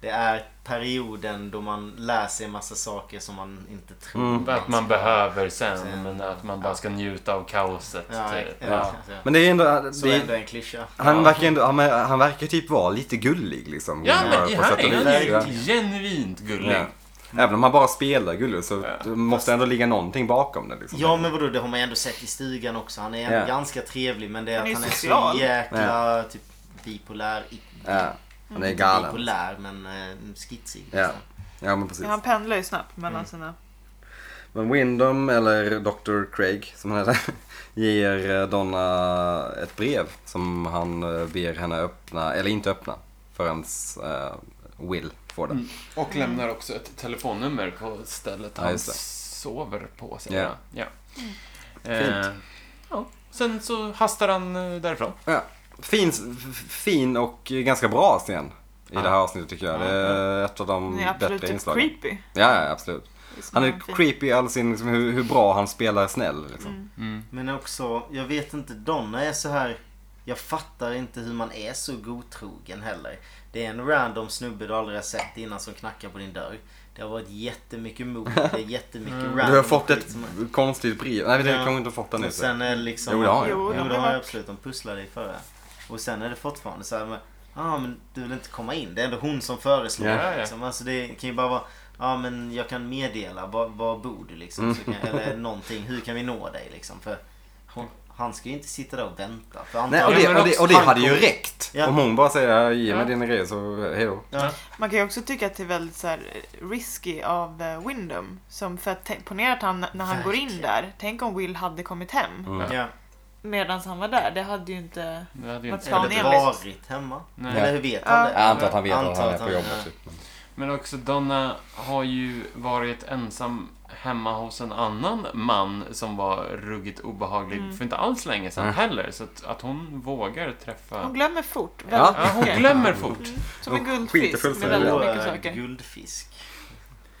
[SPEAKER 2] det är perioden då man lär sig massa saker som man inte tror.
[SPEAKER 1] Mm.
[SPEAKER 4] Att man behöver sen,
[SPEAKER 2] Sen.
[SPEAKER 4] men att man bara ska njuta av kaoset.
[SPEAKER 2] Ja,
[SPEAKER 4] typ.
[SPEAKER 2] ja,
[SPEAKER 1] Ja.
[SPEAKER 2] ja.
[SPEAKER 1] Men det är ändå... Det,
[SPEAKER 2] Så ändå en klyscha.
[SPEAKER 1] han, verkar ändå han, han verkar typ vara lite gullig liksom.
[SPEAKER 4] Ja,
[SPEAKER 1] på
[SPEAKER 4] men i
[SPEAKER 1] sätt
[SPEAKER 4] här
[SPEAKER 1] och vis.
[SPEAKER 4] är
[SPEAKER 1] Ja.
[SPEAKER 4] han ju genuint gullig.
[SPEAKER 1] Ja. Även om han bara spelar gullig så det måste ändå ligga någonting bakom det. Liksom.
[SPEAKER 2] Ja men vadå, det har man ju ändå sett i stugan också. Han är ändå
[SPEAKER 1] Ja.
[SPEAKER 2] ganska trevlig men det är
[SPEAKER 3] Han är
[SPEAKER 2] att han är
[SPEAKER 3] social.
[SPEAKER 2] så jäkla typ bipolär. i-
[SPEAKER 1] Ja, han är galen.
[SPEAKER 2] Bipolär men eh, skitsig.
[SPEAKER 1] Ja.
[SPEAKER 2] liksom.
[SPEAKER 1] ja, men precis. Mm.
[SPEAKER 3] Han pendlar ju snabbt mellan sina...
[SPEAKER 1] Men Windom, eller Dr. Craig som han heter, <laughs> ger eh, Donna ett brev som han eh, ber henne öppna, eller inte öppna, förrän eh, Will får det.
[SPEAKER 4] Och lämnar också ett telefonnummer på stället
[SPEAKER 1] Ja,
[SPEAKER 4] han
[SPEAKER 1] just det.
[SPEAKER 4] sover på. Så
[SPEAKER 1] Ja.
[SPEAKER 4] Ja.
[SPEAKER 1] Fint.
[SPEAKER 4] Eh, ja. Sen så hastar han eh, därifrån.
[SPEAKER 1] Ja. Fin, f- fin och ganska bra scen i
[SPEAKER 4] Ja.
[SPEAKER 1] det här avsnittet tycker jag. Det är ett av de
[SPEAKER 3] Den är absolut
[SPEAKER 1] Mm, bättre
[SPEAKER 3] typ
[SPEAKER 1] inslagen.
[SPEAKER 3] creepy.
[SPEAKER 1] Ja, ja, absolut.
[SPEAKER 3] Liksom,
[SPEAKER 1] Han är creepy i all sin, liksom, hur, hur bra han spelar snäll. Liksom.
[SPEAKER 4] Mm.
[SPEAKER 2] Men också, jag vet inte, Donna är så här... Jag fattar inte hur man är så godtrogen heller. Det är en random snubbe du aldrig har sett innan som knackar på din dörr. Det har varit jättemycket mord, det är jättemycket random
[SPEAKER 1] Du har fått
[SPEAKER 2] skit
[SPEAKER 1] ett
[SPEAKER 2] som-
[SPEAKER 1] konstigt brev. Nej, det
[SPEAKER 2] Ja.
[SPEAKER 1] har kanske inte fått den nu.
[SPEAKER 2] Och sen är det liksom...
[SPEAKER 1] Jo, det har
[SPEAKER 3] jag. Jo, det
[SPEAKER 2] Jo,
[SPEAKER 3] har
[SPEAKER 2] det har
[SPEAKER 3] jag.
[SPEAKER 2] jag absolut. De pusslade i förra. Och sen är det fortfarande så här med... Ja, ah, men du vill inte komma in. Det är ändå hon som föreslår.
[SPEAKER 4] Ja, ja.
[SPEAKER 2] Liksom. Alltså det kan ju bara vara... Ja, ah, men jag kan meddela. Var, var bor du
[SPEAKER 1] Mm.
[SPEAKER 2] liksom? Så kan, eller någonting. Hur kan vi nå dig liksom? För hon, han ska ju inte sitta där och vänta. För
[SPEAKER 1] Nej, och
[SPEAKER 4] Ja,
[SPEAKER 1] det,
[SPEAKER 4] men
[SPEAKER 1] och det, och det
[SPEAKER 2] också-
[SPEAKER 1] hade ju räckt.
[SPEAKER 2] Ja.
[SPEAKER 1] Om hon bara säger ge mig
[SPEAKER 4] Ja.
[SPEAKER 1] dina grejer så eh, hejdå.
[SPEAKER 2] Ja.
[SPEAKER 3] Man kan ju också tycka att det är väldigt så här, risky av eh, Windham. Som för att, tänk- ponera att han, när han går in
[SPEAKER 2] Verkligen.
[SPEAKER 3] där, tänk om Will hade kommit hem
[SPEAKER 2] Ja.
[SPEAKER 3] medan han var där. Det hade ju inte...
[SPEAKER 4] Det hade ju
[SPEAKER 3] Vad
[SPEAKER 4] inte-
[SPEAKER 3] sa han?
[SPEAKER 2] Eller
[SPEAKER 3] envist.
[SPEAKER 2] varit hemma.
[SPEAKER 4] Nej.
[SPEAKER 2] Eller hur vet
[SPEAKER 3] Ja.
[SPEAKER 2] han det?
[SPEAKER 1] Jag antar att han vet att
[SPEAKER 2] Antar
[SPEAKER 1] han är
[SPEAKER 2] att
[SPEAKER 1] på
[SPEAKER 2] han-
[SPEAKER 1] jobbet.
[SPEAKER 2] ja.
[SPEAKER 1] Typ.
[SPEAKER 4] Men också Donna har ju varit ensam hemma hos en annan man som var ruggigt obehaglig
[SPEAKER 3] Mm.
[SPEAKER 4] för inte alls länge sedan
[SPEAKER 1] Mm.
[SPEAKER 4] heller. Så att, att hon vågar träffa...
[SPEAKER 3] Hon glömmer fort väldigt
[SPEAKER 4] Ja, hon
[SPEAKER 3] mycket.
[SPEAKER 4] glömmer
[SPEAKER 1] Mm.
[SPEAKER 4] fort.
[SPEAKER 3] Som en
[SPEAKER 1] Hon skiter
[SPEAKER 3] guldfisk med
[SPEAKER 1] fullständigt
[SPEAKER 3] väldigt
[SPEAKER 1] i
[SPEAKER 2] Och,
[SPEAKER 3] mycket
[SPEAKER 2] eh,
[SPEAKER 3] saker.
[SPEAKER 2] Guldfisk.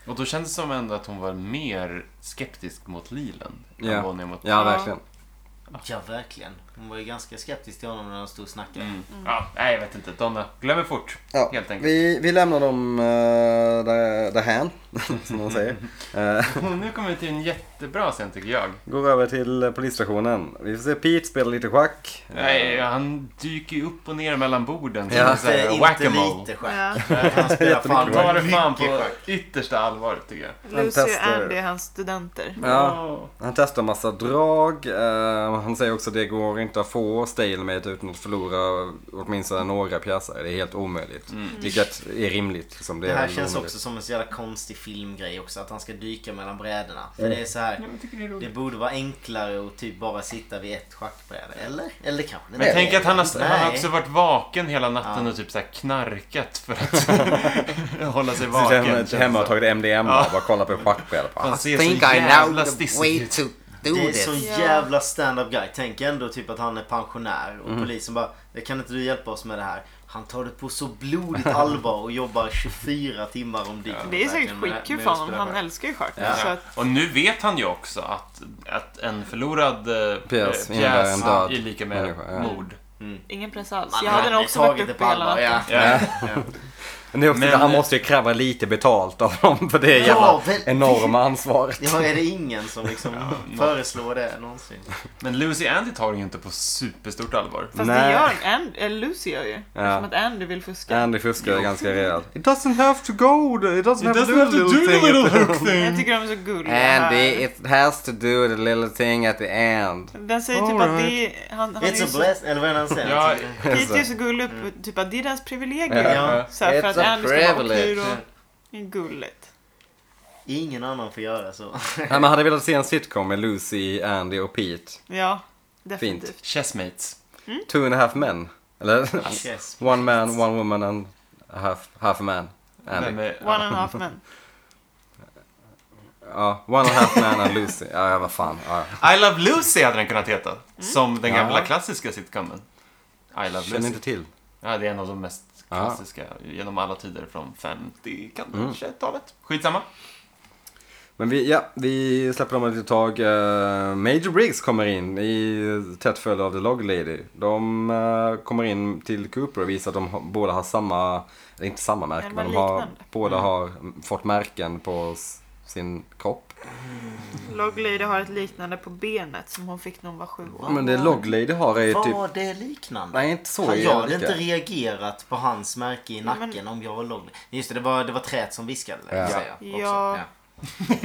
[SPEAKER 4] Och då kändes det som ändå att hon var mer skeptisk mot Lilen
[SPEAKER 1] Ja.
[SPEAKER 4] än vad hon är mot...
[SPEAKER 1] Ja, verkligen.
[SPEAKER 2] Ja, verkligen. Hon var ju ganska skeptisk till honom när han stod och snackade.
[SPEAKER 4] Mm. Ja, nej, jag vet inte. Donna glömmer fort.
[SPEAKER 1] Ja,
[SPEAKER 4] Helt enkelt.
[SPEAKER 1] Vi, vi lämnar dem uh, därhän, <laughs> som man säger. Eh,
[SPEAKER 4] Hon nu kommer vi till en jättebra scen tycker jag.
[SPEAKER 1] går över till eh, polisstationen. Vi får se Pete spela lite schack.
[SPEAKER 4] Nej, Eh, han dyker ju upp och ner mellan borden.
[SPEAKER 1] Ja.
[SPEAKER 4] Ja, så
[SPEAKER 2] Inte,
[SPEAKER 4] här,
[SPEAKER 2] inte
[SPEAKER 4] whack-a-mole.
[SPEAKER 2] lite schack.
[SPEAKER 3] Ja.
[SPEAKER 2] Han spelar
[SPEAKER 4] Han
[SPEAKER 2] fan
[SPEAKER 4] tar det fan
[SPEAKER 2] mycket
[SPEAKER 4] på
[SPEAKER 2] schack.
[SPEAKER 4] yttersta allvar tycker jag.
[SPEAKER 3] Lucy och
[SPEAKER 1] testar-
[SPEAKER 3] Andy är hans studenter.
[SPEAKER 1] Ja, han testar massa drag. eh, han säger också att det går inte att få stalemate utan att förlora åtminstone några pjäser. Det är helt omöjligt. Vilket är rimligt. Liksom. Mm. Det,
[SPEAKER 2] Det
[SPEAKER 1] är
[SPEAKER 2] här
[SPEAKER 1] väl
[SPEAKER 2] känns
[SPEAKER 1] omöjligt.
[SPEAKER 2] också som en så jävla konstig filmgrej också. Att han ska dyka mellan brädorna. För det är så här.
[SPEAKER 3] Mm.
[SPEAKER 2] Det borde vara enklare att typ bara sitta vid ett schackbräde. Eller? Eller kanske
[SPEAKER 4] Men tänk att han har, han har
[SPEAKER 2] Nej.
[SPEAKER 4] också varit vaken hela natten
[SPEAKER 2] Ja.
[SPEAKER 4] och typ så här knarkat för
[SPEAKER 1] <laughs>
[SPEAKER 4] att hålla sig
[SPEAKER 1] Sitter
[SPEAKER 4] vaken.
[SPEAKER 1] hemma,
[SPEAKER 4] känns
[SPEAKER 1] hemma och
[SPEAKER 4] det.
[SPEAKER 1] tagit MDMA
[SPEAKER 4] Ja.
[SPEAKER 1] och bara kollar på en <laughs> schackbräda. Bara,
[SPEAKER 4] Han
[SPEAKER 1] "Ah,
[SPEAKER 4] ser
[SPEAKER 5] think
[SPEAKER 4] så
[SPEAKER 5] I
[SPEAKER 4] jävla
[SPEAKER 5] know the
[SPEAKER 4] stissig
[SPEAKER 5] way
[SPEAKER 4] ut.
[SPEAKER 5] to do
[SPEAKER 2] Det är
[SPEAKER 5] this.
[SPEAKER 2] sån
[SPEAKER 3] Ja.
[SPEAKER 2] jävla stand-up guy. Tänk ändå typ att han är pensionär och polisen bara Kan inte du hjälpa oss med det här? Han tar det på så blodigt allvar och jobbar 24 timmar om dygnet.
[SPEAKER 3] Det är säkert
[SPEAKER 2] verkligen med-
[SPEAKER 3] skitkul
[SPEAKER 2] med
[SPEAKER 3] för
[SPEAKER 2] att
[SPEAKER 3] honom.
[SPEAKER 2] spela
[SPEAKER 3] Han
[SPEAKER 2] schack.
[SPEAKER 3] älskar ju schack.
[SPEAKER 2] Ja.
[SPEAKER 3] Så att,
[SPEAKER 4] Och nu vet han ju också att, att en förlorad eh,
[SPEAKER 1] Pjäs
[SPEAKER 4] eh,
[SPEAKER 1] innebär en död
[SPEAKER 4] är lika med
[SPEAKER 1] människa, ja.
[SPEAKER 4] mord.
[SPEAKER 3] ingen press alls.
[SPEAKER 2] Man
[SPEAKER 3] Jag hade
[SPEAKER 2] hade
[SPEAKER 3] nog också
[SPEAKER 2] tagit
[SPEAKER 3] varit
[SPEAKER 2] det
[SPEAKER 3] uppe
[SPEAKER 2] på
[SPEAKER 3] hela
[SPEAKER 2] allvar,
[SPEAKER 3] natten.
[SPEAKER 2] ja.
[SPEAKER 4] Ja.
[SPEAKER 1] Men eh, det är också,
[SPEAKER 4] Men-
[SPEAKER 1] han måste ju kräva lite betalt av dem för det
[SPEAKER 2] Ja,
[SPEAKER 1] jävla
[SPEAKER 2] väl-
[SPEAKER 1] enorma ansvaret.
[SPEAKER 2] Ja, är det ingen som liksom föreslår det någonsin?
[SPEAKER 4] Men Lucy Andy tar det ju inte på superstort allvar.
[SPEAKER 3] Fast det
[SPEAKER 1] Nej.
[SPEAKER 3] gör And, eller Lucy gör ju. Det är
[SPEAKER 1] Ja.
[SPEAKER 3] Som att Andy vill fuska.
[SPEAKER 1] Andy fuskar ganska rejält. It doesn't have to go, it doesn't have to do a little thing.
[SPEAKER 4] hook
[SPEAKER 3] Jag tycker de är så gulliga.
[SPEAKER 1] Andy,
[SPEAKER 3] här.
[SPEAKER 1] it has to do the little thing at the end.
[SPEAKER 3] Den säger typ att det är... Han, han är
[SPEAKER 2] It's
[SPEAKER 3] ju
[SPEAKER 2] a
[SPEAKER 3] så,
[SPEAKER 2] bless... Eller vad är det han säger?
[SPEAKER 4] Ja,
[SPEAKER 1] Alltså.
[SPEAKER 3] Pete är ju så gullig. Typ att det är deras privilegium.
[SPEAKER 2] Ja.
[SPEAKER 3] Så här, för
[SPEAKER 5] It's
[SPEAKER 3] att
[SPEAKER 5] a
[SPEAKER 3] Andy ska vara
[SPEAKER 5] privilege.
[SPEAKER 3] otur och... Det är gulligt.
[SPEAKER 2] Ingen annan får göra så.
[SPEAKER 1] Nej, man hade velat se en sitcom med Lucy, Andy och Pete.
[SPEAKER 3] Ja, definitivt.
[SPEAKER 1] Fint.
[SPEAKER 4] Chessmates.
[SPEAKER 1] Two and a half men. Eller?
[SPEAKER 2] Yes.
[SPEAKER 1] one man, one woman and a half, half a man. Andy.
[SPEAKER 4] Vem är-
[SPEAKER 3] One and a half men.
[SPEAKER 1] Ja, one and a half man and Lucy. Ja, ja, vad fan. Ja, ja.
[SPEAKER 4] I Love Lucy hade den kunnat heta. Som den gamla klassiska sitcomen. I Love
[SPEAKER 1] Känner
[SPEAKER 4] Lucy.
[SPEAKER 1] inte till.
[SPEAKER 4] Ja, det är en av de mest
[SPEAKER 1] Ja. Mm.
[SPEAKER 4] klassiska genom alla tider från 50 kanske talet. Skitsamma.
[SPEAKER 1] Men vi, ja, vi släpper dem ett litet tag. Eh, Major Briggs kommer in i tätt följd av The Log Lady. De eh, kommer in till Cooper och visar att de har, båda har samma, eller inte samma märke,
[SPEAKER 3] Men
[SPEAKER 1] men de
[SPEAKER 3] vad
[SPEAKER 1] har,
[SPEAKER 3] liknande.
[SPEAKER 1] båda
[SPEAKER 2] Mm.
[SPEAKER 1] har fått märken på s- sin kropp.
[SPEAKER 3] Log Lady har ett liknande på benet som hon fick när hon var sju år.
[SPEAKER 1] Men det Log Lady har är ju typ...
[SPEAKER 2] Var det liknande?
[SPEAKER 1] Nej, inte så
[SPEAKER 2] Fan, jag hade
[SPEAKER 1] jävla.
[SPEAKER 2] inte reagerat på hans märke i nacken om jag var lång. Just det, det var, det var träet som viskade.
[SPEAKER 1] Ja.
[SPEAKER 2] säger jag också.
[SPEAKER 3] Ja.
[SPEAKER 2] Ja.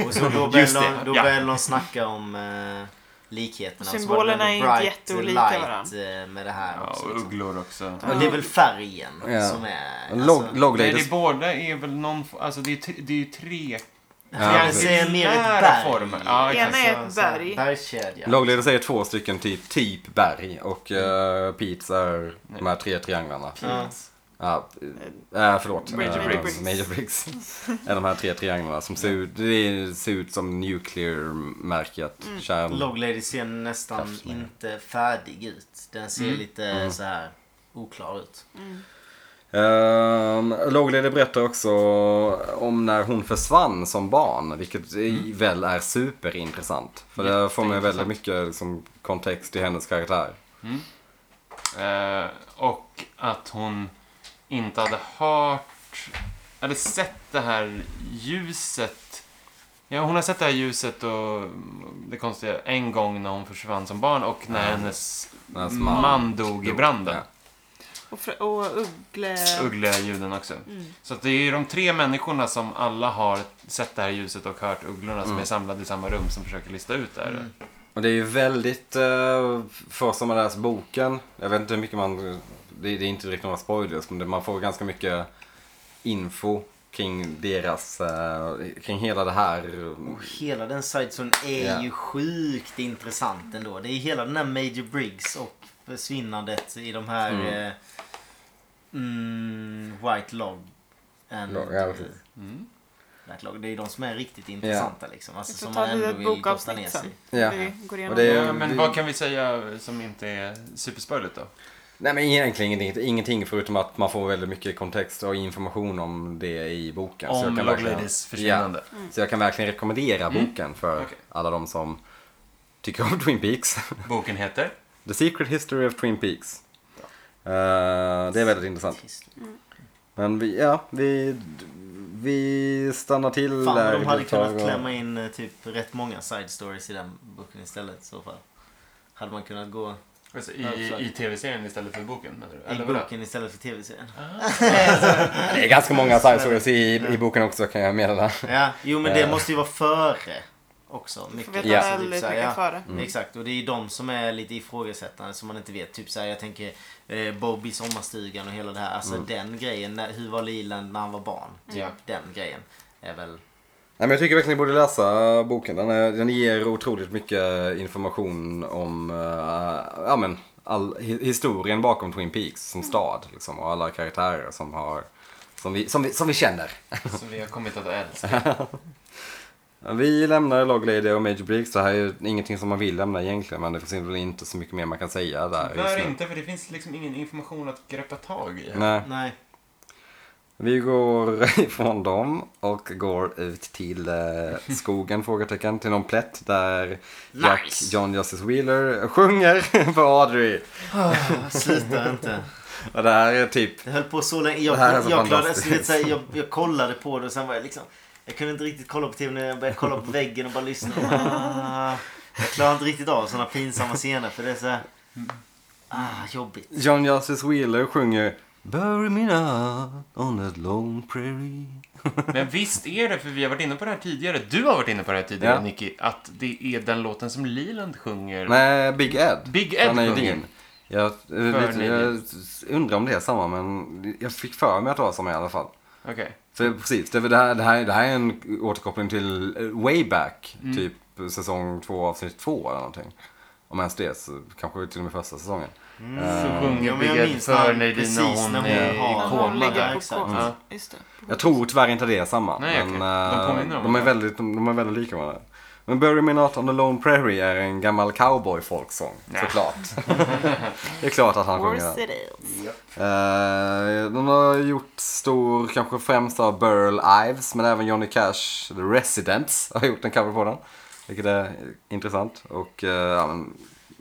[SPEAKER 2] Och så då började
[SPEAKER 4] Just det,
[SPEAKER 2] de, då
[SPEAKER 4] ja.
[SPEAKER 2] började de snacka om eh, likheterna. Så var det
[SPEAKER 3] Symbolerna
[SPEAKER 2] väl
[SPEAKER 3] är
[SPEAKER 2] bright
[SPEAKER 3] inte jätteolika
[SPEAKER 2] light,
[SPEAKER 3] varandra.
[SPEAKER 2] eh, med det här
[SPEAKER 4] Ja,
[SPEAKER 2] också.
[SPEAKER 4] och
[SPEAKER 2] Liksom.
[SPEAKER 4] ugglor också.
[SPEAKER 2] Men det är väl färgen
[SPEAKER 1] Ja.
[SPEAKER 2] som är... alltså-
[SPEAKER 1] Log, log
[SPEAKER 4] Nej,
[SPEAKER 1] Lady...
[SPEAKER 4] det båda är väl någon... Alltså det är, t- det är ju tre
[SPEAKER 1] Ja,
[SPEAKER 2] det är mer ett
[SPEAKER 4] Triangulära
[SPEAKER 2] berg.
[SPEAKER 4] former. Ja,
[SPEAKER 3] Ena
[SPEAKER 4] exakt.
[SPEAKER 3] är
[SPEAKER 2] Så-
[SPEAKER 3] ett
[SPEAKER 2] så här,
[SPEAKER 3] berg.
[SPEAKER 2] Bergskedja.
[SPEAKER 1] Lagledare säger två stycken typ, typ berg och uh, Pete's är de här tre trianglarna.
[SPEAKER 2] Mm. Ja.
[SPEAKER 1] Ja, eh, förlåt.
[SPEAKER 3] Major
[SPEAKER 1] Eh, <laughs>
[SPEAKER 3] Briggs.
[SPEAKER 1] Major Briggs. är de här tre trianglarna som ser ut, det ser ut som nuclear-märket
[SPEAKER 3] Mm.
[SPEAKER 1] kärn.
[SPEAKER 2] Log Lady ser nästan
[SPEAKER 1] Kraftsmed.
[SPEAKER 2] inte färdig ut. Den ser lite
[SPEAKER 1] Mm.
[SPEAKER 2] så här oklar ut.
[SPEAKER 1] Ehm, Låglady berättar också om när hon försvann som barn, vilket i- väl är superintressant. För det får man ju väldigt mycket liksom, kontext i hennes karaktär.
[SPEAKER 4] Eh, och att hon inte hade hört, eller sett det här ljuset. Ja, hon har sett det här ljuset och det konstiga en gång när hon försvann som barn och när hennes
[SPEAKER 1] När hennes
[SPEAKER 4] man,
[SPEAKER 1] man
[SPEAKER 4] dog i branden.
[SPEAKER 1] Ja.
[SPEAKER 3] Och, fr- och Uggle...
[SPEAKER 4] Uggliga ljuden också. Så att det är de tre människorna som alla har sett det här ljuset och hört ugglorna som
[SPEAKER 1] Mm.
[SPEAKER 4] är samlade i samma rum som försöker lista ut det här.
[SPEAKER 1] Och det är ju väldigt, eh, för som har läst boken, jag vet inte hur mycket man, det, det är inte direkt några spoilers, men det, man får ganska mycket info kring deras, eh, kring hela det här.
[SPEAKER 2] Och hela den sidezonen är
[SPEAKER 1] Ja.
[SPEAKER 2] ju sjukt intressant ändå. Det är hela den här Major Briggs och försvinnandet i de här
[SPEAKER 1] Mm.
[SPEAKER 2] eh, mm, White Log. And,
[SPEAKER 1] Log, ja, precis.
[SPEAKER 4] Mm.
[SPEAKER 2] Black Log. Det är ju de som är riktigt intressanta liksom. Alltså,
[SPEAKER 3] Vi får
[SPEAKER 2] som
[SPEAKER 3] ta
[SPEAKER 2] man
[SPEAKER 3] ett
[SPEAKER 2] ändå
[SPEAKER 3] litet
[SPEAKER 2] vill kosta ner
[SPEAKER 3] bokavsnitt
[SPEAKER 2] sig.
[SPEAKER 3] sen.
[SPEAKER 1] Ja.
[SPEAKER 3] Vi går igenom
[SPEAKER 1] Och det är-
[SPEAKER 4] Ja, men
[SPEAKER 1] det-
[SPEAKER 4] vad kan vi säga som inte är superspoiligt då?
[SPEAKER 1] Nej men egentligen ingenting, ingenting förutom att man får väldigt mycket kontext och information om det i boken. Så jag
[SPEAKER 4] Om
[SPEAKER 1] kan
[SPEAKER 4] Log
[SPEAKER 1] verkligen-
[SPEAKER 4] Ladies försvinnande. Mm.
[SPEAKER 1] Ja, så jag kan verkligen rekommendera boken för
[SPEAKER 4] Okej.
[SPEAKER 1] alla de som tycker om <laughs> Twin Peaks.
[SPEAKER 4] Boken heter?
[SPEAKER 1] The Secret History of Twin Peaks. Eh, det är väldigt intressant. Men vi, ja, vi, vi stannar till
[SPEAKER 2] Fan vad
[SPEAKER 1] där
[SPEAKER 2] de hade
[SPEAKER 1] ett tag
[SPEAKER 2] kunnat
[SPEAKER 1] och-
[SPEAKER 2] klämma in eh, typ rätt många side stories i den boken istället i så fall. Hade man kunnat gå
[SPEAKER 4] Alltså,
[SPEAKER 2] Ja,
[SPEAKER 4] I,
[SPEAKER 2] exakt.
[SPEAKER 4] i tv-serien istället för boken menar du?
[SPEAKER 2] i
[SPEAKER 4] Eller vadå?
[SPEAKER 2] boken istället för tv-serien.
[SPEAKER 1] Det är ganska många side stories i, i boken också kan jag meddela.
[SPEAKER 2] Ja, jo men det
[SPEAKER 1] Eh.
[SPEAKER 2] måste ju vara före. också.
[SPEAKER 3] Får
[SPEAKER 2] Mycket.
[SPEAKER 3] veta
[SPEAKER 1] Ja.
[SPEAKER 3] väldigt
[SPEAKER 2] Så här,
[SPEAKER 3] mycket
[SPEAKER 2] ja.
[SPEAKER 3] före.
[SPEAKER 2] Exakt, och det är de som är lite ifrågasättande som man inte vet. Typ såhär, jag tänker eh, Bobby sommarstugan och hela det här. Alltså den grejen. När, hur var Leland när han var barn? Typ den grejen. Är väl...
[SPEAKER 1] Nej, men jag tycker verkligen ni borde läsa boken. Den, är, den ger otroligt mycket information om eh, ja, men, all, hi- historien bakom Twin Peaks som
[SPEAKER 2] Mm.
[SPEAKER 1] stad. Liksom, och alla karaktärer som, har, som, vi, som, vi, som vi känner.
[SPEAKER 4] Som Alltså, vi har kommit att älska.
[SPEAKER 1] Vi lämnar Log Lady och Major Briggs. Det här är ju ingenting som man vill lämna egentligen. Men det finns väl inte så mycket mer man kan säga där just
[SPEAKER 4] Tyvärr
[SPEAKER 1] nu.
[SPEAKER 4] inte, för det finns liksom ingen information att greppa tag i.
[SPEAKER 1] Nej.
[SPEAKER 2] Nej.
[SPEAKER 1] Vi går <laughs> ifrån dem och går ut till eh, skogen, frågetecken, till någon plätt där Jack
[SPEAKER 2] Nice.
[SPEAKER 1] John Justice Wheeler sjunger <laughs> för Audrey.
[SPEAKER 2] <laughs> Sluta inte.
[SPEAKER 1] Och det här är typ,
[SPEAKER 2] Det höll på så länge.
[SPEAKER 1] Det här är
[SPEAKER 2] Jag,
[SPEAKER 1] så
[SPEAKER 2] jag, klarade,
[SPEAKER 1] fantastiskt.
[SPEAKER 2] alltså, du vet, så här, jag, jag kollade på det och sen var jag liksom... Jag kunde inte riktigt kolla på tvn. Jag började kolla på väggen och bara
[SPEAKER 4] <laughs>
[SPEAKER 2] lyssna. Ah, jag klarar inte riktigt av sådana pinsamma scener för det är så här, Ah, jobbigt.
[SPEAKER 1] John Justice Wheeler sjunger Bury me not on that long prairie.
[SPEAKER 4] Men visst är det, för vi har varit inne på det här tidigare. Du har varit inne på det här tidigare,
[SPEAKER 1] Ja.
[SPEAKER 4] Nicky, att det är den låten som Leland sjunger.
[SPEAKER 1] Nej, Big Ed.
[SPEAKER 4] Big Ed
[SPEAKER 1] Han är ju
[SPEAKER 4] sjunger.
[SPEAKER 1] din. Jag, eh, lite, jag
[SPEAKER 4] nyligen.
[SPEAKER 1] undrar om det är samma, men jag fick för mig att det var samma i alla fall.
[SPEAKER 4] Okej.
[SPEAKER 1] För precis, det, är väl det, här, det, här, det här är en återkoppling till eh, way back,
[SPEAKER 4] Mm.
[SPEAKER 1] typ säsong två avsnitt två eller någonting. Om ens det, så kanske till och med första säsongen.
[SPEAKER 4] Så sjunger
[SPEAKER 2] Jo, Mm. men
[SPEAKER 4] Big
[SPEAKER 2] jag
[SPEAKER 4] Ed
[SPEAKER 2] minns
[SPEAKER 4] för
[SPEAKER 2] när-
[SPEAKER 4] Nadine
[SPEAKER 2] precis
[SPEAKER 4] när hon
[SPEAKER 2] när hon
[SPEAKER 4] är i
[SPEAKER 2] har-
[SPEAKER 3] När hon
[SPEAKER 4] koma.
[SPEAKER 2] Ja,
[SPEAKER 3] ligger på
[SPEAKER 2] exakt.
[SPEAKER 3] kåt.
[SPEAKER 4] Ja.
[SPEAKER 3] Just det.
[SPEAKER 1] Jag tror tyvärr inte det är samma.
[SPEAKER 4] Nej,
[SPEAKER 1] men
[SPEAKER 4] okej. De
[SPEAKER 1] eh,
[SPEAKER 4] påminner om
[SPEAKER 1] de, är
[SPEAKER 4] varandra.
[SPEAKER 1] väldigt, de, de är väldigt lika varandra. Men Bury Me Not On The Lone Prairie är en gammal cowboy-folksång, såklart. <laughs> det är klart att han sjunger den.
[SPEAKER 3] Horse it is.
[SPEAKER 1] Eh, de har gjort stor, kanske främst av Burl Ives, men även Johnny Cash, The Residents, <laughs> har gjort en cover på den. Vilket är eh, intressant. Och eh, ja, men,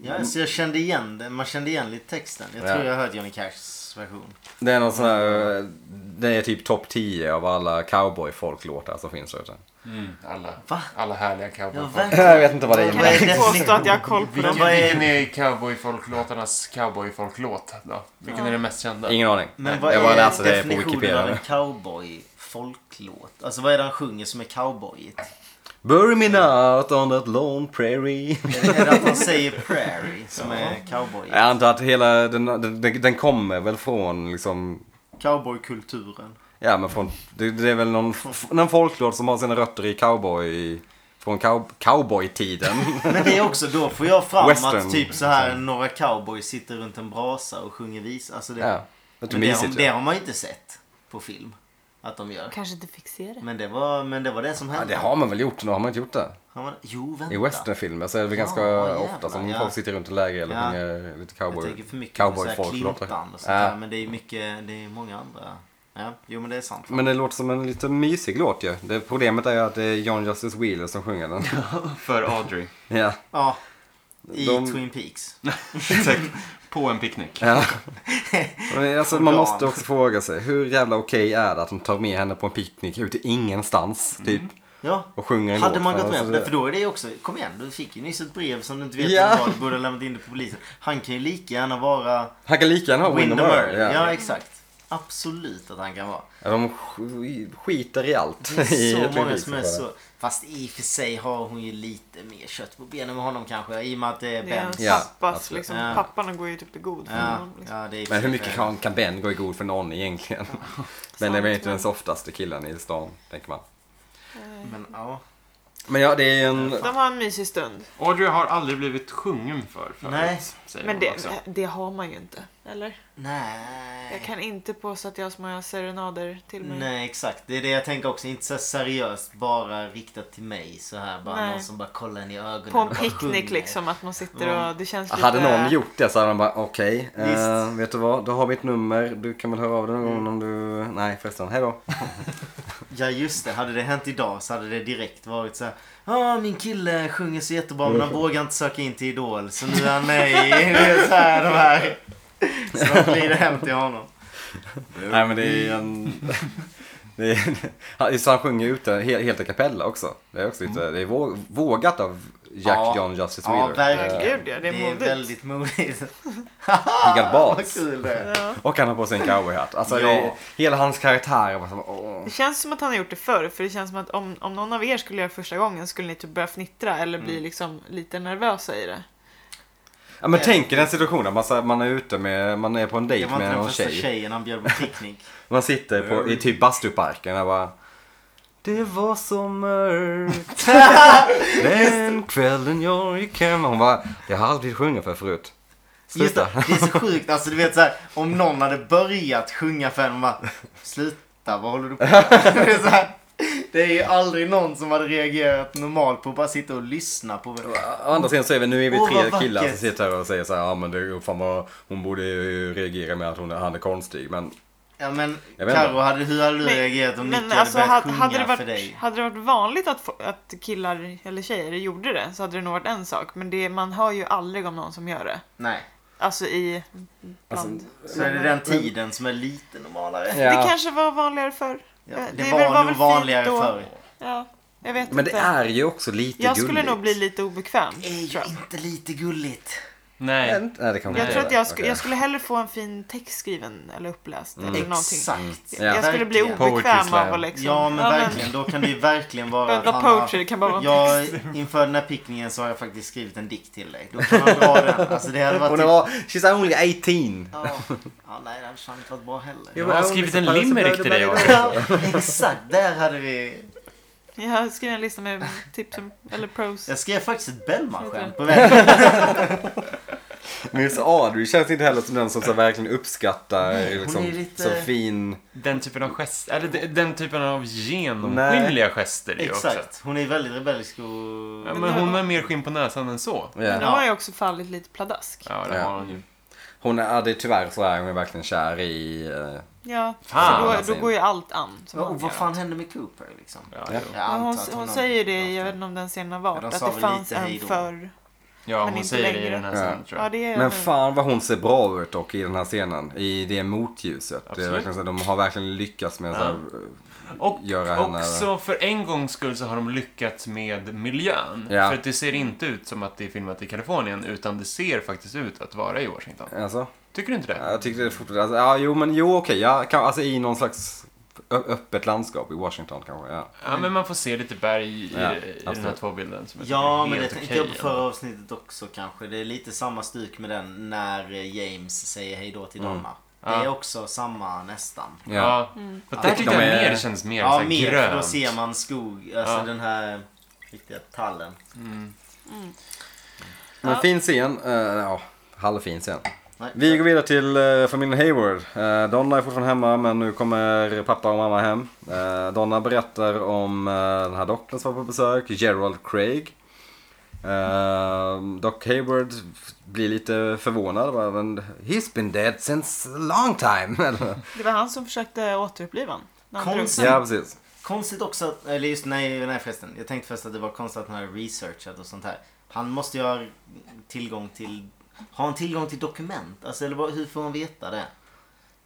[SPEAKER 2] Ja, så jag kände igen den. Man kände igen lite texten. Jag
[SPEAKER 1] Ja.
[SPEAKER 2] tror jag hörde Johnny Cashs version.
[SPEAKER 1] det är någon sån här, eh, det är typ topp 10 av alla cowboy-folklåtar som finns där ute.
[SPEAKER 4] Mm, alla,
[SPEAKER 2] Va?
[SPEAKER 4] alla härliga
[SPEAKER 2] Ja,
[SPEAKER 4] cowboyfolk.
[SPEAKER 2] verkligen.
[SPEAKER 1] Jag vet inte vad det
[SPEAKER 3] Kan
[SPEAKER 1] innebär.
[SPEAKER 2] det?
[SPEAKER 1] <laughs>
[SPEAKER 3] inte påstå att jag har koll på
[SPEAKER 4] Vilken,
[SPEAKER 3] dem.
[SPEAKER 2] vad är-
[SPEAKER 4] vilken är cowboyfolklåtarnas cowboyfolklåt då? Vilken är den mest kända?
[SPEAKER 1] Ingen aning.
[SPEAKER 2] Men vad
[SPEAKER 1] jag bara
[SPEAKER 2] är
[SPEAKER 1] läste det på
[SPEAKER 2] definitionen av
[SPEAKER 1] Wikipedia.
[SPEAKER 2] en cowboy folklåt? Alltså vad är det han sjunger som är cowboyigt?
[SPEAKER 1] Bury me not on that lone
[SPEAKER 2] <laughs>
[SPEAKER 1] prairie.
[SPEAKER 2] Är det- är det att han säger prairie som är cowboyigt?
[SPEAKER 1] Jag antar att hela, den, den, den kommer väl från liksom
[SPEAKER 2] Cowboykulturen.
[SPEAKER 1] Ja men från, det, det är väl någon, f- någon folklåt som har sina rötter i cowboy, från cow,
[SPEAKER 2] <laughs>
[SPEAKER 1] cowboytiden.
[SPEAKER 2] Men det är också, då får jag fram
[SPEAKER 1] Western. liksom.
[SPEAKER 2] att typ så här några cowboys sitter runt en brasa och sjunger vis. Alltså det,
[SPEAKER 1] ja, lite
[SPEAKER 2] men det, har,
[SPEAKER 1] mysigt
[SPEAKER 2] det
[SPEAKER 1] ja.
[SPEAKER 2] har man ju inte sett på film. Att de gör.
[SPEAKER 3] Kanske inte fick se det.
[SPEAKER 2] Men det var, men det, var det som
[SPEAKER 1] ja.
[SPEAKER 2] hände.
[SPEAKER 1] Det har man väl gjort, nu har man inte gjort det.
[SPEAKER 2] Har man, jo, vänta.
[SPEAKER 1] I westernfilmer så är det väl
[SPEAKER 2] Ja,
[SPEAKER 1] ganska
[SPEAKER 2] jävlar,
[SPEAKER 1] ofta som
[SPEAKER 2] ja.
[SPEAKER 1] folk sitter runt i läger eller
[SPEAKER 2] Ja.
[SPEAKER 1] sjunger lite
[SPEAKER 2] Jag
[SPEAKER 1] cowboy,
[SPEAKER 2] tänker för mycket på så här
[SPEAKER 1] cowboyfolklåtar.
[SPEAKER 2] Clintan och sånt där.
[SPEAKER 1] Ja.
[SPEAKER 2] Men det är mycket, det är många andra. Ja, jo men det är sant.
[SPEAKER 1] Men det låter som en lite mysig låt ju. Det, problemet är ju att det är John Justice Wheeler som sjunger
[SPEAKER 2] <laughs>
[SPEAKER 1] den.
[SPEAKER 4] För <laughs> Audrey.
[SPEAKER 1] ja.
[SPEAKER 2] Ja. I
[SPEAKER 1] De-
[SPEAKER 2] Twin Peaks.
[SPEAKER 4] Exakt. På en
[SPEAKER 2] <laughs>
[SPEAKER 4] picknick.
[SPEAKER 1] Ja. Men Alltså, man
[SPEAKER 2] Organ.
[SPEAKER 1] måste också fråga sig, hur jävla okej är det att de tar med henne på en picknick ute i ingenstans, typ?
[SPEAKER 2] Ja.
[SPEAKER 1] Och sjunger en låt
[SPEAKER 2] Hade
[SPEAKER 1] Alltså
[SPEAKER 2] man
[SPEAKER 1] för
[SPEAKER 2] gått
[SPEAKER 1] henne,
[SPEAKER 2] med på
[SPEAKER 1] så
[SPEAKER 2] det, för då är det också, kom igen, du fick ju nyss ett brev som du inte vet
[SPEAKER 1] Ja.
[SPEAKER 2] ja. vad du borde ha lämnat in det på polisen. Han kan ju lika gärna vara
[SPEAKER 1] Han kan lika gärna ha Windham
[SPEAKER 2] Windermere.
[SPEAKER 1] Earl.
[SPEAKER 2] Ja.
[SPEAKER 1] Ja.
[SPEAKER 2] exakt. Absolut att han
[SPEAKER 1] <laughs>
[SPEAKER 2] kan vara.
[SPEAKER 1] Ja, De sk- skiter i allt. <laughs>
[SPEAKER 2] Det
[SPEAKER 1] i alltså.
[SPEAKER 2] är
[SPEAKER 1] ett
[SPEAKER 2] så många
[SPEAKER 1] release
[SPEAKER 2] som är
[SPEAKER 1] bara.
[SPEAKER 2] så... Fast i och för sig har hon ju lite mer kött på benen med honom kanske, i och med att det är
[SPEAKER 3] Det är
[SPEAKER 2] Ben.
[SPEAKER 3] hans
[SPEAKER 1] Ja,
[SPEAKER 3] pappas,
[SPEAKER 1] absolut.
[SPEAKER 3] liksom,
[SPEAKER 2] Ja.
[SPEAKER 3] pappan går ju typ i god för
[SPEAKER 2] Ja,
[SPEAKER 3] honom. Liksom.
[SPEAKER 2] ja, det är
[SPEAKER 1] Men hur mycket kan, kan Ben gå i god för någon egentligen? <laughs> ben är väl inte den softaste killen i stan, tänker man.
[SPEAKER 2] Men ja.
[SPEAKER 1] Men ja, det är en...
[SPEAKER 3] De har en mysig stund.
[SPEAKER 4] Audrey har aldrig blivit sjungen för förut.
[SPEAKER 2] Nej.
[SPEAKER 4] Säger
[SPEAKER 3] Men
[SPEAKER 4] hon också.
[SPEAKER 2] Alltså.
[SPEAKER 3] det, det har man ju inte. Eller?
[SPEAKER 2] Nej.
[SPEAKER 3] Jag kan inte påstå att jag har så många serenader till mig.
[SPEAKER 2] Nej exakt, det är det jag tänker också. Inte så här seriöst bara riktat till mig så här. Bara
[SPEAKER 3] Nej.
[SPEAKER 2] någon som bara kollar in i ögonen.
[SPEAKER 3] På en
[SPEAKER 2] och bara
[SPEAKER 3] picknick
[SPEAKER 2] sjunger.
[SPEAKER 3] liksom, att man sitter och det känns lite...
[SPEAKER 1] Hade någon gjort det så hade de bara okej, eh,
[SPEAKER 2] Visst. Mm.
[SPEAKER 1] vet du vad, då har vi ett nummer, du kan väl höra av dig någon gång om du... Nej förresten, hejdå.
[SPEAKER 2] Ja just det, hade det hänt idag så hade det direkt varit så här. Ja min kille sjunger så jättebra men han
[SPEAKER 1] Mm.
[SPEAKER 2] vågar inte söka in till Idol så nu är han med i <laughs> det är så här, de här. Så de glider hem till honom.
[SPEAKER 1] Nej men det är en... <laughs> Det är, han, så han sjunger ut det he- helt a cappella också. Det är också lite, det är vå- vågat av Jack
[SPEAKER 2] Mm. Ja.
[SPEAKER 1] John Justice
[SPEAKER 2] Ja,
[SPEAKER 1] Wheeler.
[SPEAKER 2] verkligen.
[SPEAKER 3] Gud, ja, det är modigt.
[SPEAKER 2] väldigt modigt. <laughs>
[SPEAKER 1] Eh, Gigant
[SPEAKER 2] Vad
[SPEAKER 1] Bats.
[SPEAKER 2] kul det är.
[SPEAKER 3] Ja.
[SPEAKER 1] Och han har på sig en cowboyhatt. Alltså,
[SPEAKER 2] Ja.
[SPEAKER 1] det är, hela hans karaktär var som, åh.
[SPEAKER 3] Det känns som att han har gjort det förr, för det känns som att om, om någon av er skulle göra det första gången skulle ni typ börja fnittra eller
[SPEAKER 2] Mm.
[SPEAKER 3] bli liksom lite nervösa i det.
[SPEAKER 1] Ja
[SPEAKER 2] Eh.
[SPEAKER 1] men tänk er den situationen, man, så här- man är ute med, man är på en
[SPEAKER 2] Det
[SPEAKER 1] dejt
[SPEAKER 2] var inte
[SPEAKER 1] med
[SPEAKER 2] den
[SPEAKER 1] någon
[SPEAKER 2] första
[SPEAKER 1] tjej.
[SPEAKER 2] tjejen han bjöd på picknick.
[SPEAKER 1] Man sitter på, i typ bastuparken och bara Det var så
[SPEAKER 2] <laughs>
[SPEAKER 1] mörkt den kvällen jag gick hem. Hon bara, jag har aldrig sjungit för förut.
[SPEAKER 2] Just
[SPEAKER 1] Sluta.
[SPEAKER 2] det, det
[SPEAKER 1] <laughs>
[SPEAKER 2] är så sjukt. Alltså du vet såhär, om någon hade börjat sjunga för en och bara Sluta, vad håller du
[SPEAKER 1] <laughs>
[SPEAKER 2] på med? Det är, så här, det är ju aldrig någon som hade reagerat normalt på att bara sitta och lyssna på
[SPEAKER 1] Å andra sidan så är vi, nu är vi
[SPEAKER 2] Åh,
[SPEAKER 1] tre
[SPEAKER 2] vad
[SPEAKER 1] killar som
[SPEAKER 2] vackert.
[SPEAKER 1] sitter här och säger så här, ja men det, är ju fan vad, hon borde ju reagera med att hon, han är konstig. Men
[SPEAKER 2] Ja men
[SPEAKER 1] Jag vet inte.
[SPEAKER 2] Carro, hade, hur hade du
[SPEAKER 3] Men-
[SPEAKER 2] reagerat om Nicke
[SPEAKER 3] Men
[SPEAKER 2] hade
[SPEAKER 3] alltså,
[SPEAKER 2] börjat
[SPEAKER 3] hade,
[SPEAKER 2] sjunga
[SPEAKER 3] hade, det
[SPEAKER 2] för
[SPEAKER 3] varit,
[SPEAKER 2] dig?
[SPEAKER 3] hade det varit vanligt att, få- att killar eller tjejer gjorde det så hade det nog varit en sak. Men det, man hör ju aldrig om någon som gör det.
[SPEAKER 2] Nej,
[SPEAKER 3] Alltså i... Bland.
[SPEAKER 1] Alltså,
[SPEAKER 2] så är det den tiden som är lite normalare.
[SPEAKER 1] Ja.
[SPEAKER 3] Det kanske var vanligare förr.
[SPEAKER 2] Ja,
[SPEAKER 3] Eh,
[SPEAKER 2] det,
[SPEAKER 3] det
[SPEAKER 2] var,
[SPEAKER 3] var väl
[SPEAKER 2] nog
[SPEAKER 3] fint
[SPEAKER 2] vanligare
[SPEAKER 3] då.
[SPEAKER 2] förr.
[SPEAKER 3] Ja, jag vet
[SPEAKER 1] men det
[SPEAKER 3] inte.
[SPEAKER 1] är ju också lite
[SPEAKER 3] jag
[SPEAKER 1] gulligt.
[SPEAKER 3] skulle nog bli lite obekväm.
[SPEAKER 2] Det är ju
[SPEAKER 3] tror jag.
[SPEAKER 2] inte lite gulligt.
[SPEAKER 4] Nej.
[SPEAKER 1] Nej, det kan man
[SPEAKER 3] Jag
[SPEAKER 1] inte
[SPEAKER 3] tror
[SPEAKER 1] göra.
[SPEAKER 3] att jag, sk-
[SPEAKER 1] Okej.
[SPEAKER 3] jag skulle hellre få en fin text skriven eller uppläst eller någonting.
[SPEAKER 2] Mm. Exakt.
[SPEAKER 1] Ja.
[SPEAKER 3] Jag skulle bli
[SPEAKER 2] Verkligen.
[SPEAKER 4] Poetry
[SPEAKER 3] obekväm
[SPEAKER 4] slam.
[SPEAKER 3] av att liksom...
[SPEAKER 2] Ja men verkligen, då kan det ju verkligen
[SPEAKER 3] <laughs>
[SPEAKER 2] vara
[SPEAKER 3] Men,
[SPEAKER 2] att
[SPEAKER 3] ja,
[SPEAKER 2] han har-
[SPEAKER 3] poetry det kan bara vara en
[SPEAKER 2] Jag,
[SPEAKER 3] text.
[SPEAKER 2] inför den här pickningen så har jag faktiskt skrivit en dikt till dig. Då kan man dra den. Alltså det hade varit...
[SPEAKER 1] Hon var, she's only 18.
[SPEAKER 2] Ja, ja, nej det hade fan inte varit bra heller.
[SPEAKER 4] Jag har skrivit en limerick till dig också.
[SPEAKER 2] Ja, exakt. Där hade vi...
[SPEAKER 3] Jag skrev en lista med tips om, eller pros.
[SPEAKER 2] Jag skrev faktiskt ett Bellman-skämt på vägen.
[SPEAKER 1] Miss Audrey känns inte heller som den som så verkligen uppskattar liksom,
[SPEAKER 2] är lite-
[SPEAKER 1] så fin.
[SPEAKER 4] Den typen av gest, eller de- den typen av genomskinliga gester ju också.
[SPEAKER 2] Exakt. Hon är väldigt rebellisk och...
[SPEAKER 4] Ja, men hon har mer skinn på näsan än så.
[SPEAKER 3] Men nu
[SPEAKER 1] Ja.
[SPEAKER 3] har jag också fallit lite pladask.
[SPEAKER 4] Ja, det
[SPEAKER 1] Ja.
[SPEAKER 4] har hon ju.
[SPEAKER 1] Hon är, ja, det är tyvärr så är hon är verkligen kär i... eh,
[SPEAKER 3] Ja,
[SPEAKER 4] Fan,
[SPEAKER 3] så
[SPEAKER 1] alltså.
[SPEAKER 3] då, då går ju allt an. Som
[SPEAKER 2] Ja,
[SPEAKER 3] man
[SPEAKER 2] och vad
[SPEAKER 3] gör.
[SPEAKER 2] fan hände med Cooper liksom?
[SPEAKER 4] Ja,
[SPEAKER 1] Ja.
[SPEAKER 4] jo.
[SPEAKER 2] Jag
[SPEAKER 3] Ja,
[SPEAKER 2] antar
[SPEAKER 3] hon
[SPEAKER 2] att
[SPEAKER 3] hon
[SPEAKER 2] har-
[SPEAKER 3] säger det, jag vet inte om den scenen har varit,
[SPEAKER 2] de
[SPEAKER 3] att
[SPEAKER 2] sa
[SPEAKER 3] det
[SPEAKER 2] väl
[SPEAKER 3] fanns
[SPEAKER 2] lite
[SPEAKER 3] en
[SPEAKER 2] hej då.
[SPEAKER 3] förr.
[SPEAKER 4] ja
[SPEAKER 3] Men
[SPEAKER 4] hon
[SPEAKER 3] inte
[SPEAKER 4] säger det i
[SPEAKER 3] längre.
[SPEAKER 4] den här
[SPEAKER 1] Ja.
[SPEAKER 4] scenen tror
[SPEAKER 3] Ja,
[SPEAKER 4] jag.
[SPEAKER 3] det är
[SPEAKER 1] Men
[SPEAKER 3] nu.
[SPEAKER 1] fan vad hon ser bra ut och i den här scenen. I det motljuset. Det är
[SPEAKER 4] Absolut.
[SPEAKER 1] verkligen så, de har verkligen lyckats med
[SPEAKER 4] Ja.
[SPEAKER 1] så här, eh,
[SPEAKER 4] Och
[SPEAKER 1] göra henne...
[SPEAKER 4] också för en gångs skull så har de lyckats med miljön.
[SPEAKER 1] Ja.
[SPEAKER 4] För att det ser inte ut som att det är filmat i Kalifornien, utan det ser faktiskt ut att vara i Washington.
[SPEAKER 1] Alltså,
[SPEAKER 4] Tycker du inte
[SPEAKER 1] ja,
[SPEAKER 4] det?
[SPEAKER 1] jag tyckte det fortfarande... Alltså, ja, jo men jo okej. ja, kan, alltså i någon slags ö- öppet landskap i Washington kanske. Ja.
[SPEAKER 4] Ja, men man får se lite berg i,
[SPEAKER 1] Ja,
[SPEAKER 4] i de här
[SPEAKER 1] absolut.
[SPEAKER 4] två bilderna. Som jag
[SPEAKER 2] Ja,
[SPEAKER 4] tycker är
[SPEAKER 2] men det
[SPEAKER 4] helt
[SPEAKER 2] tänkte
[SPEAKER 4] okej
[SPEAKER 2] jag på förra
[SPEAKER 4] ändå.
[SPEAKER 2] avsnittet också kanske. Det är lite samma stuk med den när eh, James säger hej då till Donna. Det är
[SPEAKER 4] Mm. Ja.
[SPEAKER 2] också samma nästan.
[SPEAKER 1] Ja.
[SPEAKER 4] Ja. För där
[SPEAKER 1] Jag
[SPEAKER 4] tyckte
[SPEAKER 1] tycker
[SPEAKER 4] jag
[SPEAKER 1] de är-
[SPEAKER 4] mer känns mer
[SPEAKER 2] Mm. Ja,
[SPEAKER 4] såhär
[SPEAKER 2] mer
[SPEAKER 4] grönt.
[SPEAKER 2] för då ser man skog, alltså
[SPEAKER 4] Ja.
[SPEAKER 2] den här riktiga tallen.
[SPEAKER 1] Men
[SPEAKER 3] Ja.
[SPEAKER 1] fin scen. eh, ja, halvfin scen.
[SPEAKER 2] Nej.
[SPEAKER 1] Vi går vidare till eh, familjen Hayward. Eh, Donna är fortfarande hemma men nu kommer pappa och mamma hem. Eh, Donna berättar om eh, den här doktorn som var på besök, Gerald Craig. Eh, Doc Hayward blir lite förvånad. Bara, "Men He's been dead since a long time. <laughs> Eller-
[SPEAKER 3] Det var han som försökte återuppliva honom. när han
[SPEAKER 2] Konstigt.
[SPEAKER 1] ja, precis.
[SPEAKER 2] Konstigt också att, eller just nej, nej förresten. Jag tänkte först att det var konstigt att han hade researchat och sånt här. Han måste ju ha tillgång till, har han tillgång till dokument? Alltså eller vad, hur får han veta det?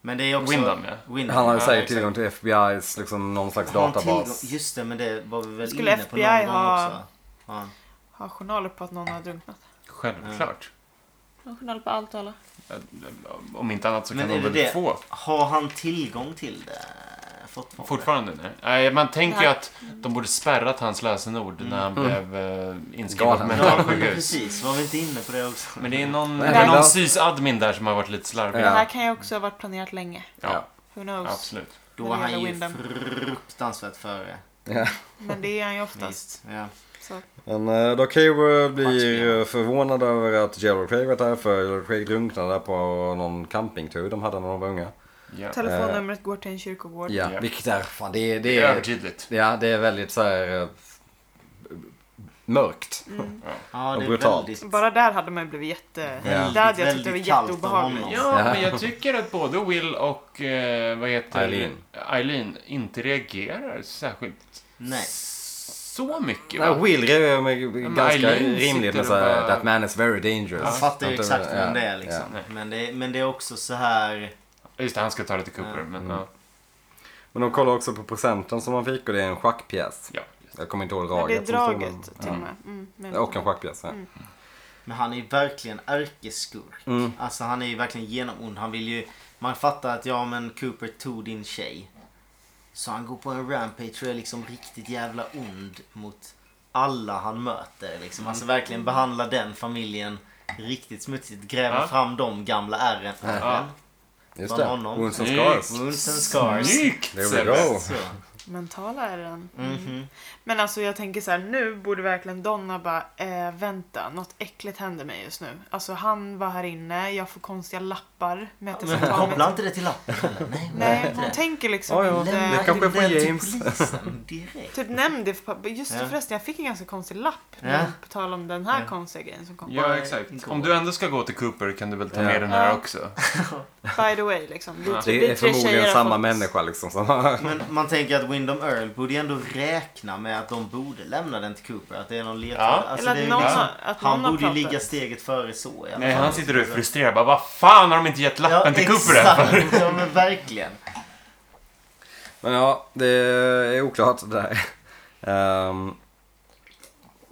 [SPEAKER 2] Men det är också...
[SPEAKER 4] Windham, ja.
[SPEAKER 2] Windham,
[SPEAKER 1] Han har ju
[SPEAKER 2] ja,
[SPEAKER 1] säkert
[SPEAKER 2] exakt.
[SPEAKER 1] tillgång till FBI's liksom, någon slags
[SPEAKER 2] Har han
[SPEAKER 1] databas.
[SPEAKER 2] tillgång- Just det, men det var vi väl
[SPEAKER 3] Skulle
[SPEAKER 2] inne på någon
[SPEAKER 3] FBI
[SPEAKER 2] gång
[SPEAKER 3] ha-
[SPEAKER 2] också. Ja.
[SPEAKER 3] drog- Har journaler på att någon har drunknat.
[SPEAKER 4] Självklart.
[SPEAKER 3] Har journaler på allt och alla.
[SPEAKER 4] Om inte annat så
[SPEAKER 2] Men
[SPEAKER 4] kan
[SPEAKER 2] är
[SPEAKER 4] de
[SPEAKER 2] det
[SPEAKER 4] väl
[SPEAKER 2] det?
[SPEAKER 4] få.
[SPEAKER 2] Har han tillgång till det fortfarande?
[SPEAKER 4] Fortfarande? nej. Nej. Man tänker ju
[SPEAKER 3] Nej.
[SPEAKER 4] att de borde spärrat hans lösenord när han blev eh, inskriven på
[SPEAKER 1] Galen.
[SPEAKER 2] Ja, men
[SPEAKER 4] mentalsjukhus.
[SPEAKER 2] precis. Var vi inte inne på det också?
[SPEAKER 4] Men det är någon,
[SPEAKER 1] Nej,
[SPEAKER 4] det är
[SPEAKER 1] men-
[SPEAKER 4] någon sysadmin där som har varit lite slarvig.
[SPEAKER 1] Ja.
[SPEAKER 3] Det här kan ju också ha varit planerat länge.
[SPEAKER 1] Ja.
[SPEAKER 4] Ja,
[SPEAKER 3] Who knows?
[SPEAKER 4] absolut.
[SPEAKER 2] Då var
[SPEAKER 3] När det
[SPEAKER 2] han
[SPEAKER 3] gäller
[SPEAKER 2] ju
[SPEAKER 3] Wyndham.
[SPEAKER 2] fruktansvärt före.
[SPEAKER 1] Ja.
[SPEAKER 3] Men det är han ju oftast.
[SPEAKER 2] Visst. Ja.
[SPEAKER 3] Så.
[SPEAKER 1] Men eh, Doc Hayward blir
[SPEAKER 2] Matchspel.
[SPEAKER 1] eh, förvånad över att Gerald Craig var där för Gerald Craig drunknade på någon campingtur de hade när de var unga.
[SPEAKER 4] Ja.
[SPEAKER 3] Telefonnumret går till en kyrkogård.
[SPEAKER 1] Ja,
[SPEAKER 4] Ja.
[SPEAKER 1] vilket är, fan det är,
[SPEAKER 4] Det
[SPEAKER 1] det
[SPEAKER 4] är
[SPEAKER 1] är,
[SPEAKER 4] övertydligt.
[SPEAKER 1] ja, det är väldigt så här eh, mörkt.
[SPEAKER 2] ja,
[SPEAKER 1] Och
[SPEAKER 2] det är
[SPEAKER 1] brutalt.
[SPEAKER 2] väldigt...
[SPEAKER 3] Bara där hade man ju blivit jätte...
[SPEAKER 1] Väldigt,
[SPEAKER 3] Där hade jag tyckt det var
[SPEAKER 2] väldigt kallt av
[SPEAKER 3] jätteobehagligt.
[SPEAKER 2] honom.
[SPEAKER 4] Ja, men jag tycker att både Will och eh, vad heter
[SPEAKER 1] Eileen.
[SPEAKER 4] Eileen inte reagerar särskilt
[SPEAKER 2] Nej.
[SPEAKER 4] så mycket.
[SPEAKER 1] Nej,
[SPEAKER 4] Va?
[SPEAKER 1] Will är ju
[SPEAKER 4] men
[SPEAKER 1] ganska
[SPEAKER 4] Eileen
[SPEAKER 1] rimligt med
[SPEAKER 4] sitter
[SPEAKER 1] så här,
[SPEAKER 4] och bara-
[SPEAKER 1] that man is very dangerous.
[SPEAKER 2] Man fattar ju
[SPEAKER 1] Att de-
[SPEAKER 2] exakt
[SPEAKER 1] ja,
[SPEAKER 2] vem det är liksom.
[SPEAKER 4] ja.
[SPEAKER 2] Men, det, men det är också så här...
[SPEAKER 4] Just det, han ska ta det till Cooper. Men, ja.
[SPEAKER 1] Men de kollar också på procenten som man fick och det är en schackpjäs.
[SPEAKER 4] Ja.
[SPEAKER 1] Jag kommer inte ihåg
[SPEAKER 3] Ja, det är
[SPEAKER 1] draget. som står, men-
[SPEAKER 3] draget Mm. till och med. Mm, men-
[SPEAKER 1] Ja. Och en schackpjäs. Ja.
[SPEAKER 2] Men han är ju verkligen ärkeskurk. Alltså han är ju verkligen genomond. Han vill ju... Man fattar att ja men Cooper tog din tjej. Så han går på en rampage och är liksom riktigt jävla ond mot alla han möter. Liksom. Alltså verkligen behandla den familjen riktigt smutsigt. Gräva
[SPEAKER 4] Ja.
[SPEAKER 2] fram de gamla ärren.
[SPEAKER 4] Ja.
[SPEAKER 1] Just
[SPEAKER 2] Från
[SPEAKER 1] det.
[SPEAKER 2] honom.
[SPEAKER 1] Wounds and
[SPEAKER 4] Mm.
[SPEAKER 1] scars.
[SPEAKER 2] Wounds and scars.
[SPEAKER 4] Snyggt!
[SPEAKER 1] There we go.
[SPEAKER 2] Så.
[SPEAKER 3] Mentala är den. Mm.
[SPEAKER 2] Mhm.
[SPEAKER 3] Men alltså jag tänker så här, nu borde verkligen Donna bara, eh, vänta, något äckligt händer mig just nu. Alltså han var här inne, jag får konstiga lappar med
[SPEAKER 2] <laughs>
[SPEAKER 3] att jag ska ta mig
[SPEAKER 2] Koppla
[SPEAKER 3] till-
[SPEAKER 2] inte det till lappen heller. Nej,
[SPEAKER 3] Nej, hon tänker liksom
[SPEAKER 1] Ja, ja.
[SPEAKER 3] inte-
[SPEAKER 1] Det
[SPEAKER 2] Lämna
[SPEAKER 1] kanske är
[SPEAKER 2] in den
[SPEAKER 1] från
[SPEAKER 2] till
[SPEAKER 1] James.
[SPEAKER 2] polisen direkt.
[SPEAKER 3] Typ nämn det för pappa. Just det
[SPEAKER 2] Ja.
[SPEAKER 3] förresten, jag fick en ganska konstig lapp.
[SPEAKER 2] Ja.
[SPEAKER 3] Ja. På tal om den här
[SPEAKER 2] Ja.
[SPEAKER 3] konstiga grejen som kom.
[SPEAKER 4] Ja, exakt. Om du ändå ska gå till Cooper kan du väl ta med
[SPEAKER 1] Ja.
[SPEAKER 4] den här
[SPEAKER 3] Ja.
[SPEAKER 4] också?
[SPEAKER 3] By the way liksom. Vi,
[SPEAKER 4] Ja.
[SPEAKER 3] tre- vi
[SPEAKER 1] Det är
[SPEAKER 3] tre
[SPEAKER 1] förmodligen
[SPEAKER 3] tjejer har
[SPEAKER 1] samma
[SPEAKER 3] fått-
[SPEAKER 1] människa liksom som har...
[SPEAKER 2] Men man tänker att Windom Earl borde ju ändå räkna med att de borde lämna den till Cooper. Att det är någon ledtråd.
[SPEAKER 4] Ja.
[SPEAKER 2] Alltså,
[SPEAKER 3] Eller att
[SPEAKER 2] det är ju
[SPEAKER 3] någon,
[SPEAKER 2] liksom,
[SPEAKER 3] har, att någon
[SPEAKER 2] han
[SPEAKER 3] har
[SPEAKER 2] borde ju
[SPEAKER 3] pratat.
[SPEAKER 2] ligga steget före så i alla
[SPEAKER 4] Nej,
[SPEAKER 2] fall.
[SPEAKER 4] han sitter och är frustrerad. Bara, vad fan har de inte gett lappen till Cooper än? för?"
[SPEAKER 2] exakt. Ja, men verkligen.
[SPEAKER 1] Men ja, det är oklart det där. Ehm,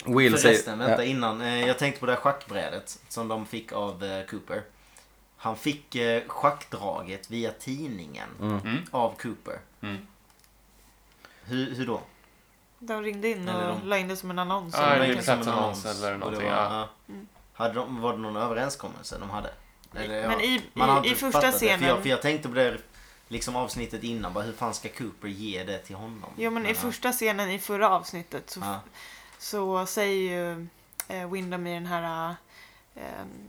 [SPEAKER 1] Will
[SPEAKER 2] Förresten,
[SPEAKER 1] säger...
[SPEAKER 2] vänta innan. Eh, Jag tänkte på det här schackbrädet som de fick av eh, Cooper. Han fick eh, schackdraget via tidningen
[SPEAKER 4] Mm.
[SPEAKER 2] av Cooper.
[SPEAKER 4] Mm.
[SPEAKER 2] Hur, hur då?
[SPEAKER 3] De ringde in
[SPEAKER 2] Eller
[SPEAKER 3] och
[SPEAKER 2] de-
[SPEAKER 3] la in det som en annons.
[SPEAKER 4] Ja,
[SPEAKER 2] Det
[SPEAKER 4] Ah, det
[SPEAKER 2] var
[SPEAKER 4] är
[SPEAKER 2] inte som en
[SPEAKER 4] precis annons eller
[SPEAKER 2] och det
[SPEAKER 4] någonting,
[SPEAKER 2] var-
[SPEAKER 4] ja.
[SPEAKER 2] Hade de, var det någon överenskommelse de hade? Eller,
[SPEAKER 3] Men i-
[SPEAKER 2] man
[SPEAKER 3] i-
[SPEAKER 2] hade
[SPEAKER 3] i
[SPEAKER 2] inte
[SPEAKER 3] första
[SPEAKER 2] fattat Det,
[SPEAKER 3] scenen-
[SPEAKER 2] för, jag, för jag tänkte på det här, liksom avsnittet innan. Bara, hur fan ska Cooper ge det till honom?
[SPEAKER 3] Jo men i första scenen i förra avsnittet så,
[SPEAKER 2] Ja.
[SPEAKER 3] så säger ju eh, Windham i den här eh,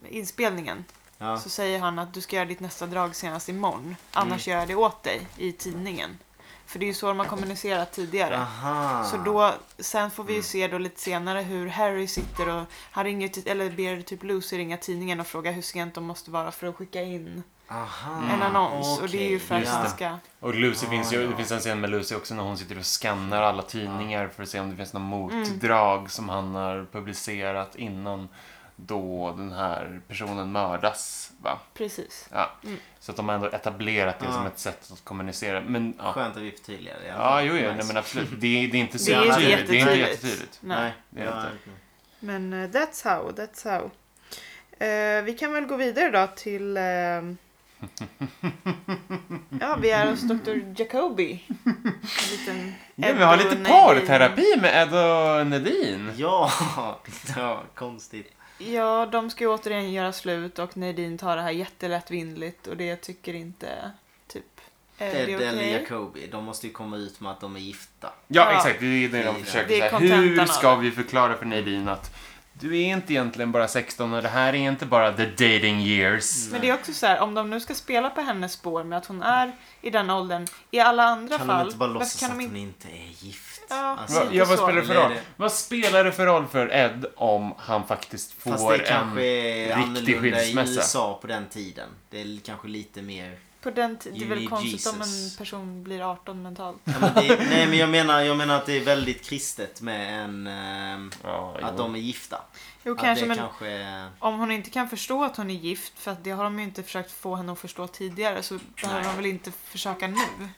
[SPEAKER 3] inspelningen.
[SPEAKER 2] Ja. Mm.
[SPEAKER 3] Så säger han att du ska göra ditt nästa drag senast imorgon. Annars gör jag det åt dig i tidningen. För det är ju så de har kommunicerat tidigare.
[SPEAKER 2] Aha.
[SPEAKER 3] Så då, sen får vi ju se då lite senare hur Harry sitter och han ringer till, eller ber typ Lucy ringa tidningen och fråga hur sent de måste vara för att skicka in
[SPEAKER 2] Aha.
[SPEAKER 3] en annons. Och Mm. det är ju för att
[SPEAKER 4] just
[SPEAKER 3] han
[SPEAKER 4] det.
[SPEAKER 3] ska...
[SPEAKER 4] Och Lucy finns ju,
[SPEAKER 2] ja.
[SPEAKER 4] det finns en scen med Lucy också när hon sitter och skannar alla tidningar för att se om det finns något motdrag som han har publicerat innan då den här personen mördas. Va?
[SPEAKER 3] Precis.
[SPEAKER 4] Ja. Så att de har ändå etablerat det
[SPEAKER 2] Ja.
[SPEAKER 4] som ett sätt att kommunicera. Men, ja.
[SPEAKER 2] Skönt att vi förtydligade det. i alla
[SPEAKER 4] ja,
[SPEAKER 2] fall.
[SPEAKER 4] jo, jo,
[SPEAKER 2] Nice.
[SPEAKER 4] nej, men absolut. Det, det är inte så
[SPEAKER 3] Det är inte
[SPEAKER 4] tydligt. Det är inte
[SPEAKER 3] jättetydligt.
[SPEAKER 4] jättetydligt.
[SPEAKER 3] Nej.
[SPEAKER 2] Nej.
[SPEAKER 4] det är
[SPEAKER 2] ja,
[SPEAKER 4] inte.
[SPEAKER 2] okej.
[SPEAKER 3] Men eh, that's how, that's how. Eh, vi kan väl gå vidare då till... eh,
[SPEAKER 4] <laughs>
[SPEAKER 3] ja, vi är hos <laughs> Dr. Jacoby. En liten
[SPEAKER 4] Ja, vi har lite
[SPEAKER 3] Edonadine.
[SPEAKER 4] parterapi med Ed och Nadine.
[SPEAKER 2] Ja, <laughs> ja, konstigt.
[SPEAKER 3] Ja, de ska ju återigen göra slut och Nadine tar det här jättelättvindigt och det tycker inte typ... Är
[SPEAKER 2] Ed
[SPEAKER 3] det okej?
[SPEAKER 2] eller Jacobi, de måste ju komma ut med att de är gifta.
[SPEAKER 4] Ja,
[SPEAKER 3] Ja.
[SPEAKER 4] exakt. Det är det de
[SPEAKER 2] Det
[SPEAKER 3] är
[SPEAKER 4] försöker säga.
[SPEAKER 3] kontentan
[SPEAKER 4] Hur
[SPEAKER 3] av
[SPEAKER 4] ska
[SPEAKER 3] det.
[SPEAKER 4] vi förklara för Nadine att du är inte egentligen bara 16 och det här är inte bara the dating
[SPEAKER 1] Mm.
[SPEAKER 4] years.
[SPEAKER 3] Men det är också så här, om de nu ska spela på hennes spår med att hon är i den åldern, i alla andra
[SPEAKER 2] Kan
[SPEAKER 3] fall...
[SPEAKER 2] de inte bara
[SPEAKER 3] varför
[SPEAKER 2] låtsas
[SPEAKER 3] kan
[SPEAKER 2] att
[SPEAKER 3] de
[SPEAKER 2] hon inte är gift? Alltså,
[SPEAKER 3] Ja,
[SPEAKER 4] Va,
[SPEAKER 3] lite
[SPEAKER 4] ja,
[SPEAKER 3] Alltså,
[SPEAKER 4] vad
[SPEAKER 3] så.
[SPEAKER 4] spelar det för
[SPEAKER 2] Eller är
[SPEAKER 4] roll?
[SPEAKER 2] det-
[SPEAKER 4] Vad spelar det för roll för Ed om han faktiskt
[SPEAKER 2] Fast
[SPEAKER 4] får
[SPEAKER 2] det
[SPEAKER 4] en...
[SPEAKER 2] kanske är
[SPEAKER 4] riktig
[SPEAKER 2] annorlunda i
[SPEAKER 4] skilsmässa.
[SPEAKER 2] USA på den tiden. Det är kanske lite mer...
[SPEAKER 3] På den t- det är
[SPEAKER 2] You
[SPEAKER 3] väl
[SPEAKER 2] need
[SPEAKER 3] konstigt om
[SPEAKER 2] Jesus.
[SPEAKER 3] en person blir 18 mentalt.
[SPEAKER 2] Ja, men det, <laughs> nej men jag menar, jag menar att det är väldigt kristet med en... ehm,
[SPEAKER 4] Ja,
[SPEAKER 2] att
[SPEAKER 4] jo.
[SPEAKER 2] de är gifta.
[SPEAKER 3] Jo,
[SPEAKER 2] att
[SPEAKER 3] kanske,
[SPEAKER 2] det
[SPEAKER 3] men
[SPEAKER 2] kanske är...
[SPEAKER 3] om hon inte kan förstå att hon är gift, för att det har de ju inte försökt få henne att förstå tidigare, så behöver de väl inte försöka nu?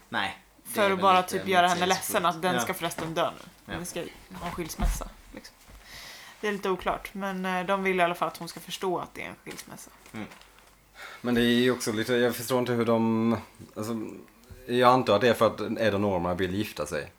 [SPEAKER 2] Nej. det är
[SPEAKER 3] För att
[SPEAKER 2] väl
[SPEAKER 3] bara
[SPEAKER 2] lite
[SPEAKER 3] typ göra henne
[SPEAKER 2] motsägelsefullt.
[SPEAKER 3] ledsen att den
[SPEAKER 2] Ja.
[SPEAKER 3] ska förresten dö nu.
[SPEAKER 2] Ja.
[SPEAKER 3] Den ska ha en skilsmässa. Liksom. Det är lite oklart, men eh, de vill i alla fall att hon ska förstå att det är en skilsmässa.
[SPEAKER 1] Men det är ju också lite, jag förstår inte hur de... Alltså, jag antar att det är för att Ed och Norma vill gifta sig.
[SPEAKER 4] Mm.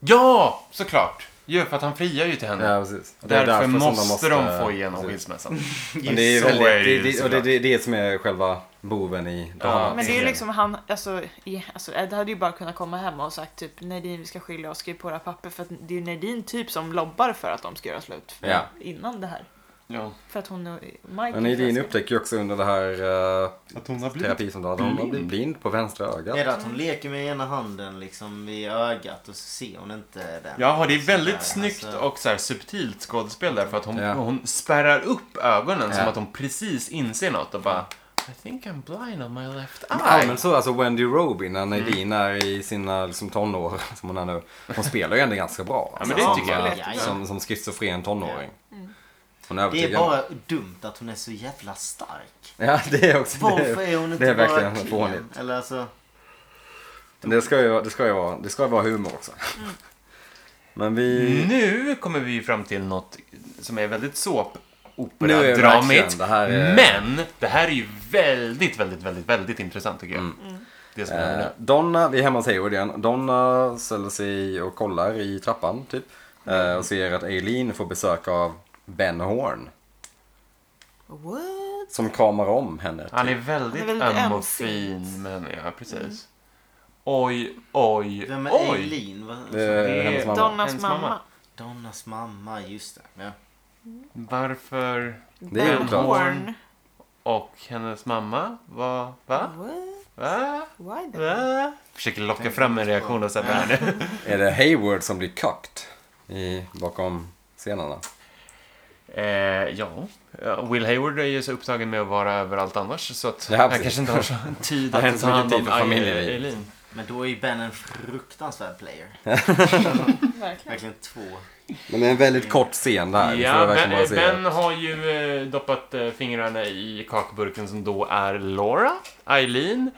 [SPEAKER 4] Ja, såklart. Ju, för att han friar ju till henne.
[SPEAKER 1] Ja, precis. Och det är
[SPEAKER 4] Därför,
[SPEAKER 1] som
[SPEAKER 4] måste, de få igenom
[SPEAKER 1] precis.
[SPEAKER 4] skilsmässan.
[SPEAKER 1] <laughs> Men det är
[SPEAKER 4] Så
[SPEAKER 1] väldigt,
[SPEAKER 4] är det
[SPEAKER 1] det,
[SPEAKER 4] ju
[SPEAKER 1] det, och det,
[SPEAKER 4] såklart.
[SPEAKER 1] det är det som är själva boven i
[SPEAKER 4] Ja,
[SPEAKER 1] dramat.
[SPEAKER 3] men det är ju
[SPEAKER 4] det.
[SPEAKER 3] liksom han, alltså, i, alltså Ed hade ju bara kunnat komma hem och sagt typ Nadine vi ska skilja oss, skriv på det här papper. För att det är ju Nadine typ som lobbar för att de ska göra slut. för-
[SPEAKER 1] Ja.
[SPEAKER 3] Innan det här.
[SPEAKER 4] Ja.
[SPEAKER 3] För att hon och Mike...
[SPEAKER 1] Men Nadine upptäcker ju också under det här uh,
[SPEAKER 4] Att hon har blivit...
[SPEAKER 1] terapisamtalet att hon har blivit
[SPEAKER 4] blind.
[SPEAKER 1] blind på vänstra
[SPEAKER 2] Är
[SPEAKER 1] ögat.
[SPEAKER 2] det att hon leker med ena handen liksom vid ögat och så ser hon inte den?
[SPEAKER 4] Ja, det är
[SPEAKER 2] Sådär,
[SPEAKER 4] väldigt snyggt
[SPEAKER 2] alltså.
[SPEAKER 4] och så här subtilt skådespel där för att hon,
[SPEAKER 1] Ja.
[SPEAKER 4] hon spärrar upp ögonen som
[SPEAKER 1] Ja.
[SPEAKER 4] att hon precis inser något och bara I think I'm blind on my left
[SPEAKER 1] Ja,
[SPEAKER 4] eye.
[SPEAKER 1] men så alltså Wendy Robin när Nadine är i sina liksom, tonår <laughs> som hon är nu. Hon spelar ju ändå ganska bra.
[SPEAKER 4] Ja, men det
[SPEAKER 1] som,
[SPEAKER 4] tycker jag.
[SPEAKER 1] eh,
[SPEAKER 2] Ja, Mm. ja.
[SPEAKER 1] Som, som schizofren tonåring. Hon är
[SPEAKER 2] Det är
[SPEAKER 1] övertygad.
[SPEAKER 2] bara dumt att hon är så jävla stark.
[SPEAKER 1] Ja, det är också det.
[SPEAKER 2] Varför är hon inte
[SPEAKER 1] det är
[SPEAKER 2] bara
[SPEAKER 1] verkligen
[SPEAKER 2] klen?
[SPEAKER 1] fånigt.
[SPEAKER 2] Eller alltså...
[SPEAKER 1] Det ska ju, det ska ju, vara, det ska ju vara humor också.
[SPEAKER 2] Mm.
[SPEAKER 1] Men vi...
[SPEAKER 4] Nu kommer vi fram till något som är väldigt
[SPEAKER 1] Nu är det
[SPEAKER 4] såpopera-dramigt.
[SPEAKER 1] verkligen, det här är-
[SPEAKER 4] Men det här är ju väldigt, väldigt, väldigt, väldigt intressant tycker jag. Det som händer
[SPEAKER 1] Mm. Eh,
[SPEAKER 4] nu.
[SPEAKER 1] Donna, vi är hemma hos Hayward igen. Donna ställer sig och kollar i trappan typ. Eh, och ser att Eileen får besök av Ben Horn.
[SPEAKER 3] What?
[SPEAKER 1] Som kramar om henne.
[SPEAKER 4] Han är
[SPEAKER 1] typ.
[SPEAKER 4] väldigt
[SPEAKER 3] Han är väldigt
[SPEAKER 4] öm och
[SPEAKER 3] ömsint.
[SPEAKER 4] fin. Men, ja, precis. Oj, oj,
[SPEAKER 2] Vem är
[SPEAKER 4] oj.
[SPEAKER 2] Eileen? Vad-
[SPEAKER 1] Det är
[SPEAKER 4] Det är
[SPEAKER 1] hennes mamma.
[SPEAKER 3] Donnas
[SPEAKER 4] Hennes
[SPEAKER 3] mamma.
[SPEAKER 4] mamma.
[SPEAKER 2] Donnas mamma, just det. Ja.
[SPEAKER 4] Varför?
[SPEAKER 1] Det är
[SPEAKER 3] Ben
[SPEAKER 1] oklart.
[SPEAKER 3] Horn.
[SPEAKER 4] Och hennes mamma? Va? Va?
[SPEAKER 3] What?
[SPEAKER 4] Va?
[SPEAKER 3] Why the-
[SPEAKER 4] Va? Försöker locka fram en reaktion av Sebbe här
[SPEAKER 1] <laughs>
[SPEAKER 4] nu.
[SPEAKER 1] Är det Hayward som blir kakt i, bakom scenerna?
[SPEAKER 4] Eh, ja, Ja, Will Hayward är ju så upptagen med att vara överallt annars så att
[SPEAKER 1] Ja,
[SPEAKER 4] han
[SPEAKER 1] precis.
[SPEAKER 4] kanske inte har så tid
[SPEAKER 1] Han har
[SPEAKER 4] att
[SPEAKER 1] inte
[SPEAKER 4] ta
[SPEAKER 1] så mycket
[SPEAKER 4] hand om
[SPEAKER 1] tid för familjeliv.
[SPEAKER 4] Eileen.
[SPEAKER 2] Men då är ju Ben en fruktansvärd player.
[SPEAKER 3] Verkligen.
[SPEAKER 2] Verkligen två.
[SPEAKER 1] Men det är en väldigt kort scen där. Det får
[SPEAKER 4] Ja,
[SPEAKER 1] jag verkligen
[SPEAKER 4] ben,
[SPEAKER 1] bara säga.
[SPEAKER 4] ben har ju eh, doppat eh, fingrarna i kakburken som då är Laura, Eileen,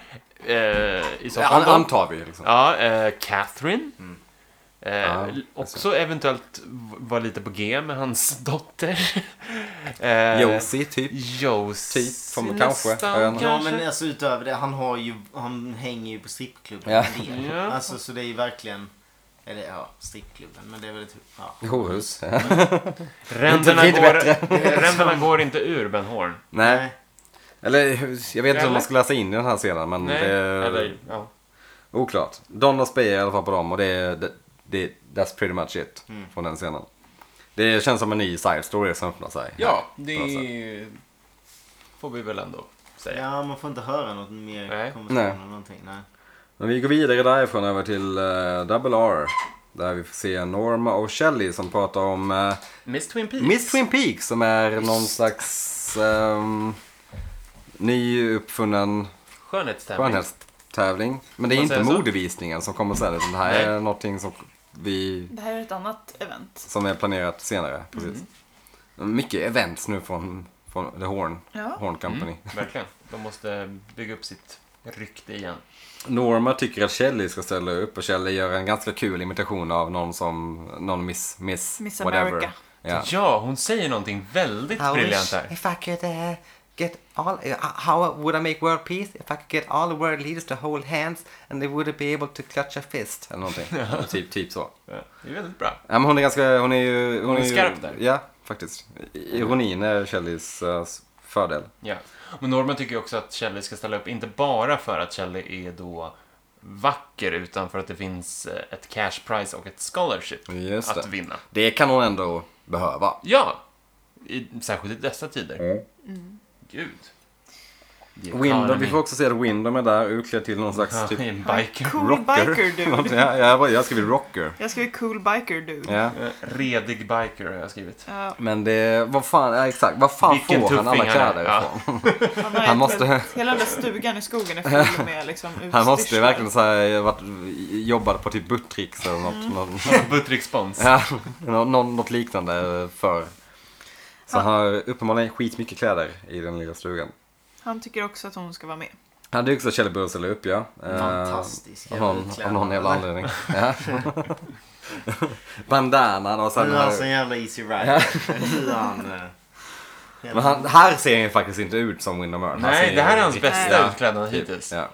[SPEAKER 4] eh, i
[SPEAKER 1] Ja,
[SPEAKER 4] soffan
[SPEAKER 1] an,
[SPEAKER 4] då.
[SPEAKER 1] antar vi liksom.
[SPEAKER 4] Ja, eh, Catherine. Eh,
[SPEAKER 1] Mm. Ja,
[SPEAKER 4] l-
[SPEAKER 1] jag
[SPEAKER 4] också eventuellt v- var lite på G med hans <laughs> dotter. eh,
[SPEAKER 1] Josie typ.
[SPEAKER 4] Josie.
[SPEAKER 1] Typ, som kanske,
[SPEAKER 4] nästan,
[SPEAKER 1] jag vet inte.
[SPEAKER 2] Ja
[SPEAKER 4] kanske.
[SPEAKER 2] men alltså utöver det, han har ju, han hänger ju på strippklubben
[SPEAKER 1] Ja.
[SPEAKER 2] en del.
[SPEAKER 4] Ja.
[SPEAKER 2] Alltså så det är ju verkligen, eller ja, strippklubben, men det är väl ett, ja.
[SPEAKER 4] <laughs>
[SPEAKER 1] Horhus.
[SPEAKER 4] Ränderna,
[SPEAKER 1] Inte- inte
[SPEAKER 4] går, ränderna går inte ur Ben Horn.
[SPEAKER 1] Nej. Eller jag vet inte om
[SPEAKER 4] Eller?
[SPEAKER 1] man ska läsa in i den här scenen men
[SPEAKER 4] Nej,
[SPEAKER 1] det
[SPEAKER 4] eller ja.
[SPEAKER 1] Oklart. Donna spejar i alla fall på dem och det är... Det, det, that's pretty much it
[SPEAKER 2] Mm.
[SPEAKER 1] från den scenen. Det känns som en ny side story som öppnar sig.
[SPEAKER 4] Ja, det
[SPEAKER 1] Bra
[SPEAKER 4] får vi väl ändå säga.
[SPEAKER 2] Ja, man får inte höra något mer
[SPEAKER 4] Nej.
[SPEAKER 2] konversation
[SPEAKER 1] Nej.
[SPEAKER 2] eller någonting. Nej.
[SPEAKER 1] Men vi går vidare därifrån över till eh, Double R. Där vi får se Norma och Shelley som pratar om eh,
[SPEAKER 4] Miss Twin Peaks.
[SPEAKER 1] Miss Twin Peaks som är någon slags um, nyuppfunnen
[SPEAKER 4] Skönhetstävling.
[SPEAKER 1] skönhetstävling. Men det är
[SPEAKER 4] Får man
[SPEAKER 1] inte
[SPEAKER 4] säga så?
[SPEAKER 1] modevisningen som kommer sen utan det här
[SPEAKER 4] Nej.
[SPEAKER 1] är någonting som vi
[SPEAKER 3] Det här är ett annat event.
[SPEAKER 1] Som är planerat
[SPEAKER 3] Mm.
[SPEAKER 1] senare, precis. Mycket events nu från, från The Horn,
[SPEAKER 3] Ja. Mm.
[SPEAKER 1] Horn Company.
[SPEAKER 4] Verkligen. De måste bygga upp sitt rykte igen.
[SPEAKER 1] Norma tycker att Shelley ska ställa upp och Shelley gör en ganska kul imitation av någon som, någon Miss, Miss,
[SPEAKER 3] Miss
[SPEAKER 1] whatever.
[SPEAKER 3] America.
[SPEAKER 1] Ja.
[SPEAKER 4] Ja, hon säger någonting väldigt briljant här.
[SPEAKER 5] if I could uh, get all, uh, how would I make world peace? If I could get all the world leaders to hold hands and they would be able to clutch a fist.
[SPEAKER 1] Eller
[SPEAKER 3] <laughs>
[SPEAKER 1] någonting. typ, typ så.
[SPEAKER 4] Ja, Det är väldigt bra.
[SPEAKER 1] Ja, men hon är ganska, hon är ju... Hon,
[SPEAKER 4] är
[SPEAKER 1] ju-
[SPEAKER 4] skarp där.
[SPEAKER 1] Ja, faktiskt. Ironin är Shelleys eh, fördel.
[SPEAKER 4] Ja. Men Norman tycker ju också att Shelley ska ställa upp, inte bara för att Shelley är då vacker, utan för att det finns eh, ett cash prize och ett scholarship
[SPEAKER 1] Just
[SPEAKER 4] att
[SPEAKER 1] det.
[SPEAKER 4] vinna.
[SPEAKER 1] Det kan hon ändå behöva.
[SPEAKER 4] Ja! I, särskilt i dessa tider.
[SPEAKER 1] Mm.
[SPEAKER 4] Gud. Det är
[SPEAKER 1] Windom, vi
[SPEAKER 4] economy.
[SPEAKER 1] får också se att Windom är där utklädd till någon
[SPEAKER 4] Ja,
[SPEAKER 1] slags
[SPEAKER 4] det är
[SPEAKER 1] typ...
[SPEAKER 4] en biker.
[SPEAKER 3] Cool
[SPEAKER 1] Rocker.
[SPEAKER 3] biker
[SPEAKER 1] <laughs>
[SPEAKER 3] dude.
[SPEAKER 1] ja, jag, jag skriver rocker.
[SPEAKER 3] Jag skriver cool biker Eh, dude.
[SPEAKER 1] Ja.
[SPEAKER 4] Eh, Redig biker har jag skrivit.
[SPEAKER 3] Ja,
[SPEAKER 1] Men det, vad fan, ja, exakt, vad fan
[SPEAKER 4] Vilken
[SPEAKER 1] får han
[SPEAKER 4] tuffing
[SPEAKER 1] alla
[SPEAKER 4] han är.
[SPEAKER 1] kläder
[SPEAKER 4] Ja.
[SPEAKER 1] ifrån?
[SPEAKER 3] han har
[SPEAKER 1] Han
[SPEAKER 3] ett-
[SPEAKER 1] måste-
[SPEAKER 3] Hela den där stugan i skogen
[SPEAKER 1] <laughs>
[SPEAKER 3] är full med liksom
[SPEAKER 1] Han måste ju
[SPEAKER 3] utstyrsel.
[SPEAKER 1] verkligen så här, varit, jobbat på typ Buttricks eller något, någon,
[SPEAKER 4] Buttrikspons.
[SPEAKER 1] ja, nå- någon, något liknande för. Så han har uppenbarligen skitmycket kläder i den lilla stugan.
[SPEAKER 3] Han tycker också att hon ska vara med.
[SPEAKER 1] Han är också Kjell Burr ställer upp ja. Eh,
[SPEAKER 2] Fantastisk
[SPEAKER 1] Av
[SPEAKER 2] jävla
[SPEAKER 1] någon, av någon jävla
[SPEAKER 2] utklädnad.
[SPEAKER 1] anledning. Ja. Bandanan och sen...
[SPEAKER 2] Nu är han så jävla easy rider. Nu är han... eh,
[SPEAKER 1] men han, här ser han faktiskt inte ut som Windom Earl.
[SPEAKER 4] Nej, det här är hans bästa
[SPEAKER 1] Ja.
[SPEAKER 4] utklädnad
[SPEAKER 1] Typ,
[SPEAKER 4] hittills.
[SPEAKER 1] Ja.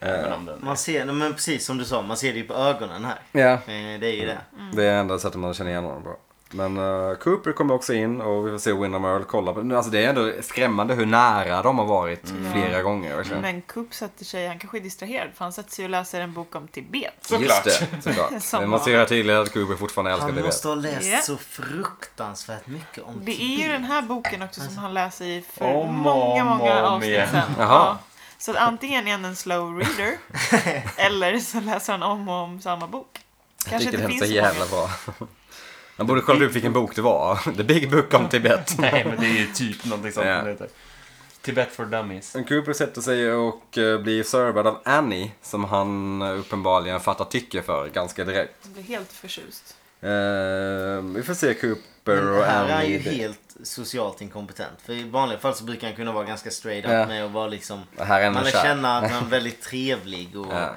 [SPEAKER 4] Även om den
[SPEAKER 2] Man ser, nej, men precis som du sa, man ser det ju på ögonen här.
[SPEAKER 1] ja,
[SPEAKER 2] Eh, Det är
[SPEAKER 1] Mm.
[SPEAKER 2] ju det.
[SPEAKER 1] Det är enda sättet man känner igen honom på. Men eh, Cooper kommer också in och vi får se Windham Earl kolla på. Alltså det är ändå skrämmande hur nära de har varit
[SPEAKER 4] Mm.
[SPEAKER 1] flera gånger. Verkligen.
[SPEAKER 3] Men Coop sätter sig, han kanske är distraherad för han sätter sig och läser en bok om Tibet.
[SPEAKER 4] Såklart.
[SPEAKER 1] Just det, såklart.
[SPEAKER 3] Som
[SPEAKER 1] Vi måste göra tydligt att Cooper fortfarande älskar
[SPEAKER 2] Han
[SPEAKER 1] det.
[SPEAKER 2] måste ha läst
[SPEAKER 3] Ja.
[SPEAKER 2] så fruktansvärt mycket om
[SPEAKER 3] Det är ju den här boken också som han läser i för
[SPEAKER 4] Alltså. Om och
[SPEAKER 3] många,
[SPEAKER 4] om
[SPEAKER 3] många
[SPEAKER 4] igen.
[SPEAKER 3] avsnitt sen.
[SPEAKER 1] Jaha.
[SPEAKER 3] Ja. Så att antingen är han en slow
[SPEAKER 4] <laughs>
[SPEAKER 3] reader eller så läser han om och om samma bok.
[SPEAKER 1] Jag
[SPEAKER 3] Kanske
[SPEAKER 1] tycker
[SPEAKER 3] inte
[SPEAKER 1] den är så
[SPEAKER 3] finns så många.
[SPEAKER 1] jävla bra. Man borde kolla upp vilken bok det var. <laughs> The Big Book om Tibet.
[SPEAKER 4] Nej, men det är ju typ någonting sånt
[SPEAKER 1] Ja.
[SPEAKER 4] den heter. Tibet for Dummies.
[SPEAKER 1] Cooper sätter sig och eh, blir servad av Annie som han eh, uppenbarligen fattar tycke för ganska direkt.
[SPEAKER 3] Han blir helt förtjust.
[SPEAKER 1] Eh, vi får se Cooper
[SPEAKER 2] Men
[SPEAKER 1] och
[SPEAKER 2] här är han ju
[SPEAKER 1] Annie.
[SPEAKER 2] helt socialt inkompetent. För i vanliga fall så brukar han kunna vara ganska straight up
[SPEAKER 1] Ja.
[SPEAKER 2] med och vara liksom...
[SPEAKER 1] Här är en
[SPEAKER 2] Man lär
[SPEAKER 1] kär.
[SPEAKER 2] känna
[SPEAKER 1] <laughs>
[SPEAKER 2] att han är väldigt trevlig och
[SPEAKER 1] Ja.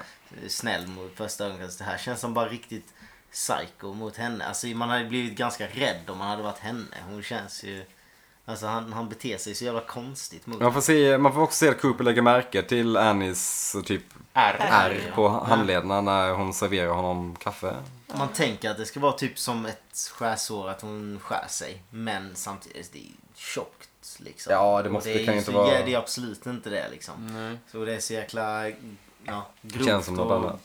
[SPEAKER 2] snäll mot första ögonkastet. Det här känns som bara riktigt psycho mot henne. Alltså man hade blivit ganska rädd om man hade varit henne. Hon känns ju... Alltså han, han beter sig så jävla konstigt mot
[SPEAKER 1] Man får, se, man får också se att Cooper lägger märke till Annies typ
[SPEAKER 4] R.
[SPEAKER 1] ärr på handlederna när hon serverar honom kaffe.
[SPEAKER 2] Man tänker att det ska vara typ som ett skärsår att hon skär sig. Men samtidigt, det är tjockt liksom.
[SPEAKER 1] Ja, det måste-
[SPEAKER 2] Och
[SPEAKER 1] det
[SPEAKER 2] är
[SPEAKER 1] kan
[SPEAKER 2] ju
[SPEAKER 1] inte
[SPEAKER 2] så-
[SPEAKER 1] vara-
[SPEAKER 2] ja, Det är absolut inte det liksom.
[SPEAKER 4] Mm.
[SPEAKER 2] Så det är så jäkla ja, grovt
[SPEAKER 1] Känns som något
[SPEAKER 2] och
[SPEAKER 1] annat.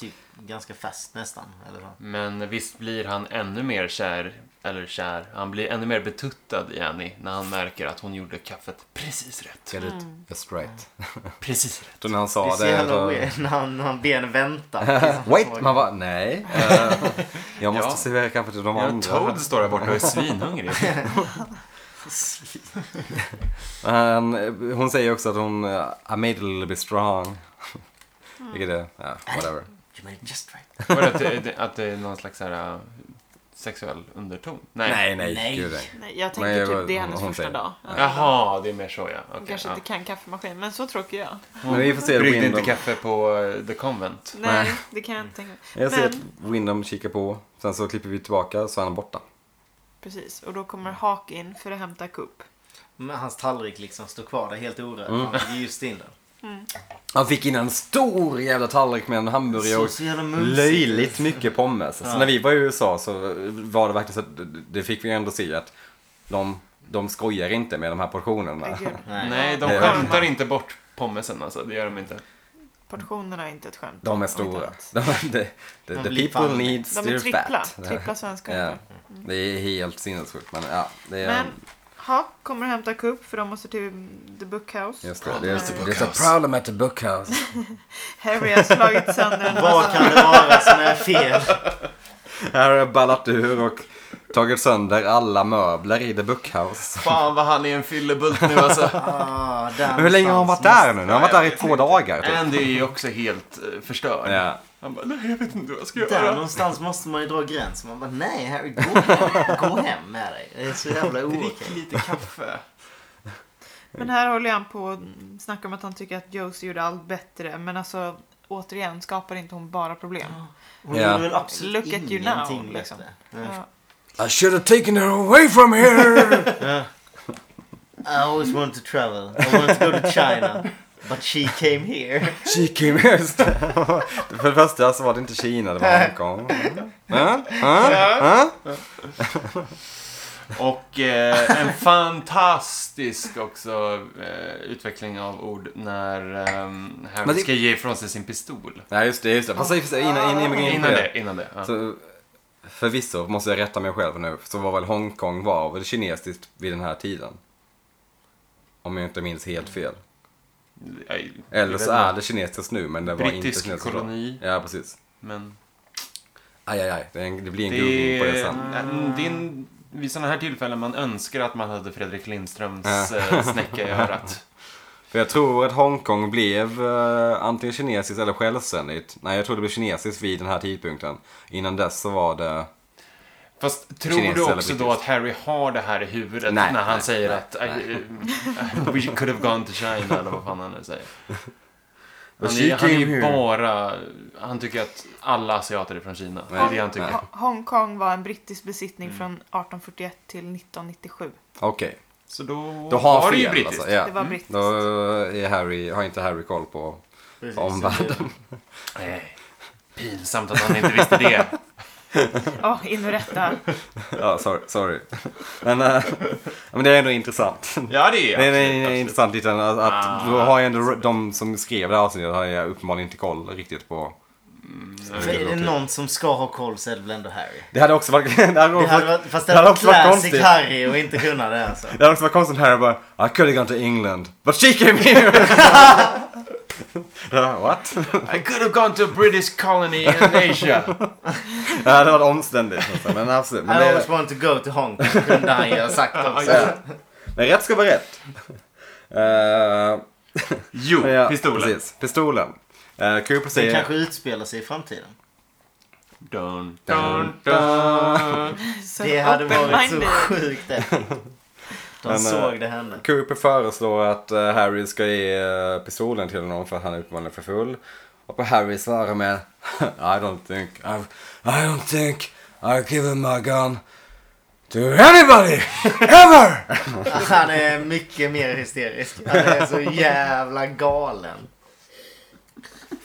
[SPEAKER 2] typ ganska fast nästan. Eller så.
[SPEAKER 4] Men visst blir han ännu mer kär, eller kär, han blir ännu mer betuttad i Annie när han märker att hon gjorde kaffet precis rätt.
[SPEAKER 1] Get it?
[SPEAKER 3] Mm.
[SPEAKER 1] Just right.
[SPEAKER 4] Precis rätt.
[SPEAKER 1] Då när han
[SPEAKER 2] Mm. det är
[SPEAKER 1] sa
[SPEAKER 2] så
[SPEAKER 1] det...
[SPEAKER 2] jävla
[SPEAKER 1] då-
[SPEAKER 2] weird när han, när han ber
[SPEAKER 1] <laughs>
[SPEAKER 2] henne vänta. Liksom, Det är som
[SPEAKER 1] Wait!
[SPEAKER 2] att-
[SPEAKER 1] Man bara, <laughs> nej. eh, jag måste
[SPEAKER 4] Ja.
[SPEAKER 1] servera kaffe till de
[SPEAKER 4] Ja,
[SPEAKER 1] andra.
[SPEAKER 4] Toad står där borta och är svinhungrig.
[SPEAKER 1] Han, hon säger också att hon, eh, I made it a little bit strong.
[SPEAKER 3] Mm.
[SPEAKER 1] Vilket är, ja, whatever.
[SPEAKER 2] <laughs> You made it just right.
[SPEAKER 4] <laughs> Var det att, det- att det är någon slags så här, äh, sexuell underton? Nej.
[SPEAKER 1] Nej, nej,
[SPEAKER 2] Nej.
[SPEAKER 1] gud nej.
[SPEAKER 3] Nej, jag
[SPEAKER 1] Men
[SPEAKER 3] tänker
[SPEAKER 1] jag-
[SPEAKER 3] typ det är hennes
[SPEAKER 1] hon
[SPEAKER 3] första
[SPEAKER 1] säger-
[SPEAKER 3] dag.
[SPEAKER 4] Jaha, det är mer så ja.
[SPEAKER 3] Hon
[SPEAKER 4] Okej.
[SPEAKER 3] kanske
[SPEAKER 4] ja.
[SPEAKER 3] inte kan kaffemaskin, men så tråkig är jag.
[SPEAKER 1] Men vi får se
[SPEAKER 4] Bryggde
[SPEAKER 1] Windom.
[SPEAKER 4] inte kaffe på eh, The Convent.
[SPEAKER 3] Nej, det kan jag inte tänka mig.
[SPEAKER 1] Jag ser
[SPEAKER 3] Men-
[SPEAKER 1] att Windom kikar på. Sen så klipper vi tillbaka så är han borta.
[SPEAKER 3] Precis, och då kommer Hawk in för att hämta Coop.
[SPEAKER 2] Men hans tallrik liksom står kvar där helt orörd.
[SPEAKER 1] Mm.
[SPEAKER 2] Han är just in den.
[SPEAKER 1] Han fick in en stor jävla tallrik med en hamburgare
[SPEAKER 2] Så,
[SPEAKER 1] och
[SPEAKER 2] så jävla mumsigt.
[SPEAKER 1] löjligt mycket pommes. Så när vi var i USA så var det verkligen så att det fick vi ändå se att de, de skojar inte med de här portionerna.
[SPEAKER 3] Gud,
[SPEAKER 2] Nej.
[SPEAKER 4] Nej, de
[SPEAKER 1] Nej.
[SPEAKER 4] skämtar inte bort pommesen alltså. Det gör de inte.
[SPEAKER 3] portionerna är inte ett skämt.
[SPEAKER 1] De är
[SPEAKER 3] Om inte
[SPEAKER 1] stora.
[SPEAKER 3] annat.
[SPEAKER 1] <laughs> De, the, the,
[SPEAKER 2] De
[SPEAKER 1] the
[SPEAKER 2] blir
[SPEAKER 1] people
[SPEAKER 2] fan-
[SPEAKER 1] needs
[SPEAKER 3] De är
[SPEAKER 1] their
[SPEAKER 3] trippla,
[SPEAKER 1] fat.
[SPEAKER 3] trippla svenska
[SPEAKER 1] Ja,
[SPEAKER 3] ungefär.
[SPEAKER 1] det är helt sinnessjukt. Men ja, det är...
[SPEAKER 3] Men Hawk kommer att hämta Coop för de måste till The Bookhouse.
[SPEAKER 1] Just det, det är
[SPEAKER 3] Problem at the
[SPEAKER 1] det är a problem at the bookhouse.
[SPEAKER 3] Harry har slagit sönder en
[SPEAKER 2] Vad kan det vara som är fel?
[SPEAKER 1] <laughs> Här har jag ballat ur och tagit sönder alla möbler i the bookhouse.
[SPEAKER 4] Fan vad han är en fyllebult
[SPEAKER 1] <laughs>
[SPEAKER 4] nu alltså.
[SPEAKER 2] Ah, där
[SPEAKER 1] Men hur länge har han varit där nu? Nu har han varit där i
[SPEAKER 4] Jag
[SPEAKER 1] två
[SPEAKER 4] vet
[SPEAKER 1] dagar typ.
[SPEAKER 4] Andy är ju också helt eh, förstörd.
[SPEAKER 1] Ja.
[SPEAKER 4] Han bara, nej jag vet inte vad jag ska
[SPEAKER 2] Där
[SPEAKER 4] göra.
[SPEAKER 2] någonstans måste man ju dra gränsen. Man bara, nej Harry, gå, gå hem med dig. Det är så jävla
[SPEAKER 4] Drick
[SPEAKER 2] ookej.
[SPEAKER 4] lite kaffe.
[SPEAKER 3] Men här håller han på och snackar om att han tycker att Josie gjorde allt bättre. Men alltså återigen skapar inte hon bara problem.
[SPEAKER 2] Hon
[SPEAKER 1] Ja.
[SPEAKER 2] gjorde väl absolut
[SPEAKER 3] Look at you now,
[SPEAKER 2] ingenting
[SPEAKER 3] liksom.
[SPEAKER 2] bättre.
[SPEAKER 3] Ja.
[SPEAKER 1] I should have taken her away from <laughs> here!
[SPEAKER 2] I always wanted to travel. I wanted to go to China. But she came here.
[SPEAKER 1] She came here. Just det. <laughs> För det första så var det inte Kina, det var Hongkong. <laughs> Ja, ja, ja.
[SPEAKER 4] Och eh, en fantastisk också eh, utveckling av ord när ehm, Harry
[SPEAKER 1] Men det-
[SPEAKER 4] ska ge ifrån sig sin pistol.
[SPEAKER 1] Nej, just det, just det. Fast i och för sig, innan, innan, innan,
[SPEAKER 4] Innan det, innan det. Ja.
[SPEAKER 1] Så, förvisso måste jag rätta mig själv nu, så var väl Hongkong var väl kinesiskt vid den här tiden? Om jag inte minns helt fel.
[SPEAKER 4] Jag-
[SPEAKER 1] Eller så
[SPEAKER 4] jag vet
[SPEAKER 1] är det kinesiskt nu, men det var inte
[SPEAKER 4] Brittisk
[SPEAKER 1] kinesiskt då.
[SPEAKER 4] koloni.
[SPEAKER 1] Ja, precis.
[SPEAKER 4] Men
[SPEAKER 1] Aj, aj, aj. Det, är en, det blir en
[SPEAKER 4] det
[SPEAKER 1] googling på det
[SPEAKER 4] är,
[SPEAKER 1] sen.
[SPEAKER 4] mm, det är en, vid sådana här tillfällen man önskar att man hade Fredrik Lindströms eh, snäcka i örat.
[SPEAKER 1] För jag tror att Hongkong blev eh, antingen kinesiskt eller självständigt. Nej, jag tror det blev kinesiskt vid den här tidpunkten. Innan dess så var det...
[SPEAKER 4] Fast tror
[SPEAKER 1] Kinesiskt
[SPEAKER 4] du
[SPEAKER 1] eller
[SPEAKER 4] också då
[SPEAKER 1] brittiskt?
[SPEAKER 4] att Harry har det här i huvudet
[SPEAKER 1] Nej,
[SPEAKER 4] när han
[SPEAKER 1] nej,
[SPEAKER 4] säger
[SPEAKER 1] nej,
[SPEAKER 4] att I, <laughs> we could have gone to China eller vad fan han nu säger. Han
[SPEAKER 1] But
[SPEAKER 4] är,
[SPEAKER 1] she
[SPEAKER 4] han är
[SPEAKER 1] came
[SPEAKER 4] ju
[SPEAKER 1] here.
[SPEAKER 4] bara... Han tycker att alla asiater är från Kina. Det är det han tycker.
[SPEAKER 1] Nej.
[SPEAKER 3] Ho- Hongkong var en brittisk besittning
[SPEAKER 1] Mm.
[SPEAKER 3] från 1841 till 1997.
[SPEAKER 1] Okej.
[SPEAKER 4] Så då,
[SPEAKER 1] Då har han
[SPEAKER 4] var det ju
[SPEAKER 1] fel
[SPEAKER 4] brittiskt.
[SPEAKER 1] alltså. Ja.
[SPEAKER 3] Det var brittiskt.
[SPEAKER 1] Då är Harry, har inte Harry koll på...
[SPEAKER 2] Precis,
[SPEAKER 1] Omvärlden.
[SPEAKER 4] Nej. Eh, Pinsamt att han inte visste det.
[SPEAKER 3] Ja, in och rätta.
[SPEAKER 1] Ja, sorry. sorry. Men, eh, men det är ändå intressant.
[SPEAKER 4] Ja, det är
[SPEAKER 1] Det är en
[SPEAKER 4] absolut, absolut.
[SPEAKER 1] intressant liten... Att, att då har jag ändå, de som skrev det här avsnittet har jag uppenbarligen inte koll riktigt på.
[SPEAKER 2] det- För är det någon som ska ha koll så är det väl ändå Harry.
[SPEAKER 1] Det hade också varit... <laughs> Det hade
[SPEAKER 2] Det
[SPEAKER 1] också
[SPEAKER 2] hade
[SPEAKER 1] varit,
[SPEAKER 2] varit, fast det
[SPEAKER 1] det hade
[SPEAKER 2] hade varit
[SPEAKER 1] också varit
[SPEAKER 2] classic
[SPEAKER 1] konstigt.
[SPEAKER 2] Harry och inte kunna det alltså.
[SPEAKER 1] det hade också varit konstigt om Harry bara I could have gone to England, but she came here! <laughs> Ja, What?
[SPEAKER 4] I could have gone to a British colony in Asia.
[SPEAKER 1] Ja, det var omständigt. alltså. Men absolut. Men
[SPEAKER 2] I
[SPEAKER 1] det,
[SPEAKER 2] always want to go to Hong Kong. Kunde han ju ha sagt också.
[SPEAKER 1] men rätt ska vara rätt. Eh,
[SPEAKER 4] Jo,
[SPEAKER 1] men ja,
[SPEAKER 4] pistolen.
[SPEAKER 1] Precis, pistolen. Uh, Cooper
[SPEAKER 2] Det
[SPEAKER 1] säger...
[SPEAKER 2] kanske utspelar sig i framtiden.
[SPEAKER 4] dun,
[SPEAKER 1] Dun,
[SPEAKER 4] dun, dun.
[SPEAKER 3] Så
[SPEAKER 2] Det hade varit så
[SPEAKER 3] open-minded.
[SPEAKER 2] sjukt effektivt. De
[SPEAKER 1] Men,
[SPEAKER 2] såg
[SPEAKER 1] eh,
[SPEAKER 2] det hända.
[SPEAKER 1] Cooper föreslår att eh, Harry ska ge eh, pistolen till honom för att han är uppenbarligen för full. Och på Harry svarar med <laughs> I don't think I've, I don't think I've given my gun to anybody ever!
[SPEAKER 2] Han är mycket mer hysterisk. Han är så jävla galen.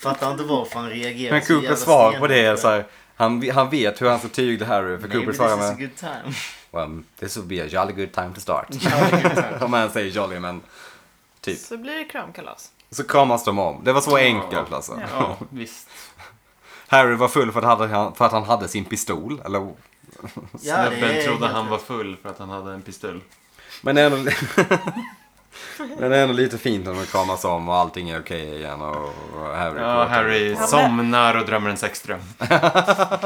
[SPEAKER 2] Fattar inte varför han
[SPEAKER 1] <laughs>
[SPEAKER 2] reagerar
[SPEAKER 1] Men
[SPEAKER 2] så
[SPEAKER 1] Cooper
[SPEAKER 2] jävla
[SPEAKER 1] svarar på
[SPEAKER 2] stenhårt.
[SPEAKER 1] det så här. Han, han vet hur han ska tygla Harry för
[SPEAKER 2] Maybe
[SPEAKER 1] Cooper
[SPEAKER 2] this
[SPEAKER 1] svarar
[SPEAKER 2] is a
[SPEAKER 1] med
[SPEAKER 2] good time.
[SPEAKER 1] well, This would be a jolly good time to start. <laughs> Om man säger jolly men typ.
[SPEAKER 3] Så blir det kramkalas.
[SPEAKER 1] Så kramas de om. Det var så enkelt alltså.
[SPEAKER 4] Ja, visst.
[SPEAKER 1] Harry var full för att, han hade, för att han hade sin pistol. Eller
[SPEAKER 2] Ja, det är
[SPEAKER 4] Snubben trodde
[SPEAKER 2] helt
[SPEAKER 4] han
[SPEAKER 2] rätt.
[SPEAKER 4] var full för att han hade en pistol.
[SPEAKER 1] Men det är ändå, <laughs> men det är ändå lite fint när de kramas om och allting är okej igen och och Harry...
[SPEAKER 4] Ja, Harry
[SPEAKER 3] men-
[SPEAKER 4] somnar och drömmer en sexdröm.
[SPEAKER 3] Det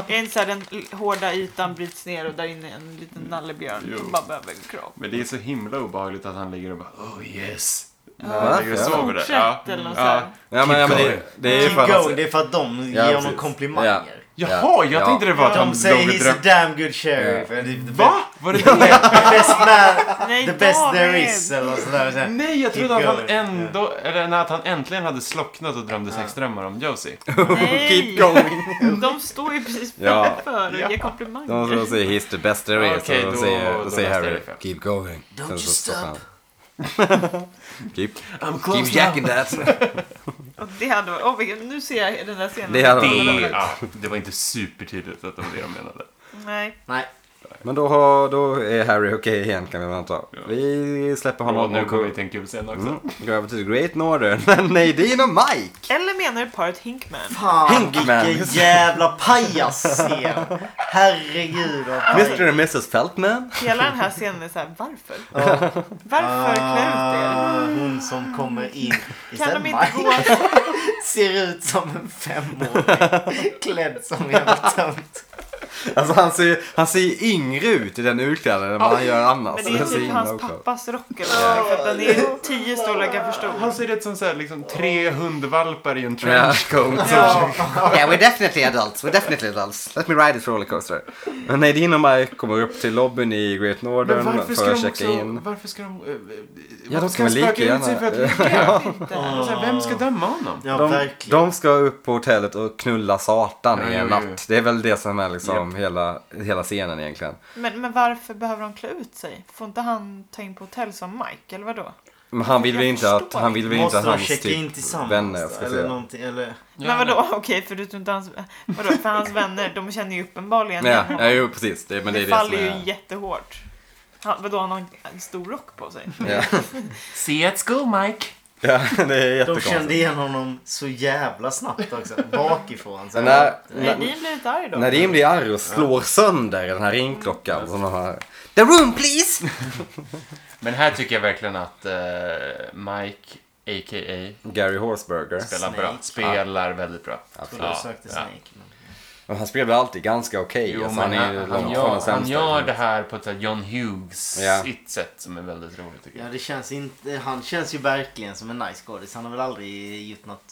[SPEAKER 3] är inte så här den l- hårda ytan bryts ner och där inne är en liten nallebjörn
[SPEAKER 4] Jo.
[SPEAKER 3] som bara behöver en kram.
[SPEAKER 4] Men det är så himla obehagligt att han ligger och bara oh yes.
[SPEAKER 1] Ja,
[SPEAKER 4] Han ligger och
[SPEAKER 1] ja.
[SPEAKER 4] sover där. Ja.
[SPEAKER 3] Fortsätt eller något
[SPEAKER 4] Ja.
[SPEAKER 3] så här.
[SPEAKER 1] Ja, men, ja, men det, det är
[SPEAKER 2] Keep
[SPEAKER 1] för att... han
[SPEAKER 2] going,
[SPEAKER 1] ska-
[SPEAKER 2] det är för att
[SPEAKER 1] Ja,
[SPEAKER 2] de ger honom
[SPEAKER 1] precis.
[SPEAKER 2] komplimanger.
[SPEAKER 4] Jaha, jag
[SPEAKER 1] Ja.
[SPEAKER 4] tänkte det var att
[SPEAKER 2] De
[SPEAKER 4] han
[SPEAKER 2] säger
[SPEAKER 4] låg och
[SPEAKER 2] he's a
[SPEAKER 4] drömde.
[SPEAKER 2] damn good sheriff.
[SPEAKER 4] Va? <laughs> Var det det?
[SPEAKER 2] The best man,
[SPEAKER 3] Nej,
[SPEAKER 2] the best there
[SPEAKER 3] David!
[SPEAKER 2] is. Eller något sånt där. Så här,
[SPEAKER 4] Nej, jag
[SPEAKER 2] Keep
[SPEAKER 4] trodde att han
[SPEAKER 2] going.
[SPEAKER 4] ändå, eller nej, att han äntligen hade slocknat och drömde sexdrömmar om Josie.
[SPEAKER 3] Nej.
[SPEAKER 1] <laughs> Keep going!
[SPEAKER 3] De står ju precis
[SPEAKER 1] Ja.
[SPEAKER 3] framför
[SPEAKER 4] Ja.
[SPEAKER 3] och
[SPEAKER 1] De
[SPEAKER 3] ger komplimanger.
[SPEAKER 1] som säger he's the best there is.
[SPEAKER 4] Okej,
[SPEAKER 1] och
[SPEAKER 4] då-
[SPEAKER 1] då säger,
[SPEAKER 4] då
[SPEAKER 1] då säger
[SPEAKER 4] läste jag
[SPEAKER 1] Harry
[SPEAKER 4] det fel.
[SPEAKER 1] keep going. Don't
[SPEAKER 2] you stop.
[SPEAKER 1] <laughs> keep,
[SPEAKER 4] I'm
[SPEAKER 1] keep jacking that.
[SPEAKER 3] Och det hade varit, åh, vilken- nu ser jag den där scenen.
[SPEAKER 1] Det hade varit
[SPEAKER 4] Det,
[SPEAKER 1] roligt.
[SPEAKER 4] ja, det var inte supertydligt att det var det de menade.
[SPEAKER 3] Nej.
[SPEAKER 2] Nej,
[SPEAKER 1] Men då, har, då är Harry okej igen kan vi anta.
[SPEAKER 4] Ja.
[SPEAKER 1] Vi släpper honom
[SPEAKER 4] Och nu
[SPEAKER 1] och
[SPEAKER 4] kommer vi
[SPEAKER 1] går,
[SPEAKER 4] till en kul scen också.
[SPEAKER 1] mm, går över till Great Northern. <laughs> Men Nadine och Mike!
[SPEAKER 3] Eller menar du paret Hinkman?
[SPEAKER 2] fan
[SPEAKER 1] Pinkman.
[SPEAKER 2] vilken jävla pajas-scen. Herregud vad paj-
[SPEAKER 1] Mr and Mrs Feltman.
[SPEAKER 3] Hela den här scenen är såhär, varför? Varför klär ut er?
[SPEAKER 2] Ah, Hon som kommer in i
[SPEAKER 3] Kan de
[SPEAKER 2] Selma
[SPEAKER 3] inte gå...
[SPEAKER 2] <laughs> ser ut som en femåring klädd som en jävla tönt.
[SPEAKER 1] Alltså han ser, han ser ju yngre ut i den utklädnaden än vad han gör annars.
[SPEAKER 3] Men det är
[SPEAKER 1] ser
[SPEAKER 3] typ
[SPEAKER 1] himla
[SPEAKER 3] hans
[SPEAKER 1] oklart.
[SPEAKER 3] pappas rock eller något, för att den är tio storlekar för stor.
[SPEAKER 4] Han ser ut som så här, liksom, tre hundvalpar i en
[SPEAKER 1] Ja.
[SPEAKER 4] trenchcoat.
[SPEAKER 5] yeah, we're definitely adults. We're definitely adults.
[SPEAKER 1] Let me ride this rollercoaster. Men Nadine och Mike kommer upp till lobbyn i Great Northern
[SPEAKER 4] Men varför
[SPEAKER 1] för
[SPEAKER 4] ska
[SPEAKER 1] att
[SPEAKER 4] de
[SPEAKER 1] checka
[SPEAKER 4] också,
[SPEAKER 1] in.
[SPEAKER 4] varför ska de, eh, eh,
[SPEAKER 1] Ja,
[SPEAKER 4] varför
[SPEAKER 1] de
[SPEAKER 4] ska
[SPEAKER 1] kan
[SPEAKER 4] de
[SPEAKER 1] väl lika
[SPEAKER 4] spöka ut sig
[SPEAKER 1] gärna-
[SPEAKER 4] för att
[SPEAKER 1] <laughs>
[SPEAKER 4] ligga?
[SPEAKER 3] Inte.
[SPEAKER 4] Alltså, vem ska döma honom?
[SPEAKER 2] Ja,
[SPEAKER 1] De,
[SPEAKER 2] verkligen.
[SPEAKER 1] de ska upp på hotellet och knulla Satan
[SPEAKER 4] Ja,
[SPEAKER 1] i
[SPEAKER 4] ja,
[SPEAKER 1] en
[SPEAKER 4] ja.
[SPEAKER 1] natt. Det är väl det som är liksom hela, hela scenen egentligen.
[SPEAKER 3] Men, men varför behöver de klä ut sig? Får inte han ta in på hotell som Mike, eller vadå?
[SPEAKER 1] Men han vill väl
[SPEAKER 3] Jag
[SPEAKER 1] inte att,
[SPEAKER 3] förstår.
[SPEAKER 1] han vill väl inte
[SPEAKER 2] Måste
[SPEAKER 1] att
[SPEAKER 2] de
[SPEAKER 1] hans
[SPEAKER 2] checka in
[SPEAKER 1] typ
[SPEAKER 2] tillsammans?
[SPEAKER 1] vänner
[SPEAKER 2] då?
[SPEAKER 1] ska
[SPEAKER 2] eller
[SPEAKER 1] se.
[SPEAKER 2] någonting, eller?
[SPEAKER 3] Men vadå, <laughs> okej, förutom inte hans... Vadå, för hans vänner, de känner ju uppenbarligen
[SPEAKER 1] Ja,
[SPEAKER 3] igen
[SPEAKER 1] ja,
[SPEAKER 3] honom.
[SPEAKER 1] jo precis. Det, men det är
[SPEAKER 3] Det
[SPEAKER 1] det som
[SPEAKER 3] faller ju
[SPEAKER 1] är...
[SPEAKER 3] jättehårt. Han, vadå, han har en- en stor rock på sig?
[SPEAKER 1] Ja, <laughs>
[SPEAKER 4] See at school, Mike.
[SPEAKER 1] ja det är
[SPEAKER 2] De kände
[SPEAKER 1] jättekonstigt.
[SPEAKER 2] igen honom så jävla snabbt också. Bakifrån. Så
[SPEAKER 1] Men när-
[SPEAKER 3] Nej, ni blir inte arg då?
[SPEAKER 1] Nadine blir arg och slår sönder den här ringklockan som de har. The room please!
[SPEAKER 4] Men här tycker jag verkligen att eh, Mike, a.k.a.
[SPEAKER 1] Gary Horsberger.
[SPEAKER 4] spelar
[SPEAKER 2] Snake.
[SPEAKER 4] bra. Spelar väldigt bra.
[SPEAKER 2] Trodde du sökte Snake. Men...
[SPEAKER 1] Men han spelar alltid ganska okej.
[SPEAKER 4] Jo,
[SPEAKER 1] alltså,
[SPEAKER 4] men
[SPEAKER 1] han är ju
[SPEAKER 4] han, han,
[SPEAKER 1] långt från den
[SPEAKER 4] gör, han
[SPEAKER 1] sämsta.
[SPEAKER 4] gör det här på ett så här John
[SPEAKER 1] Ja.
[SPEAKER 4] Hughes-igt sätt som är väldigt roligt tycker
[SPEAKER 2] Ja,
[SPEAKER 4] jag.
[SPEAKER 2] det känns inte... Han känns ju verkligen som en nice skådis. Han har väl aldrig gjort något...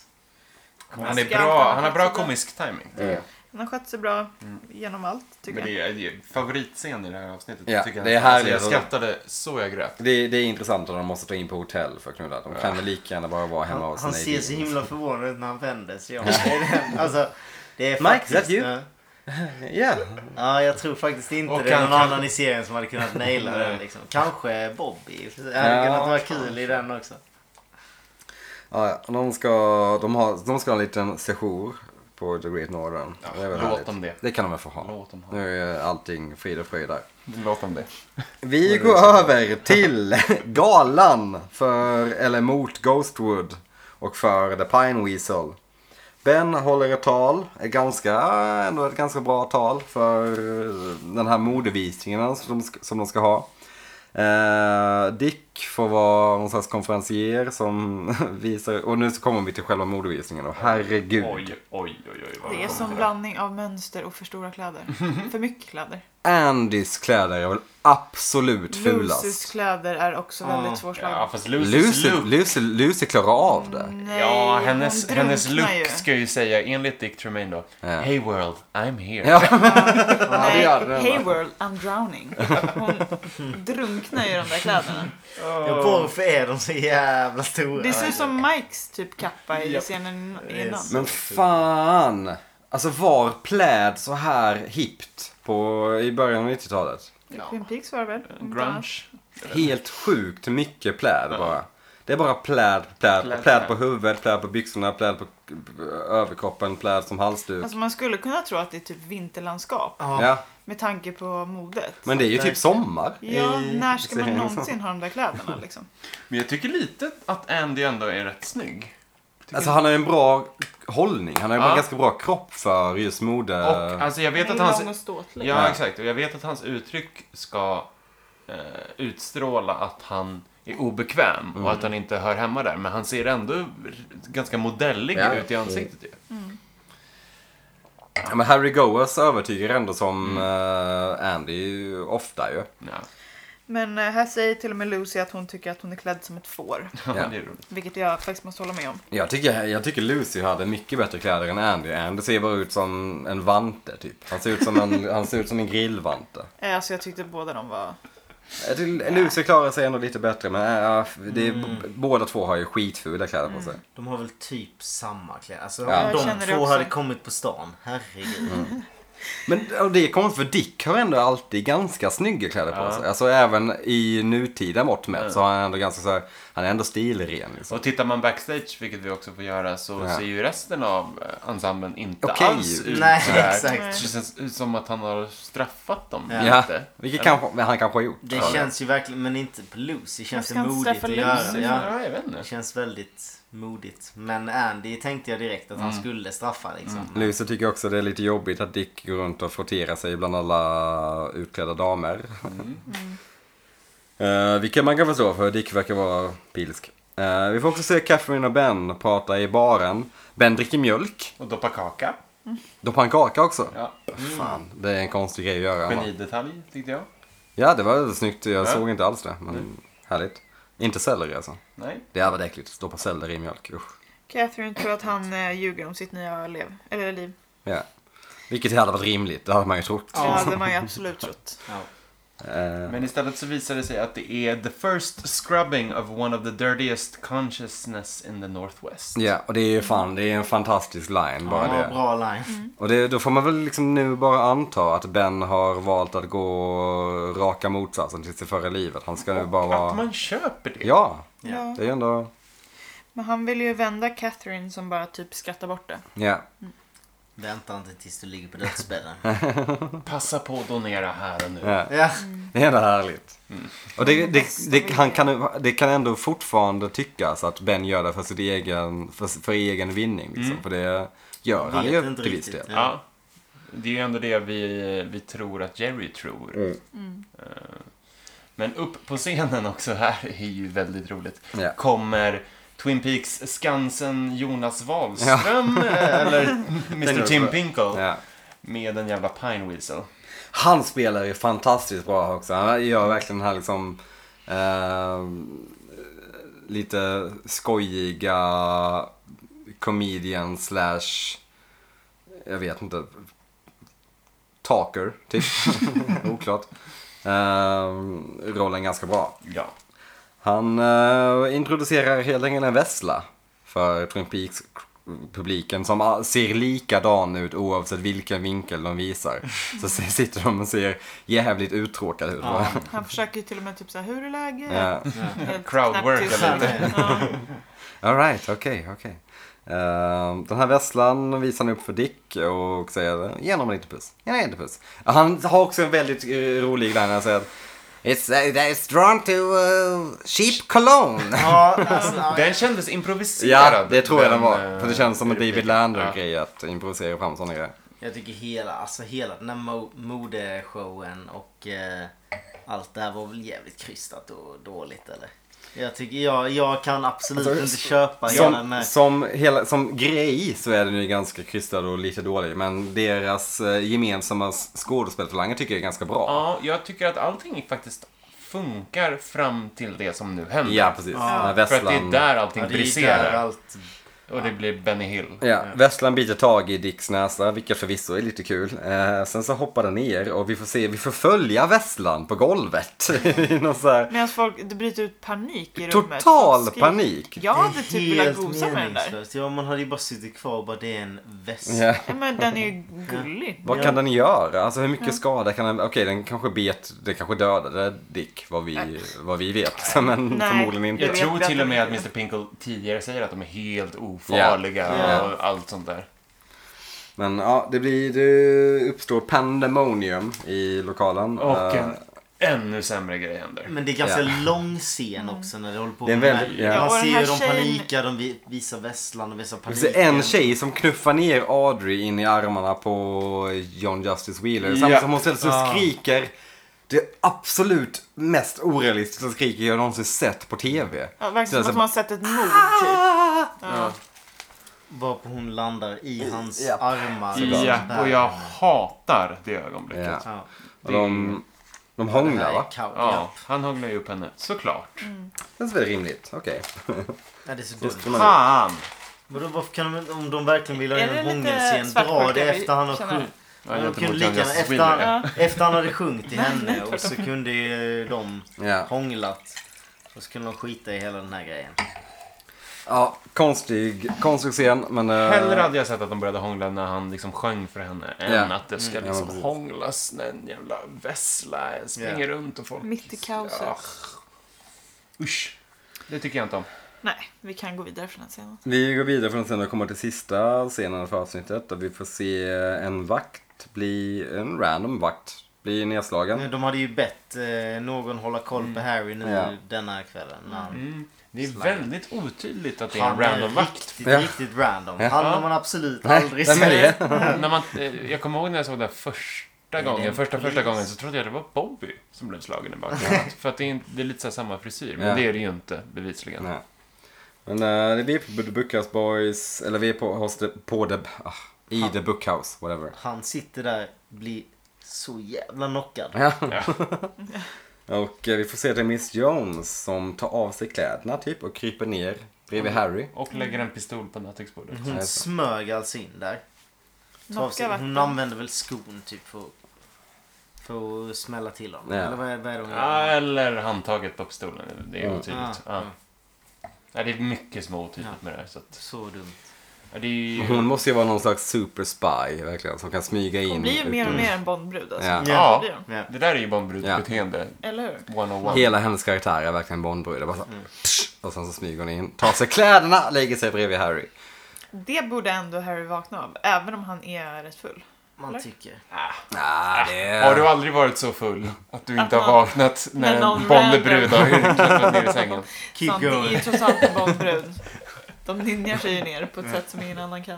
[SPEAKER 4] Han, är
[SPEAKER 3] Ska
[SPEAKER 4] bra,
[SPEAKER 3] han-
[SPEAKER 4] han har bra komisk timing.
[SPEAKER 3] Han har skött sig bra genom allt, tycker
[SPEAKER 4] Men
[SPEAKER 3] jag.
[SPEAKER 4] det är, det är favoritscen i det här avsnittet.
[SPEAKER 1] Ja,
[SPEAKER 4] tycker jag.
[SPEAKER 1] det är
[SPEAKER 4] Alltså,
[SPEAKER 1] härligt.
[SPEAKER 4] jag skrattade så jag grät.
[SPEAKER 1] Det, det är intressant att de måste ta in på hotell för att knulla. De kan väl lika gärna bara vara hemma
[SPEAKER 2] Han,
[SPEAKER 1] hos
[SPEAKER 2] han ser
[SPEAKER 1] Nadine.
[SPEAKER 2] så himla förvånad ut när han vänder
[SPEAKER 1] <laughs>
[SPEAKER 2] sig om. Det är den- alltså, det är
[SPEAKER 1] Mike,
[SPEAKER 2] faktiskt...
[SPEAKER 1] is that you?
[SPEAKER 2] eh,
[SPEAKER 1] Ja.
[SPEAKER 2] Ja, jag tror faktiskt inte
[SPEAKER 4] Och
[SPEAKER 2] det är någon
[SPEAKER 4] han kan-
[SPEAKER 2] annan i serien som hade kunnat naila den.
[SPEAKER 4] Nej.
[SPEAKER 2] Liksom. Kanske Bobby. Det hade
[SPEAKER 1] Ja,
[SPEAKER 2] kunnat vara kul i den också.
[SPEAKER 1] Ja, ja. de, ska, de, har, de ska ha en liten sejour på The Great Northern. det är väl
[SPEAKER 4] låt
[SPEAKER 1] härligt.
[SPEAKER 4] dem det.
[SPEAKER 1] Det kan de väl få ha.
[SPEAKER 4] Låt dem ha.
[SPEAKER 1] Nu är allting frid och fröjd där.
[SPEAKER 4] Låt om det.
[SPEAKER 1] Vi går över
[SPEAKER 4] <laughs>
[SPEAKER 1] till galan för, eller mot Ghostwood och för The Pine Weasel. Ben håller ett tal, ett ganska, ändå ett ganska bra tal för eh, den här modevisningen som de ska, som de ska ha. Eh, Dick Nick får vara någon slags konferencier som <laughs> visar... Och nu så kommer vi till själva modevisningen och herregud.
[SPEAKER 4] Oj, oj, oj, oj. vad
[SPEAKER 3] Det är
[SPEAKER 4] kommer
[SPEAKER 3] som
[SPEAKER 4] till
[SPEAKER 3] blandning av mönster och för stora kläder. För mycket kläder.
[SPEAKER 1] Andys kläder är väl absolut
[SPEAKER 3] Lucys
[SPEAKER 1] fulast.
[SPEAKER 3] kläder är också väldigt
[SPEAKER 4] Ja,
[SPEAKER 3] svårslagna.
[SPEAKER 4] fast Lucys
[SPEAKER 1] Lucy,
[SPEAKER 4] look.
[SPEAKER 1] Lucy, Lucy klarar av det.
[SPEAKER 3] Nej,
[SPEAKER 4] Ja,
[SPEAKER 3] hon
[SPEAKER 4] hennes,
[SPEAKER 3] drunknar
[SPEAKER 4] hennes
[SPEAKER 3] ju.
[SPEAKER 4] look ska ju säga, enligt Dick Tremaine då,
[SPEAKER 1] Eh.
[SPEAKER 4] Hey world, I'm here.
[SPEAKER 1] Ja.
[SPEAKER 3] Nej,
[SPEAKER 1] gör den,
[SPEAKER 3] hey
[SPEAKER 1] va?
[SPEAKER 3] world, I'm drowning. Hon drunknar ju i de där kläderna.
[SPEAKER 2] Ja, varför är de så jävla stora?
[SPEAKER 3] Det ser ut som Mikes typ kappa i scenen
[SPEAKER 2] är
[SPEAKER 3] innan.
[SPEAKER 2] så-
[SPEAKER 1] Men fan! Alltså var pläd så här hippt på, i början av 90-talet?
[SPEAKER 3] Twin Peaks var det väl? Om inte annat.
[SPEAKER 4] Grunge.
[SPEAKER 1] Helt sjukt mycket pläd bara. Det är bara pläd, pläd,
[SPEAKER 4] Pläd,
[SPEAKER 1] pläd,
[SPEAKER 4] pläd.
[SPEAKER 1] på huvudet, pläd på byxorna, pläd på eh, överkroppen, pläd som halsduk.
[SPEAKER 3] Alltså man skulle kunna tro att det är typ vinterlandskap
[SPEAKER 2] Ja.
[SPEAKER 1] Ja,
[SPEAKER 3] med tanke på modet.
[SPEAKER 1] men det är ju typ sommar.
[SPEAKER 3] Ja,
[SPEAKER 1] i
[SPEAKER 3] när ska
[SPEAKER 1] <laughs>
[SPEAKER 3] man
[SPEAKER 1] serien.
[SPEAKER 3] någonsin ha de där kläderna liksom?
[SPEAKER 4] Men jag tycker lite att Andy ändå är rätt snygg.
[SPEAKER 1] Alltså han har ju en bra hållning, han har ju
[SPEAKER 4] Ja.
[SPEAKER 1] en ganska bra kropp för just mode.
[SPEAKER 4] Och alltså jag vet
[SPEAKER 3] Den
[SPEAKER 4] att
[SPEAKER 3] är lång och
[SPEAKER 4] hans...
[SPEAKER 3] ståtlig.
[SPEAKER 4] Ja, exakt. Och jag vet att hans uttryck ska eh, utstråla att han är obekväm och
[SPEAKER 1] Mm.
[SPEAKER 4] att han inte hör hemma där. Men han ser ändå r- ganska modellig
[SPEAKER 1] Ja.
[SPEAKER 4] ut i ansiktet ju.
[SPEAKER 1] Ja, Men Harry Goers övertygar ändå som
[SPEAKER 4] Mm.
[SPEAKER 1] eh, Andy ofta ju.
[SPEAKER 4] Ja. <laughs>
[SPEAKER 3] Men eh, här säger till och med Lucy att hon tycker att hon är klädd som ett får.
[SPEAKER 4] Ja.
[SPEAKER 1] Ja.
[SPEAKER 4] det är roligt.
[SPEAKER 3] Vilket jag faktiskt måste hålla med om.
[SPEAKER 1] Jag tycker, jag tycker Lucy hade mycket bättre kläder än Andy. Andy ser bara ut som en vante typ. Han ser ut som en, han ser ut som en grillvante.
[SPEAKER 3] Eh, Alltså jag tyckte båda de var...
[SPEAKER 1] Jag tycker Lucy klarar sig ändå lite bättre men äh, det är, b- båda två har ju skitfula kläder på sig.
[SPEAKER 2] De har väl typ samma kläder. Alltså,
[SPEAKER 1] Ja.
[SPEAKER 2] om
[SPEAKER 3] Jag känner
[SPEAKER 2] de
[SPEAKER 3] det
[SPEAKER 2] två
[SPEAKER 3] också.
[SPEAKER 2] hade kommit på stan. Herregud.
[SPEAKER 1] Men och det kommer för Dick har ändå alltid ganska snygga kläder på
[SPEAKER 4] Ja.
[SPEAKER 1] sig. Alltså även i nutida mått mätt så har han ändå ganska så här, han är ändå stilren liksom.
[SPEAKER 4] Och tittar man backstage, vilket vi också får göra, så
[SPEAKER 1] Ja.
[SPEAKER 4] ser ju resten av eh, ensemblen inte
[SPEAKER 1] Okej
[SPEAKER 4] alls ut
[SPEAKER 2] Nej,
[SPEAKER 4] sådär. Det
[SPEAKER 2] exakt.
[SPEAKER 4] känns ut som att han har straffat dem
[SPEAKER 2] Ja.
[SPEAKER 1] Ja,
[SPEAKER 4] lite.
[SPEAKER 1] vilket
[SPEAKER 4] Eller?
[SPEAKER 1] kanske, men han kanske har gjort.
[SPEAKER 2] Det
[SPEAKER 1] Ja.
[SPEAKER 2] känns ju verkligen, men inte på Lucy. Känns
[SPEAKER 3] ska
[SPEAKER 2] det
[SPEAKER 3] inte
[SPEAKER 2] modigt
[SPEAKER 3] straffa
[SPEAKER 2] att
[SPEAKER 3] Lucy
[SPEAKER 2] göra. Ja.
[SPEAKER 4] Ja, jag vet inte.
[SPEAKER 2] Det känns väldigt modigt. Men Andy tänkte jag direkt att
[SPEAKER 1] Mm.
[SPEAKER 2] han skulle straffa liksom.
[SPEAKER 1] Lucy tycker också det är lite jobbigt att Dick går runt och frotterar sig bland alla utklädda damer.
[SPEAKER 4] Mm.
[SPEAKER 1] Eh, vilket man kan förstå för Dick verkar vara pilsk. Eh, vi får också se Catherine och Ben prata i baren. Ben dricker mjölk.
[SPEAKER 4] Och doppa kaka.
[SPEAKER 1] Då får han kaka också.
[SPEAKER 4] Ja.
[SPEAKER 1] Fan, det är en konstig grej att göra. va?
[SPEAKER 4] Genidetalj, tyckte jag.
[SPEAKER 1] Ja, det var väldigt snyggt. Jag
[SPEAKER 4] Ja. Mm.
[SPEAKER 1] såg inte alls det. Men härligt. Inte selleri alltså.
[SPEAKER 4] Nej.
[SPEAKER 1] Det är väldigt äckligt. Stoppa selleri i mjölk. Usch.
[SPEAKER 3] Catherine tror att han eh, ljuger om sitt nya lev, eller liv.
[SPEAKER 1] Ja. Vilket hade varit rimligt. Det hade man ju trott.
[SPEAKER 3] Det hade man ju absolut trott.
[SPEAKER 2] Ja.
[SPEAKER 1] Eh,
[SPEAKER 4] Men istället så visar det sig att det är the first scrubbing of one of the dirtiest consciousness in the Northwest.
[SPEAKER 1] Ja, och det är ju fan, det är en fantastisk line bara
[SPEAKER 2] Ja,
[SPEAKER 1] det.
[SPEAKER 2] bra line.
[SPEAKER 3] Mm.
[SPEAKER 1] Och det, då får man väl liksom nu bara anta att Ben har valt att gå raka motsatsen till sitt förra livet. Han ska nu bara
[SPEAKER 4] Att
[SPEAKER 1] vara...
[SPEAKER 4] man köper det.
[SPEAKER 1] Ja,
[SPEAKER 3] Ja.
[SPEAKER 1] det är ju ändå...
[SPEAKER 3] Men han vill ju vända Catherine som bara typ skrattar bort det.
[SPEAKER 1] Ja.
[SPEAKER 2] Vänta inte tills
[SPEAKER 1] <laughs>
[SPEAKER 2] du ligger på dödsbädden.
[SPEAKER 4] Passa på att donera här och nu.
[SPEAKER 1] ja.
[SPEAKER 2] ja.
[SPEAKER 1] Det är ändå härligt. Och det, det, det, han kan, det kan ändå fortfarande tyckas att Ben gör det för, sitt egen, för, för egen vinning. Liksom. För det gör han
[SPEAKER 2] Mm. Vet
[SPEAKER 1] ju
[SPEAKER 2] inte
[SPEAKER 1] till viss
[SPEAKER 2] riktigt.
[SPEAKER 1] del.
[SPEAKER 4] Ja. Det är ju ändå det vi, vi tror att Jerry tror.
[SPEAKER 1] Mm.
[SPEAKER 4] Eh, Men upp på scenen också här är ju väldigt roligt.
[SPEAKER 1] Ja.
[SPEAKER 4] Kommer Twin Peaks Skansen Jonas Wahlström <laughs>
[SPEAKER 1] <laughs>
[SPEAKER 4] eller Mr. Tim Pinkle
[SPEAKER 1] Ja.
[SPEAKER 4] med en jävla pine whistle.
[SPEAKER 1] Han spelar ju fantastiskt bra också. Han gör verkligen den här liksom eh, lite skojiga comedian slash jag vet inte talker typ. <laughs> Oklart. Eh, rollen ganska bra.
[SPEAKER 4] Ja.
[SPEAKER 1] Han eh, introducerar helt enkelt en vessla för Twin Peaks publiken som all- ser likadan ut oavsett vilken vinkel de visar. Så <laughs> s- sitter de och ser jävligt uttråkade ut. va?
[SPEAKER 3] Han försöker ju till och med typ såhär, hur är läget?
[SPEAKER 1] <laughs> Ja.
[SPEAKER 3] Helt
[SPEAKER 4] Crowdwork
[SPEAKER 3] knäpptyst.
[SPEAKER 4] eller
[SPEAKER 3] Ja.
[SPEAKER 1] All right, okej, okej. Eh, den här vesslan visar han upp för Dick och säger ge honom en liten puss. Ge honom en liten puss. Han har också en väldigt eh, rolig line. Han säger It's, uh, it's drawn to uh, sheep cologne.
[SPEAKER 2] Ja, alltså, ja.
[SPEAKER 4] Den kändes improviserad.
[SPEAKER 1] Ja, det tror jag den var.
[SPEAKER 4] eh,
[SPEAKER 1] För det känns som en David
[SPEAKER 4] Ja.
[SPEAKER 1] Lander-grej att improvisera fram sådana grejer.
[SPEAKER 2] Jag tycker hela, alltså hela den här mo- modeshowen och eh, allt det här var väl jävligt krystat och dåligt eller? Jag, tycker, jag, jag kan absolut
[SPEAKER 1] Alltså,
[SPEAKER 2] inte köpa hela den
[SPEAKER 1] Som,
[SPEAKER 2] här.
[SPEAKER 1] som, hela, som grej så är den ju ganska krystad och lite dålig. Men deras eh, gemensamma s- skådespelförlanger tycker jag är ganska bra.
[SPEAKER 4] Ja, jag tycker att allting faktiskt funkar fram till det som nu händer.
[SPEAKER 1] Ja, precis. När
[SPEAKER 4] För att det är
[SPEAKER 1] Vesslan,
[SPEAKER 4] där allting
[SPEAKER 2] Ja, det är där
[SPEAKER 4] briserar.
[SPEAKER 2] allt
[SPEAKER 4] Och det blir Benny Hill.
[SPEAKER 1] ja, Vesslan biter tag i Dicks näsa, vilket förvisso är lite kul. Eh, sen så hoppar den ner och vi får se, vi får följa Vesslan på golvet. <laughs> I någon så här
[SPEAKER 3] Medan folk, det bryter ut panik i rummet.
[SPEAKER 1] total
[SPEAKER 3] Folk skriker.
[SPEAKER 1] panik.
[SPEAKER 3] Jag hade typ velat
[SPEAKER 2] helt
[SPEAKER 3] gosa med den där.
[SPEAKER 2] meningslöst. Ja, man hade ju bara suttit kvar och bara det är en väst.
[SPEAKER 1] Ja.
[SPEAKER 3] Nej, men den är ju gullig.
[SPEAKER 1] Vad kan den göra? Alltså hur mycket skada kan den... Okej, den kanske bet, den kanske dödade Dick, vad vi, vad vi vet. <laughs> Men
[SPEAKER 3] Nej.
[SPEAKER 1] förmodligen inte.
[SPEAKER 3] Jag
[SPEAKER 4] Jag
[SPEAKER 3] vet
[SPEAKER 4] tror
[SPEAKER 3] att
[SPEAKER 4] till
[SPEAKER 3] de
[SPEAKER 4] och med
[SPEAKER 3] är
[SPEAKER 4] att
[SPEAKER 3] det.
[SPEAKER 4] Mr Pinkle tidigare säger att de är helt ofarliga
[SPEAKER 2] Ja.
[SPEAKER 4] och allt sånt där.
[SPEAKER 1] Men ja, det, blir, det uppstår pandemonium i lokalen.
[SPEAKER 4] Och
[SPEAKER 1] Eh,
[SPEAKER 4] en ännu sämre grej händer.
[SPEAKER 2] Men det är ganska
[SPEAKER 1] Ja.
[SPEAKER 2] lång scen också när det håller på
[SPEAKER 1] Det är
[SPEAKER 2] med
[SPEAKER 1] väldigt-
[SPEAKER 2] den här-
[SPEAKER 1] ja.
[SPEAKER 2] Man
[SPEAKER 3] Mm. Och den
[SPEAKER 2] ser
[SPEAKER 3] här
[SPEAKER 2] hur de
[SPEAKER 3] tjejen-
[SPEAKER 2] panikar, de vi- visar vässlan, de visar
[SPEAKER 1] det
[SPEAKER 2] paniken.
[SPEAKER 1] finns en tjej som knuffar ner Audrey in i armarna på John Justice Wheeler. Samtidigt som hon ställer sig och skriker det absolut mest orealistiska skriket jag någonsin sett på TV.
[SPEAKER 3] Ja, verkligen
[SPEAKER 1] Så
[SPEAKER 3] som att
[SPEAKER 1] jag
[SPEAKER 3] man har sett ett mord typ.
[SPEAKER 1] Ah!
[SPEAKER 2] Varpå hon landar i hans
[SPEAKER 1] Japp.
[SPEAKER 2] armar.
[SPEAKER 4] Ja,
[SPEAKER 2] Där.
[SPEAKER 4] och jag hatar det ögonblicket.
[SPEAKER 1] Ja.
[SPEAKER 2] Ja.
[SPEAKER 1] Och de, de hånglar va?
[SPEAKER 2] Nej, kaos.
[SPEAKER 4] Ja, han hånglar ju upp henne. Såklart.
[SPEAKER 1] Det är väl rimligt, okej.
[SPEAKER 2] Ja, det är så dumt.
[SPEAKER 4] Fan!
[SPEAKER 2] Vadå, varför kan de, om de verkligen vill ha
[SPEAKER 3] Är det
[SPEAKER 2] en
[SPEAKER 3] lite
[SPEAKER 2] hångelscen, dra
[SPEAKER 3] svartsjuka
[SPEAKER 2] det
[SPEAKER 3] vi
[SPEAKER 2] efter han har
[SPEAKER 3] känner?
[SPEAKER 2] sjungit.
[SPEAKER 4] Ja,
[SPEAKER 2] de
[SPEAKER 4] gentemot
[SPEAKER 2] kunde lika
[SPEAKER 4] Young
[SPEAKER 2] gärna,
[SPEAKER 4] Justice
[SPEAKER 2] efter,
[SPEAKER 4] Wheeler.
[SPEAKER 2] han- efter han hade sjungit till henne och så kunde ju de
[SPEAKER 1] Ja.
[SPEAKER 2] hånglat. Och så kunde de skita i hela den här grejen.
[SPEAKER 1] Ja, konstig, konstig scen men... eh,
[SPEAKER 4] Hellre hade jag sett att de började hångla när han liksom sjöng för henne än
[SPEAKER 1] Ja.
[SPEAKER 4] att det ska
[SPEAKER 1] Mm, ja,
[SPEAKER 4] liksom
[SPEAKER 1] precis.
[SPEAKER 4] hånglas när en jävla vessla springer
[SPEAKER 2] Ja.
[SPEAKER 4] runt och folk...
[SPEAKER 3] Mitt i kaoset.
[SPEAKER 4] Ah. Usch. Det tycker jag inte om.
[SPEAKER 3] Nej, vi kan gå vidare från den scenen.
[SPEAKER 1] Vi går vidare från scenen och kommer till sista scenen för avsnittet där vi får se en vakt bli, en random vakt, bli nedslagen.
[SPEAKER 2] Men de hade ju bett eh, någon hålla koll
[SPEAKER 3] Mm.
[SPEAKER 2] på Harry nu
[SPEAKER 1] Ja.
[SPEAKER 2] denna kvällen. när han-
[SPEAKER 4] Det är
[SPEAKER 2] Slang.
[SPEAKER 4] väldigt otydligt att det Mm. är en
[SPEAKER 2] Han
[SPEAKER 4] random vakt.
[SPEAKER 2] riktigt,
[SPEAKER 1] Ja.
[SPEAKER 2] riktigt random.
[SPEAKER 1] Ja.
[SPEAKER 2] Han har man absolut
[SPEAKER 1] Nej,
[SPEAKER 2] aldrig
[SPEAKER 1] vem är
[SPEAKER 2] sett.
[SPEAKER 1] det?
[SPEAKER 4] <laughs> när man, eh, jag kommer ihåg när jag såg det här första gången, första, första gången så trodde jag det var Bobby som blev slagen i <laughs> bakhuvudet. För att det är, inte- det är lite så här samma frisyr, men
[SPEAKER 1] Ja.
[SPEAKER 4] det är det ju inte bevisligen.
[SPEAKER 1] Nej. eh, Men eh, vi är på The Bookhouse Boys, eller vi är på, hos the, på the, ah, i The Bookhouse, whatever.
[SPEAKER 2] Han sitter där, blir så jävla knockad.
[SPEAKER 1] Ja.
[SPEAKER 4] Ja.
[SPEAKER 1] <laughs> Och eh, vi får se till Miss Jones som tar av sig kläderna typ och kryper ner bredvid
[SPEAKER 3] Mm.
[SPEAKER 1] Harry.
[SPEAKER 4] Och lägger en pistol på nattduksbordet.
[SPEAKER 2] Hon
[SPEAKER 1] Nej, så.
[SPEAKER 2] smög alltså in där. Ta av sig-
[SPEAKER 3] Knocka
[SPEAKER 2] Hon
[SPEAKER 3] vakten.
[SPEAKER 2] använder väl skon typ för, för att smälla till honom.
[SPEAKER 1] Ja.
[SPEAKER 2] Eller vad är, vad är det hon
[SPEAKER 4] Ja,
[SPEAKER 2] gör?
[SPEAKER 4] eller handtaget på pistolen. Det är otydligt.
[SPEAKER 2] Ja.
[SPEAKER 4] Ja. Ja, det är mycket som är otydligt
[SPEAKER 2] Ja.
[SPEAKER 4] med det här. Så att,
[SPEAKER 2] Så dumt.
[SPEAKER 4] ja, det är ju...
[SPEAKER 1] Hon måste ju vara någon slags super spy verkligen som kan smyga in.
[SPEAKER 3] Hon blir ju mer och
[SPEAKER 1] utan-
[SPEAKER 3] mer en Bondbrud alltså.
[SPEAKER 1] Mm. Ja.
[SPEAKER 4] Ja,
[SPEAKER 3] Det blir hon.
[SPEAKER 2] Ja.
[SPEAKER 4] det där är ju bombbeteende.
[SPEAKER 3] Eller hur?
[SPEAKER 4] 101.
[SPEAKER 1] Hela hennes karaktär är verkligen Bondbrud. Det bara så,
[SPEAKER 2] Mm.
[SPEAKER 1] psh, och sen så smyger hon in, tar sig kläderna, lägger sig bredvid Harry.
[SPEAKER 3] Det borde ändå Harry vakna av, även om han är rätt full.
[SPEAKER 2] Man tycker.
[SPEAKER 1] Ah, det
[SPEAKER 4] Har du aldrig varit så full att du inte
[SPEAKER 3] Att
[SPEAKER 4] har
[SPEAKER 3] man-
[SPEAKER 4] vaknat
[SPEAKER 3] när
[SPEAKER 4] när en
[SPEAKER 3] någon
[SPEAKER 4] bondebrud
[SPEAKER 3] random-
[SPEAKER 4] har
[SPEAKER 3] <laughs>
[SPEAKER 4] klippt ner i sängen?
[SPEAKER 2] Keep
[SPEAKER 3] Sant, Det är
[SPEAKER 2] going.
[SPEAKER 3] ju trots allt en Bondbrud. De ninjar sig ju ner på ett sätt som ingen annan kan.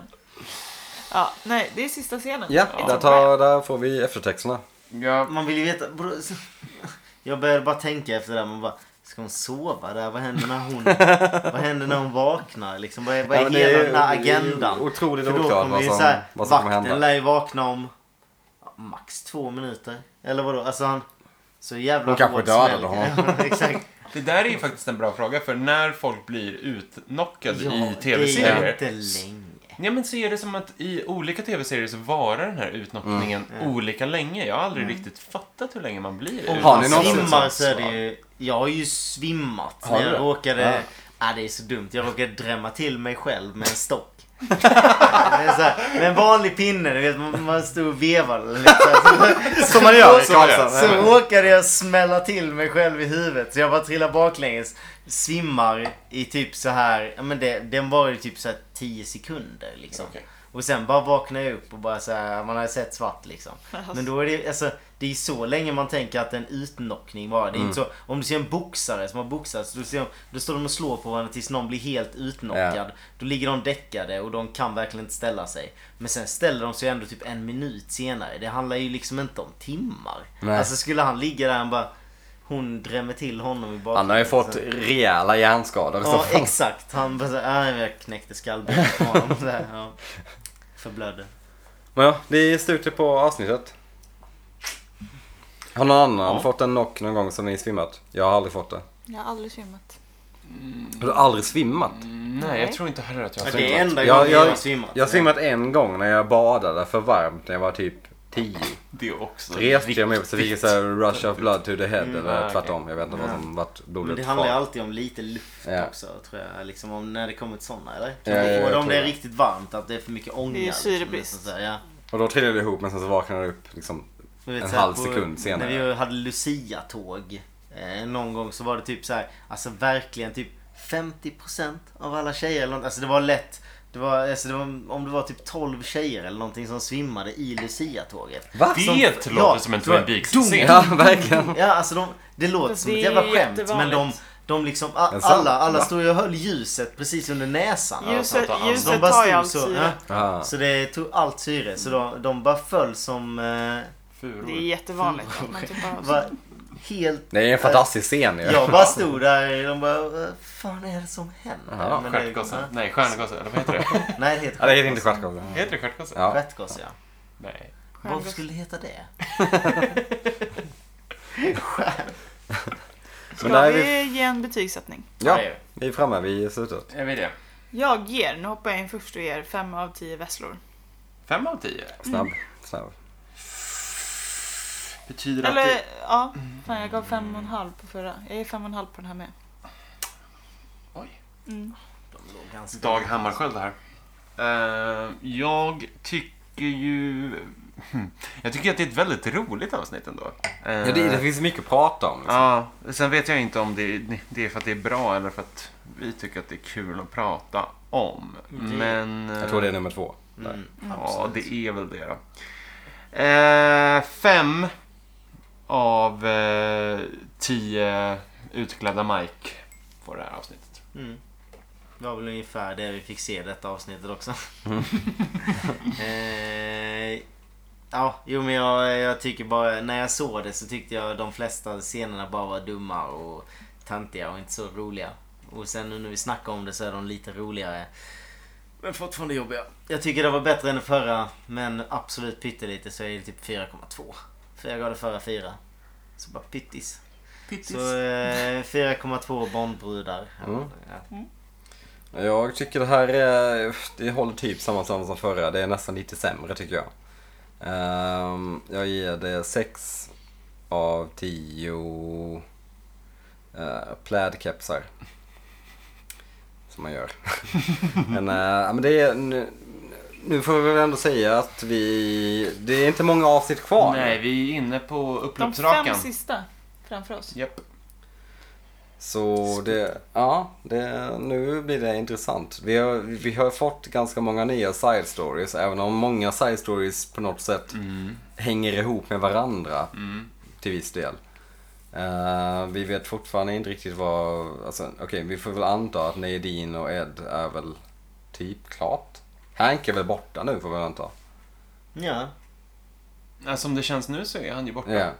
[SPEAKER 3] Ja, nej, det är sista scenen.
[SPEAKER 1] Ja,
[SPEAKER 3] It's
[SPEAKER 1] där,
[SPEAKER 3] a
[SPEAKER 1] tar, där får vi eftertexterna.
[SPEAKER 4] Ja,
[SPEAKER 2] Man vill ju veta. bro, så- Jag började bara tänka efter det här. Man bara, ska hon sova där? Vad händer när hon, vad händer när hon vaknar? Liksom, vad är, vad är
[SPEAKER 1] Ja, men det
[SPEAKER 2] hela
[SPEAKER 1] är-
[SPEAKER 2] den här
[SPEAKER 1] det är
[SPEAKER 2] agendan?
[SPEAKER 1] Otroligt
[SPEAKER 2] För då
[SPEAKER 1] oklart
[SPEAKER 2] kommer
[SPEAKER 1] vad
[SPEAKER 2] ju
[SPEAKER 1] som,
[SPEAKER 2] så här,
[SPEAKER 1] vad som kommer
[SPEAKER 2] vakten
[SPEAKER 1] hända.
[SPEAKER 2] lär ju vakna om ja, max två minuter. Eller vadå? Alltså han... Så jävla
[SPEAKER 1] Hon kanske
[SPEAKER 2] hård
[SPEAKER 1] dödade
[SPEAKER 2] smäll.
[SPEAKER 1] honom.
[SPEAKER 2] <laughs> Ja, Exakt.
[SPEAKER 4] Det där är ju faktiskt en bra fråga, för när folk blir utknockade i
[SPEAKER 2] Det är
[SPEAKER 4] tv-serier.
[SPEAKER 2] inte länge.
[SPEAKER 4] Ja men så är det som att i olika tv-serier så varar den här utknockningen olika länge. Jag har aldrig riktigt fattat hur länge man blir
[SPEAKER 2] Om
[SPEAKER 1] Har
[SPEAKER 2] har
[SPEAKER 1] ni
[SPEAKER 2] ni
[SPEAKER 1] någonsin
[SPEAKER 2] svimmar
[SPEAKER 1] sånt
[SPEAKER 2] så är det ju... Jag har ju svimmat.
[SPEAKER 1] Har
[SPEAKER 2] när
[SPEAKER 1] du
[SPEAKER 2] jag
[SPEAKER 1] det?
[SPEAKER 2] råkade...
[SPEAKER 1] Ja.
[SPEAKER 2] Ja. det är så dumt. Jag råkade drämma till mig själv med en stock. <laughs> det är så här, med en vanlig pinne, du vet man, man stod och vevade lite alltså, så- så-
[SPEAKER 1] Som man gör
[SPEAKER 4] <laughs>
[SPEAKER 1] i
[SPEAKER 2] så-
[SPEAKER 1] Karlshamn.
[SPEAKER 2] Så råkade jag smälla till mig själv i huvudet så jag bara trillar baklänges. Svimmar i typ så här, ja men det, den var ju typ så här 10 sekunder liksom.
[SPEAKER 4] Okej.
[SPEAKER 2] Och sen bara vaknar jag upp och bara så här, man har sett svart liksom. Men då är det alltså, det är så länge man tänker att en utnockning var. Det är
[SPEAKER 1] Mm.
[SPEAKER 2] inte så, om du ser en boxare som har boxats, då, ser de, då står de och slår på varandra tills någon blir helt utnockad.
[SPEAKER 1] Ja.
[SPEAKER 2] Då ligger de däckade och de kan verkligen inte ställa sig. Men sen ställer de sig ändå typ en minut senare. Det handlar ju liksom inte om timmar.
[SPEAKER 1] Nej.
[SPEAKER 2] Alltså skulle han ligga där och bara... hon drämmer till honom i bakgrunden.
[SPEAKER 1] Han har ju fått
[SPEAKER 2] Så-
[SPEAKER 1] rejäla hjärnskador i så
[SPEAKER 2] Ja,
[SPEAKER 1] fall.
[SPEAKER 2] exakt. Han bara så här, "Aj, jag knäckte skallbenet
[SPEAKER 1] <laughs>
[SPEAKER 2] på honom. Så här, ja. Förblödde.
[SPEAKER 1] Men ja, det är slutet på avsnittet. Har någon annan
[SPEAKER 4] Ja.
[SPEAKER 1] fått en knock någon gång som ni svimmat? Jag har aldrig fått det.
[SPEAKER 6] Jag har aldrig svimmat.
[SPEAKER 1] Har du aldrig svimmat?
[SPEAKER 4] Nej, jag tror inte heller att jag har
[SPEAKER 2] det är
[SPEAKER 4] svimmat.
[SPEAKER 2] enda
[SPEAKER 1] Jag-
[SPEAKER 2] gången jag,
[SPEAKER 1] jag-
[SPEAKER 2] har svimmat.
[SPEAKER 1] Jag har svimmat en gång när jag badade för varmt när jag var typ 10.
[SPEAKER 4] Det är också
[SPEAKER 1] Reste jag mig upp
[SPEAKER 4] riktigt-
[SPEAKER 1] så fick jag så här rush of blood to the head
[SPEAKER 4] ah,
[SPEAKER 1] eller
[SPEAKER 4] okej.
[SPEAKER 1] tvärtom. Jag vet inte vad som vart
[SPEAKER 2] Men
[SPEAKER 1] blodet
[SPEAKER 2] det handlar ju
[SPEAKER 1] kvar.
[SPEAKER 2] alltid om lite luft
[SPEAKER 1] Ja.
[SPEAKER 2] också tror jag. Liksom om när det kommer till sådana eller?
[SPEAKER 1] Ja, ja, jag
[SPEAKER 2] och om
[SPEAKER 1] tror
[SPEAKER 2] det är
[SPEAKER 1] det.
[SPEAKER 2] riktigt varmt att det är för mycket ånga.
[SPEAKER 3] Det är ju
[SPEAKER 2] liksom,
[SPEAKER 3] syrebrist.
[SPEAKER 2] nästan så här, ja.
[SPEAKER 1] Och då trillade jag ihop men sen så vaknade jag upp liksom.
[SPEAKER 2] Men vet
[SPEAKER 1] En
[SPEAKER 2] så här,
[SPEAKER 1] halv
[SPEAKER 2] på-
[SPEAKER 1] sekund senare.
[SPEAKER 2] När vi hade Lucia-tåg eh, någon gång så var det typ så här, alltså verkligen typ 50% av alla tjejer eller något, alltså det var lätt. Det var, alltså det var, om det var typ 12 tjejer eller någonting som svimmade i Lucia-tåget.
[SPEAKER 1] Va?
[SPEAKER 4] Det
[SPEAKER 2] Som-
[SPEAKER 4] låter
[SPEAKER 2] Ja,
[SPEAKER 4] som en
[SPEAKER 2] det var
[SPEAKER 4] Twin
[SPEAKER 2] dum-
[SPEAKER 4] Peaks-scen.
[SPEAKER 1] Ja, verkligen.
[SPEAKER 2] Ja, alltså de, det låter
[SPEAKER 3] Fast
[SPEAKER 2] som ett
[SPEAKER 3] det
[SPEAKER 2] jävla
[SPEAKER 3] är
[SPEAKER 2] skämt men de,
[SPEAKER 3] jättevanligt.
[SPEAKER 2] de liksom, a-
[SPEAKER 1] Men sant,
[SPEAKER 2] alla, alla
[SPEAKER 1] va?
[SPEAKER 2] stod ju och höll ljuset precis under näsan.
[SPEAKER 3] Ljuset,
[SPEAKER 4] alltså,
[SPEAKER 2] de
[SPEAKER 3] ljuset
[SPEAKER 2] bara
[SPEAKER 3] tar ju
[SPEAKER 2] stod
[SPEAKER 3] allt
[SPEAKER 2] så,
[SPEAKER 3] syre.
[SPEAKER 2] ja.
[SPEAKER 1] Ah.
[SPEAKER 2] så det tog allt syre så de, de bara föll som, eh,
[SPEAKER 4] Furor.
[SPEAKER 3] Det är jättevanligt. att man typ bara-
[SPEAKER 2] var helt
[SPEAKER 1] Det är en fantastisk scen ju.
[SPEAKER 2] Jag bara stod där och de bara, vad fan är det som händer?
[SPEAKER 1] Ja,
[SPEAKER 2] Men det-
[SPEAKER 4] Stjärtgossen. Nej, stjärngossen. Eller vad
[SPEAKER 2] <laughs>
[SPEAKER 4] heter det?
[SPEAKER 2] Nej, det heter
[SPEAKER 1] Ja, det heter inte stjärtgossen.
[SPEAKER 4] heter det stjärtgossen?
[SPEAKER 1] Ja.
[SPEAKER 2] Stjärtgoss, ja.
[SPEAKER 4] Nej.
[SPEAKER 2] Varför
[SPEAKER 3] Stjärngoss.
[SPEAKER 2] skulle det heta det?
[SPEAKER 1] Men där
[SPEAKER 3] Ska
[SPEAKER 1] är vi...
[SPEAKER 3] vi ge en betygssättning?
[SPEAKER 1] Ja, vi är framme vid slutet.
[SPEAKER 4] Är vi det?
[SPEAKER 3] Jag ger, nu hoppar jag in först och ger fem av tio vesslor.
[SPEAKER 4] Fem av tio?
[SPEAKER 1] Snabb, snabb.
[SPEAKER 4] Betyder att
[SPEAKER 3] Eller
[SPEAKER 4] det...
[SPEAKER 3] ja, fan jag gav fem och en halv på förra. Jag ger fem och en halv på den här med.
[SPEAKER 4] Oj.
[SPEAKER 3] Mm.
[SPEAKER 2] De låg ganska...
[SPEAKER 4] Dag Hammarskjöld här. Eh, jag tycker ju... Hmm. Jag tycker att det är ett väldigt roligt avsnitt ändå. Eh,
[SPEAKER 1] Ja, det, det finns mycket att prata om. Liksom.
[SPEAKER 4] Ja, sen vet jag inte om det, det är för att det är bra eller för att vi tycker att det är kul att prata om.
[SPEAKER 2] Det-
[SPEAKER 4] Men... eh,
[SPEAKER 1] Jag tror det är nummer två. Där.
[SPEAKER 2] Mm,
[SPEAKER 4] Ja,
[SPEAKER 2] absolut.
[SPEAKER 4] det är väl det då. Eh, fem av eh, tio utklädda Mike får det här avsnittet.
[SPEAKER 2] Mm. Det var väl ungefär det vi fick se i detta avsnittet också. <laughs> eh, ja, jo men jag, jag tycker bara, när jag såg det så tyckte jag de flesta scenerna bara var dumma och tantiga och inte så roliga. Och sen nu när vi snackar om det så är de lite roligare. Men fortfarande jobbiga. Jag tycker det var bättre än det förra, men absolut pyttelite så är det typ 4,2. För jag gav det förra 4. Så bara pyttis. Så eh, 4,2 Bondbrudar.
[SPEAKER 1] Mm.
[SPEAKER 2] Ja.
[SPEAKER 1] Jag tycker det här är, det håller typ samma samma som förra. Det är nästan lite sämre tycker jag. Ehm, jag ger det 6 av 10 eh, plädkepsar. Som man gör. <laughs> men, eh, ja, men det är, nu, nu får vi väl ändå säga att vi, det är inte många avsnitt kvar.
[SPEAKER 4] Nej, vi är inne på
[SPEAKER 3] De fem
[SPEAKER 4] upploppsrakan.
[SPEAKER 3] sista framför oss.
[SPEAKER 4] Japp.
[SPEAKER 1] Så det, ja, det, nu blir det intressant. Vi har, vi har fått ganska många nya side stories, även om många side stories på något sätt
[SPEAKER 4] Mm.
[SPEAKER 1] hänger ihop med varandra
[SPEAKER 4] Mm.
[SPEAKER 1] till viss del. Eh, vi vet fortfarande inte riktigt vad, alltså, okej vi får väl anta att Nadine och Ed är väl typ klart. Hank är väl borta nu får vi väl anta.
[SPEAKER 2] Ja,
[SPEAKER 4] Ja, som Alltså, det känns nu så är han ju borta.
[SPEAKER 1] Ja.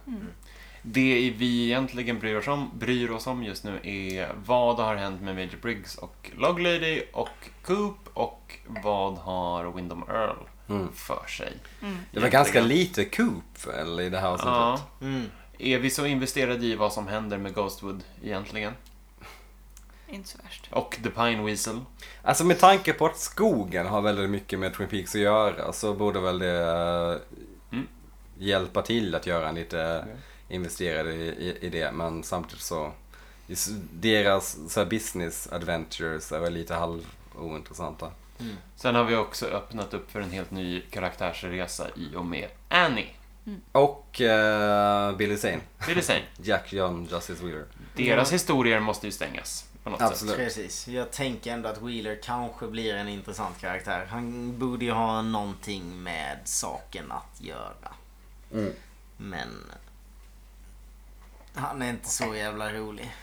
[SPEAKER 4] Det vi egentligen bryr oss, om, bryr oss om just nu är vad har hänt med Major Briggs och Log Lady och Coop och vad har Windom Earl
[SPEAKER 1] Mm.
[SPEAKER 4] för sig?
[SPEAKER 1] Det var ganska lite Coop eller, i det här avsnittet.
[SPEAKER 4] Ja.
[SPEAKER 2] mm.
[SPEAKER 4] Är vi så investerade i vad som händer med Ghostwood egentligen?
[SPEAKER 3] Inte så värst.
[SPEAKER 4] Och The Pine Weasel?
[SPEAKER 1] Alltså med tanke på att skogen har väldigt mycket med Twin Peaks att göra så borde väl det eh,
[SPEAKER 4] Mm.
[SPEAKER 1] hjälpa till att göra en lite investerad i, i, i det. Men samtidigt så, just deras så här business adventures är väl lite halv ointressanta.
[SPEAKER 4] Sen har vi också öppnat upp för en helt ny karaktärsresa i och med Annie.
[SPEAKER 1] Och eh, Billy Zane,
[SPEAKER 4] Det är det sen.
[SPEAKER 1] Jack John Justice Wheeler.
[SPEAKER 4] Deras historier måste ju stängas på något sätt.
[SPEAKER 1] Absolut.
[SPEAKER 2] Precis. Jag tänker ändå att Wheeler kanske blir en intressant karaktär. Han borde ju ha någonting med saken att göra.
[SPEAKER 1] Mm.
[SPEAKER 2] Men... Han är inte så jävla rolig.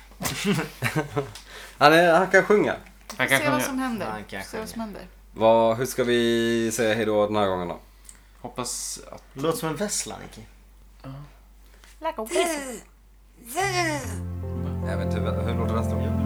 [SPEAKER 1] Han, är, han kan sjunga.
[SPEAKER 4] Han kan
[SPEAKER 3] Se vad som
[SPEAKER 4] sjunga.
[SPEAKER 2] Han
[SPEAKER 3] händer.
[SPEAKER 2] kan
[SPEAKER 3] Se vad som händer.
[SPEAKER 1] Vad, hur ska vi säga hejdå den här gången då?
[SPEAKER 4] Hoppas att...
[SPEAKER 2] Låter som en vessla, Nicky.
[SPEAKER 3] Like a whistle.
[SPEAKER 1] Jag vet inte, hur låter resten?